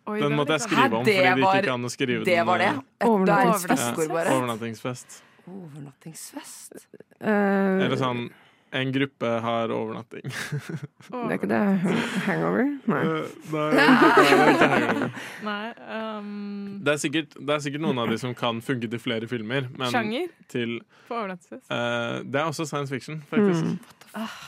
[SPEAKER 15] Oi,
[SPEAKER 33] den
[SPEAKER 15] det var
[SPEAKER 33] måtte jeg
[SPEAKER 15] litt-
[SPEAKER 33] skrive
[SPEAKER 17] Hæ,
[SPEAKER 33] om
[SPEAKER 17] det
[SPEAKER 33] fordi de
[SPEAKER 17] var-
[SPEAKER 33] ikke kan skrive
[SPEAKER 17] det
[SPEAKER 33] den.
[SPEAKER 17] var
[SPEAKER 33] eh,
[SPEAKER 17] det? Et- Overnattingsfest. det er et stikkord
[SPEAKER 33] Ja,
[SPEAKER 17] bare.
[SPEAKER 33] overnattingsfest.
[SPEAKER 17] Overnattingsfest?
[SPEAKER 19] Eh,
[SPEAKER 33] Eller sånn En gruppe har overnatting.
[SPEAKER 19] det er ikke det hangover? Nei.
[SPEAKER 33] Eh, nei, det er ikke hangover.
[SPEAKER 15] Nei, ehm,
[SPEAKER 33] det, er sikkert, det er sikkert noen av de som kan funke til flere filmer, men
[SPEAKER 15] Sjanger?
[SPEAKER 33] til
[SPEAKER 15] på overnattelsesfest.
[SPEAKER 33] eh, Det er også science fiction, faktisk.
[SPEAKER 15] Mm. Ah.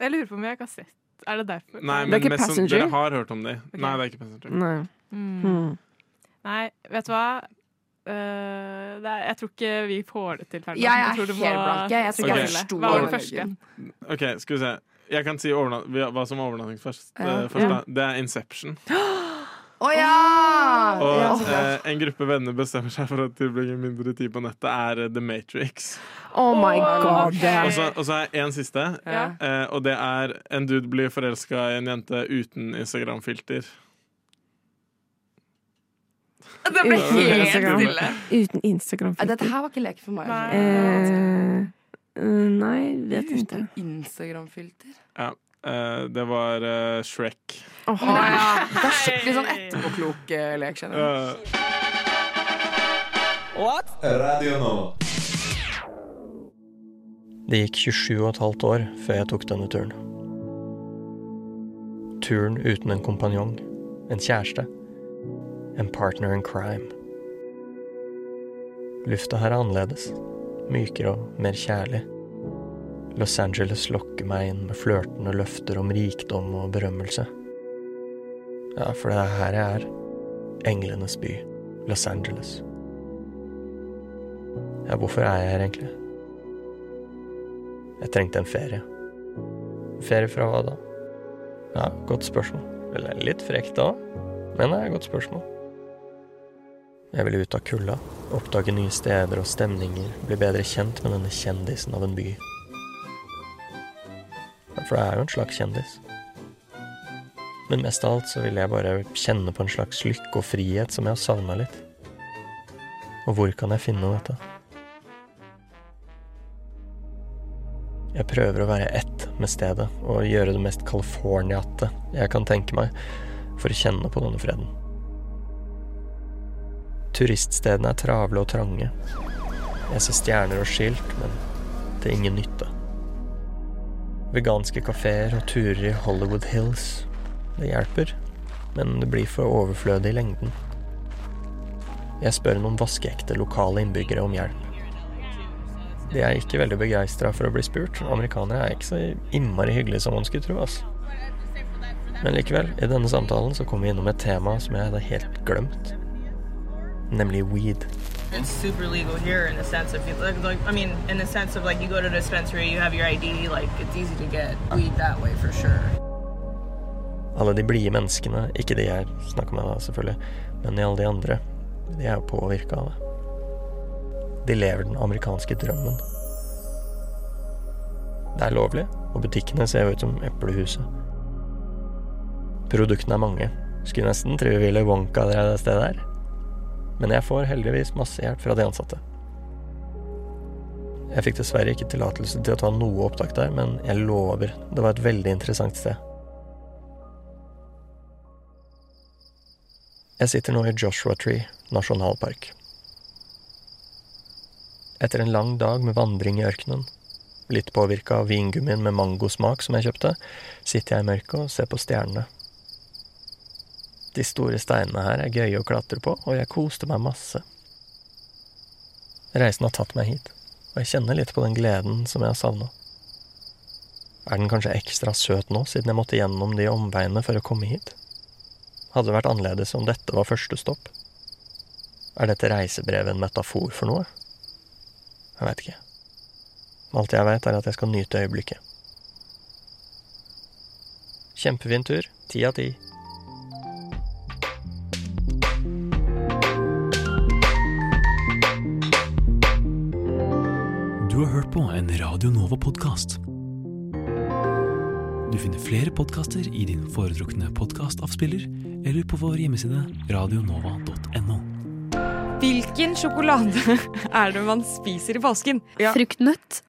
[SPEAKER 15] Jeg lurer på om jeg ikke har sett Er det derfor?
[SPEAKER 33] Nei, men
[SPEAKER 19] Det er ikke
[SPEAKER 33] mest sånn,
[SPEAKER 19] Passenger?
[SPEAKER 33] dere har hørt om de. Nei, det er ikke Passenger.
[SPEAKER 19] Nei.
[SPEAKER 15] Mm.
[SPEAKER 19] Hmm.
[SPEAKER 15] Nei, vet du hva? Eh, det er, jeg tror ikke vi får det til ferdig.
[SPEAKER 17] Jeg er
[SPEAKER 15] tror du må-
[SPEAKER 17] helt blank, jeg. Jeg tror ikke jeg
[SPEAKER 33] Ok.
[SPEAKER 17] forsto
[SPEAKER 15] Hva var det
[SPEAKER 17] overgangen.
[SPEAKER 15] første?
[SPEAKER 33] OK, skal vi se. Jeg kan si overnat vi- hva som er overnattingsfest.
[SPEAKER 17] Ja.
[SPEAKER 33] eh, først,
[SPEAKER 17] Ja.
[SPEAKER 33] da. Det er Inception.
[SPEAKER 17] Å ja!
[SPEAKER 33] Og
[SPEAKER 17] ja.
[SPEAKER 33] eh, en gruppe venner bestemmer seg for å tilbringe mindre tid på nettet, er eh, The Matrix.
[SPEAKER 19] Oh my god.
[SPEAKER 33] Og så, og så er en siste,
[SPEAKER 19] Ja.
[SPEAKER 33] eh, og det er en dude blir forelska i en jente uten Instagram-filter.
[SPEAKER 17] Det ble
[SPEAKER 19] Uten
[SPEAKER 17] helt
[SPEAKER 19] Instagram.
[SPEAKER 17] stille.
[SPEAKER 19] Uten Instagram.
[SPEAKER 17] Ja, Dette her var ikke lek for meg.
[SPEAKER 19] Eh, eh, nei, vet ikke.
[SPEAKER 17] Instagram-filter.
[SPEAKER 33] Ja, eh, det var eh, Shrek.
[SPEAKER 17] Å, ja. Det er skikkelig sånn etterpåklok eh, lek, kjenner jeg.
[SPEAKER 24] Radio Nova.
[SPEAKER 10] Det gikk 27 og et halvt år før jeg tok denne turen. Turen uten en kompanjong, en kjæreste, en partner in crime. Lufta her er annerledes, mykere og mer kjærlig. Los Angeles lokker meg inn med flørtende løfter om rikdom og berømmelse. Ja, for det er her jeg er. Englenes by, Los Angeles. Ja, hvorfor er jeg her egentlig? Jeg trengte en ferie. Ferie fra hva da? Ja, godt spørsmål. Eller litt frekt da, men det er et godt spørsmål. Jeg ville ut av kulda, oppdage nye steder og stemninger, bli bedre kjent med denne kjendisen av en by. Ja, For jeg er jo en slags kjendis. Men mest av alt så ville jeg bare kjenne på en slags lykke og frihet som jeg har savna litt. Og hvor kan jeg finne dette? Jeg prøver å være ett med stedet og gjøre det mest californiate jeg kan tenke meg for å kjenne på denne freden. Turiststedene er travle og trange. Jeg ser stjerner og skilt, men til ingen nytte. Veganske kafeer og turer i Hollywood Hills. Det hjelper, men det blir for overflødig i lengden. Jeg spør noen vaskeekte lokale innbyggere om hjelp. De er ikke veldig begeistra for å bli spurt. Amerikanere er ikke så innmari hyggelige som man skulle tro. ass. Men likevel, i denne samtalen så kom vi innom et tema som jeg hadde helt glemt. Nemlig weed.
[SPEAKER 29] It's super legal here in the sense of like, like I mean, in the sense of like you go to the dispensary, you have your ID, like it's easy to get weed that way for sure.
[SPEAKER 10] Alle de blide menneskene, ikke de jeg snakker med da, selvfølgelig, men alle de andre, de er jo påvirka av det. De lever den amerikanske drømmen. Det er lovlig, og butikkene ser jo ut som eplehuset. Produktene er mange. Skulle nesten tro Willy Wonka drev det stedet her. Men jeg får heldigvis masse hjelp fra de ansatte. Jeg fikk dessverre ikke tillatelse til å ta noe opptak der, men jeg lover, det var et veldig interessant sted. Jeg sitter nå i Joshua Tree nasjonalpark. Etter en lang dag med vandring i ørkenen Litt påvirka av vingummien med mangosmak som jeg kjøpte, sitter jeg i mørket og ser på stjernene. De store steinene her er gøye å klatre på, og jeg koste meg masse. Reisen har tatt meg hit, og jeg kjenner litt på den gleden som jeg har savna. Er den kanskje ekstra søt nå, siden jeg måtte gjennom de omveiene for å komme hit? Hadde det vært annerledes om dette var første stopp? Er dette reisebrevet en metafor for noe? Jeg veit ikke. Alt jeg veit, er at jeg skal nyte øyeblikket. Kjempefin tur. Ti av ti.
[SPEAKER 18] Du har hørt på en Radio Nova-podkast. Du finner flere podkaster i din foretrukne podkastavspiller eller på vår hjemmeside radionova.no.
[SPEAKER 5] Hvilken sjokolade er det man spiser i påsken? Fruktnøtt.